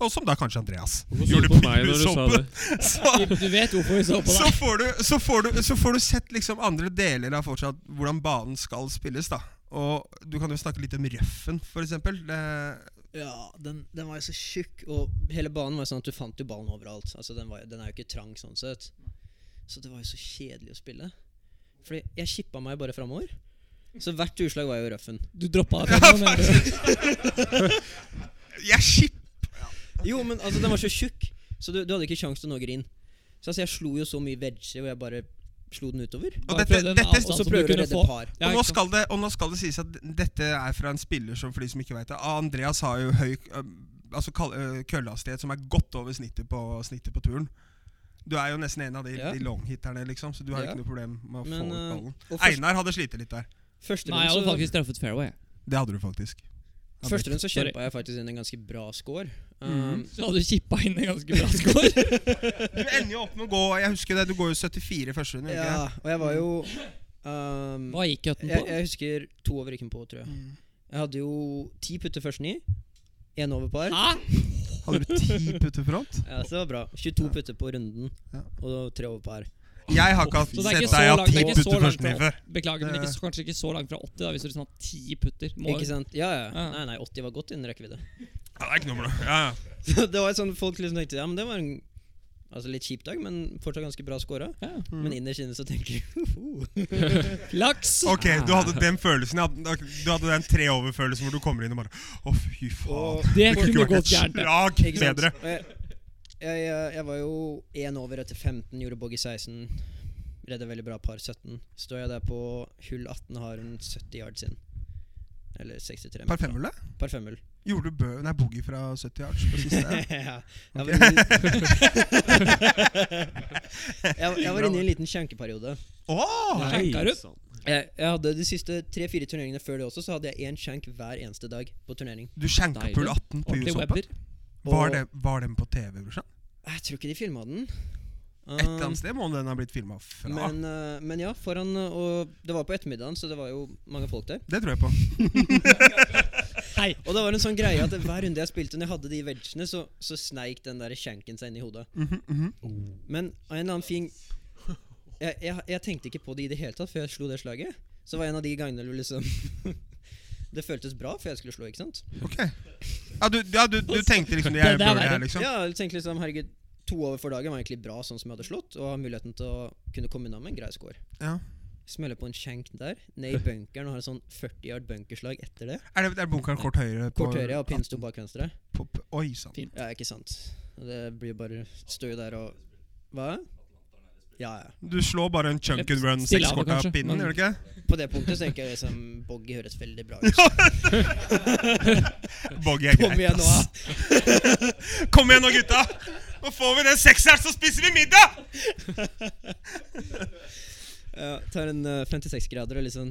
[SPEAKER 1] Og som da kanskje [LAUGHS] Andreas.
[SPEAKER 5] Hvorfor så
[SPEAKER 1] Gjorde sånn
[SPEAKER 5] du på
[SPEAKER 1] på
[SPEAKER 5] meg når du sa
[SPEAKER 1] soppen?
[SPEAKER 5] det?
[SPEAKER 1] Så,
[SPEAKER 2] Du vet hvorfor vi så på
[SPEAKER 1] så,
[SPEAKER 2] deg.
[SPEAKER 1] får du, så, får du, så får du sett liksom andre deler av fortsatt hvordan banen skal spilles, da. Og du kan jo snakke litt om røffen, for eksempel. Det,
[SPEAKER 3] Ja, den, den var jo så tjukk, og hele banen var jo sånn at du fant jo ballen overalt. Altså, den, var, jo- den er jo ikke trang sånn sett. Så det var jo så kjedelig å spille. Fordi jeg kippa meg bare framover. Så hvert utslag var jo røffen.
[SPEAKER 2] Du droppa deg. fra noen, men-
[SPEAKER 1] jeg skipper
[SPEAKER 3] Jo, men altså, den var så tjukk, så du, du hadde ikke kjangs til å nå green. Så altså, jeg slo jo så mye veggie, og jeg bare slo den utover.
[SPEAKER 1] Og
[SPEAKER 2] Bare
[SPEAKER 1] dette-
[SPEAKER 2] prøv den
[SPEAKER 1] dette-
[SPEAKER 2] avstanden
[SPEAKER 3] Og
[SPEAKER 2] som
[SPEAKER 3] så
[SPEAKER 2] du
[SPEAKER 3] prøver du å
[SPEAKER 2] kunne
[SPEAKER 3] redde
[SPEAKER 2] få.
[SPEAKER 3] par.
[SPEAKER 2] Ja,
[SPEAKER 1] og, nå
[SPEAKER 2] ikke sant?
[SPEAKER 1] skal det, og nå skal det sies at dette er fra en spiller som, for de som ikke vet det ah, Andreas har jo høy eh, altså, kall- eh, køllehastighet som er godt over snittet på, snittet på turen. Du er jo nesten en av de,
[SPEAKER 3] Ja.
[SPEAKER 1] de longhitterne, liksom, så du har
[SPEAKER 3] Ja.
[SPEAKER 1] ikke noe problem med å
[SPEAKER 3] Men,
[SPEAKER 1] få ut
[SPEAKER 3] eh,
[SPEAKER 1] ballen.
[SPEAKER 3] Og først,
[SPEAKER 1] Einar hadde slitt litt der.
[SPEAKER 3] første
[SPEAKER 2] Nei, jeg
[SPEAKER 3] runde
[SPEAKER 2] hadde
[SPEAKER 3] så-
[SPEAKER 2] faktisk treffet fairway.
[SPEAKER 1] Det hadde du faktisk. Ja, Mhm.
[SPEAKER 3] Første
[SPEAKER 1] det-
[SPEAKER 3] rundt så
[SPEAKER 2] Sorry.
[SPEAKER 3] kjempa jeg faktisk inn en ganske bra score. Um,
[SPEAKER 2] Så hadde du kippa inn en ganske [LAUGHS] bra score.
[SPEAKER 1] Du ender jo opp med å gå Jeg husker det, du går jo 74 i første runde. gjør du ikke
[SPEAKER 3] ja, og jeg var jo um,
[SPEAKER 2] Hva gikk cutten
[SPEAKER 3] jeg,
[SPEAKER 2] på?
[SPEAKER 3] jeg husker to over ikke på, tror jeg.
[SPEAKER 1] Mm.
[SPEAKER 3] Jeg hadde jo ti putter først ni. Én over par.
[SPEAKER 2] Hæ?
[SPEAKER 1] det? Hadde du ti putter front?
[SPEAKER 3] Ja, så det var bra. 22 putter på runden,
[SPEAKER 1] Ja.
[SPEAKER 3] og tre over par.
[SPEAKER 1] Jeg har ikke hatt
[SPEAKER 2] Så det er ikke
[SPEAKER 1] sett
[SPEAKER 2] så
[SPEAKER 1] deg ha
[SPEAKER 2] langt- det
[SPEAKER 1] ti
[SPEAKER 2] er ikke så
[SPEAKER 1] putter
[SPEAKER 2] langt
[SPEAKER 1] først ni
[SPEAKER 2] fra
[SPEAKER 1] før.
[SPEAKER 2] Beklager, men
[SPEAKER 1] Det-
[SPEAKER 2] ikke, så- kanskje ikke så langt fra 80, da hvis du liksom har ti putter. Må,
[SPEAKER 3] Ikke sant? Ja, ja.
[SPEAKER 2] Ja.
[SPEAKER 3] Nei, nei, 80 var godt innen rekkevidde.
[SPEAKER 1] Ja, det er ikke noe problem. Ja, ja.
[SPEAKER 3] Så [LAUGHS] det var sånn folk liksom tenkte Ja, men det var en Altså litt kjip dag, men fortsatt ganske bra scora.
[SPEAKER 2] Ja.
[SPEAKER 3] Men innerst inne så tenker [LAUGHS] "Uhuh." jeg
[SPEAKER 2] Laks!
[SPEAKER 1] Ok, du hadde den følelsen ja. Du hadde den tre over-følelsen hvor du kommer inn og bare Å, fy faen.
[SPEAKER 2] Det
[SPEAKER 1] Det
[SPEAKER 2] kunne
[SPEAKER 1] kunne vært
[SPEAKER 2] gått
[SPEAKER 1] et
[SPEAKER 2] gærent. det.
[SPEAKER 1] slag
[SPEAKER 3] Ikke sant?
[SPEAKER 1] bedre.
[SPEAKER 3] Og Jeg, jeg, jeg, jeg var jo én over etter 15, gjorde bogey 16. Redda veldig bra par 17. Står jeg der på hull 18, har hun 70 yards inn. Eller 63. meter.
[SPEAKER 1] Par femhullet?
[SPEAKER 3] Par femhull.
[SPEAKER 1] Gjorde du bø Nei, boogie fra 70 yards på siste?
[SPEAKER 3] [LAUGHS] ja. jeg, var inne, i- [LAUGHS] jeg, jeg var inne i en liten skjenkeperiode.
[SPEAKER 1] [LAUGHS] Åh!
[SPEAKER 2] Skjenka
[SPEAKER 1] sånn
[SPEAKER 2] du?
[SPEAKER 3] Jeg, jeg hadde De siste tre-fire turneringene før det også, Så hadde jeg én skjenk hver eneste dag på turnering.
[SPEAKER 1] Du skjenka
[SPEAKER 2] Deilig.
[SPEAKER 1] pull 18 på
[SPEAKER 2] Ordentlig
[SPEAKER 1] US Open?
[SPEAKER 2] webber.
[SPEAKER 1] Var, det, var den på TV, brorsan?
[SPEAKER 3] Jeg tror ikke de filma den.
[SPEAKER 1] Et eller
[SPEAKER 3] Um,
[SPEAKER 1] annet sted må den ha blitt filma fra.
[SPEAKER 3] men, eh, men ja, foran eh, Og det var på ettermiddagen, så det var jo mange folk der.
[SPEAKER 1] det tror jeg på.
[SPEAKER 3] Og det var en sånn greie at hver runde jeg spilte, når jeg hadde de vegene, så, så sneik den der skjenken seg inn i hodet.
[SPEAKER 1] Mhm, mhm.
[SPEAKER 3] Men av en eller annen fin jeg, jeg, jeg tenkte ikke på det i det hele tatt før jeg slo det slaget. Så var en av de gangene hvor liksom [LAUGHS] Det føltes bra før jeg skulle slå, ikke sant?
[SPEAKER 1] Ok. Ja, du, ja, du, du tenkte liksom Jeg
[SPEAKER 2] Det- det er
[SPEAKER 1] bør det her,
[SPEAKER 2] verre.
[SPEAKER 1] liksom?
[SPEAKER 3] Ja, jeg tenkte liksom herregud, to over for dagen var egentlig bra sånn som jeg hadde slått, og har muligheten til å kunne komme unna med en grei score.
[SPEAKER 1] Ja.
[SPEAKER 3] Smeller på en skjenk der,
[SPEAKER 1] [LAUGHS]
[SPEAKER 3] ned i bunkeren og har et sånn 40 yard bunkerslag etter det.
[SPEAKER 1] Er, det, er bunkeren kort høyre? på-
[SPEAKER 3] Kort høyre og pinstol bak venstre.
[SPEAKER 1] på- på- Oi sann.
[SPEAKER 3] Ja, ikke sant. Det blir bare Står jo der og Hva? Ja, ja.
[SPEAKER 1] Du slår bare en chunk and run
[SPEAKER 2] Stille
[SPEAKER 1] seks
[SPEAKER 2] av det,
[SPEAKER 1] kort av
[SPEAKER 2] kanskje,
[SPEAKER 1] pinnen,
[SPEAKER 2] men-
[SPEAKER 1] gjør du ikke?
[SPEAKER 3] På det punktet så tenker jeg liksom Boggy høres veldig
[SPEAKER 1] [LAUGHS]
[SPEAKER 3] bra ut.
[SPEAKER 1] Boggy er
[SPEAKER 3] Kom
[SPEAKER 1] greit.
[SPEAKER 3] igjen nå.
[SPEAKER 1] ass. Kom igjen nå, gutta! Nå får vi den sekseren, så spiser vi middag!
[SPEAKER 3] Ja, tar en eh, 56-grader og liksom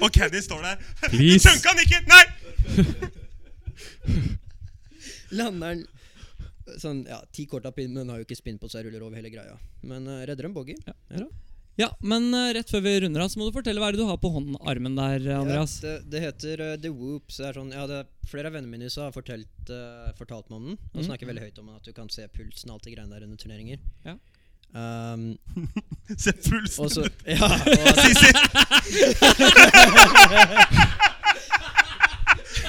[SPEAKER 1] Og Caddy står der. [LAUGHS] Du
[SPEAKER 5] Please.
[SPEAKER 1] chunka den ikke! Nei!
[SPEAKER 3] [LAUGHS] lander den sånn Ja, ti kort av pinn, men den har jo ikke spinn på seg, ruller over hele greia. Men eh, redder en boggy.
[SPEAKER 2] Ja, men eh, rett før vi runder av, så må du fortelle hva er det du har på hånden, armen der, Andreas.
[SPEAKER 3] Ja, det, det heter eh, The Whoop. Så det er sånn, ja, det er flere av vennene mine i USA har fortalt, eh, fortalt meg om den. Og
[SPEAKER 2] Mhm.
[SPEAKER 3] snakker veldig høyt om den, at du kan se pulsen og alt det greiene der under turneringer.
[SPEAKER 2] Ja.
[SPEAKER 3] Ehm,
[SPEAKER 1] [LAUGHS] Se pulsen.
[SPEAKER 3] og så [LAUGHS] Ja.
[SPEAKER 1] [LAUGHS]
[SPEAKER 3] Og,
[SPEAKER 1] Sisi!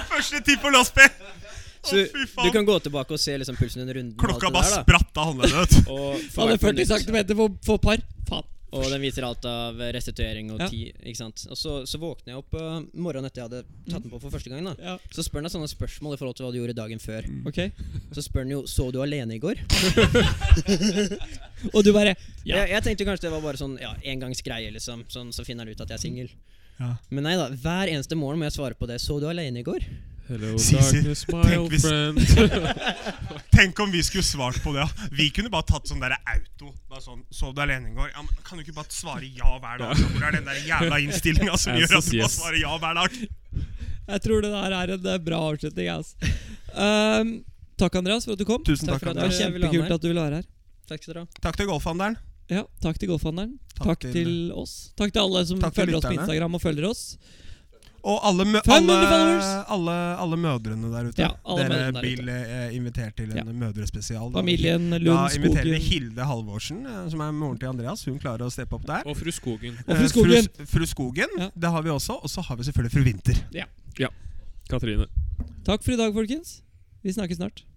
[SPEAKER 1] Første ti på låsby. Å,
[SPEAKER 3] så
[SPEAKER 1] fy
[SPEAKER 3] du
[SPEAKER 1] faen.
[SPEAKER 3] kan gå tilbake og se liksom pulsen under runden. og alt
[SPEAKER 1] Klokka
[SPEAKER 3] det
[SPEAKER 1] bare
[SPEAKER 3] der, da.
[SPEAKER 1] spratt av håndleddet. vet du.
[SPEAKER 7] Og, for
[SPEAKER 2] Hadde
[SPEAKER 7] hvert
[SPEAKER 2] 40
[SPEAKER 7] minutt.
[SPEAKER 2] cm for, for par. Faen.
[SPEAKER 7] og den viser alt av restituering og
[SPEAKER 2] Ja.
[SPEAKER 7] tid.
[SPEAKER 3] Ikke sant? Og så, så våkner jeg opp eh, morgenen etter jeg hadde tatt
[SPEAKER 2] Mm.
[SPEAKER 3] den på for første gang. da
[SPEAKER 2] Ja.
[SPEAKER 3] Så spør han deg sånne spørsmål i forhold til hva du gjorde dagen før.
[SPEAKER 1] Mm.
[SPEAKER 2] Ok.
[SPEAKER 3] Så spør han jo så du alene i går.
[SPEAKER 2] Og du bare Ja.
[SPEAKER 3] Jeg, jeg tenkte kanskje det var bare sånn ja, engangsgreie, liksom. Sånn, så finner han ut at jeg er singel.
[SPEAKER 1] Ja.
[SPEAKER 3] Men nei da. Hver eneste morgen må jeg svare på det. Så du alene i går?
[SPEAKER 5] Hello,
[SPEAKER 1] Sisi,
[SPEAKER 5] darkness, my
[SPEAKER 1] tenk
[SPEAKER 5] old
[SPEAKER 1] hvis-
[SPEAKER 5] friend.
[SPEAKER 1] [LAUGHS] Tenk om vi skulle svart på det. ja. Vi kunne bare tatt sånn derre auto. Bare sånn, Sov du alene i går? Ja, men kan du ikke bare svare ja hver dag? da? Hvor er den der jævla innstillinga som gjør at
[SPEAKER 5] Answers
[SPEAKER 1] du må
[SPEAKER 5] yes.
[SPEAKER 1] svare ja hver dag?
[SPEAKER 2] Jeg tror det der er en eh, bra avslutning. ass. Ehm, takk, Andreas, for at du kom.
[SPEAKER 1] Tusen
[SPEAKER 3] Takk for
[SPEAKER 2] Det var
[SPEAKER 3] Jeg vil ha
[SPEAKER 2] kjempekult
[SPEAKER 3] meg.
[SPEAKER 2] at du ville være her.
[SPEAKER 3] Takk skal dere ha.
[SPEAKER 1] Takk til golfhandelen.
[SPEAKER 2] Ja, Takk til Golfhandelen. Takk,
[SPEAKER 1] Takk
[SPEAKER 2] til oss. Takk til alle som
[SPEAKER 1] Takk til
[SPEAKER 2] følger oss på
[SPEAKER 1] lytterne.
[SPEAKER 2] Instagram og følger oss.
[SPEAKER 1] Og alle, mø
[SPEAKER 2] 500 followers.
[SPEAKER 1] alle, alle mødrene der ute.
[SPEAKER 2] Ja, alle
[SPEAKER 1] Dere
[SPEAKER 2] mødrene der
[SPEAKER 1] blir eh, invitert til en
[SPEAKER 2] Ja.
[SPEAKER 1] mødrespesial. da.
[SPEAKER 2] Familien
[SPEAKER 1] Da
[SPEAKER 2] Lund
[SPEAKER 1] inviterer vi
[SPEAKER 2] Skogen.
[SPEAKER 1] Hilde Halvorsen, eh, som er moren til Andreas. Hun klarer å steppe opp der.
[SPEAKER 5] Og fru Skogen.
[SPEAKER 2] Og fru
[SPEAKER 1] Eh,
[SPEAKER 2] Skogen.
[SPEAKER 1] Fru, fru Skogen,
[SPEAKER 2] Ja.
[SPEAKER 1] det har vi også. Og så har vi selvfølgelig fru Winther.
[SPEAKER 5] Katrine.
[SPEAKER 2] Takk for i dag, folkens. Vi snakkes snart.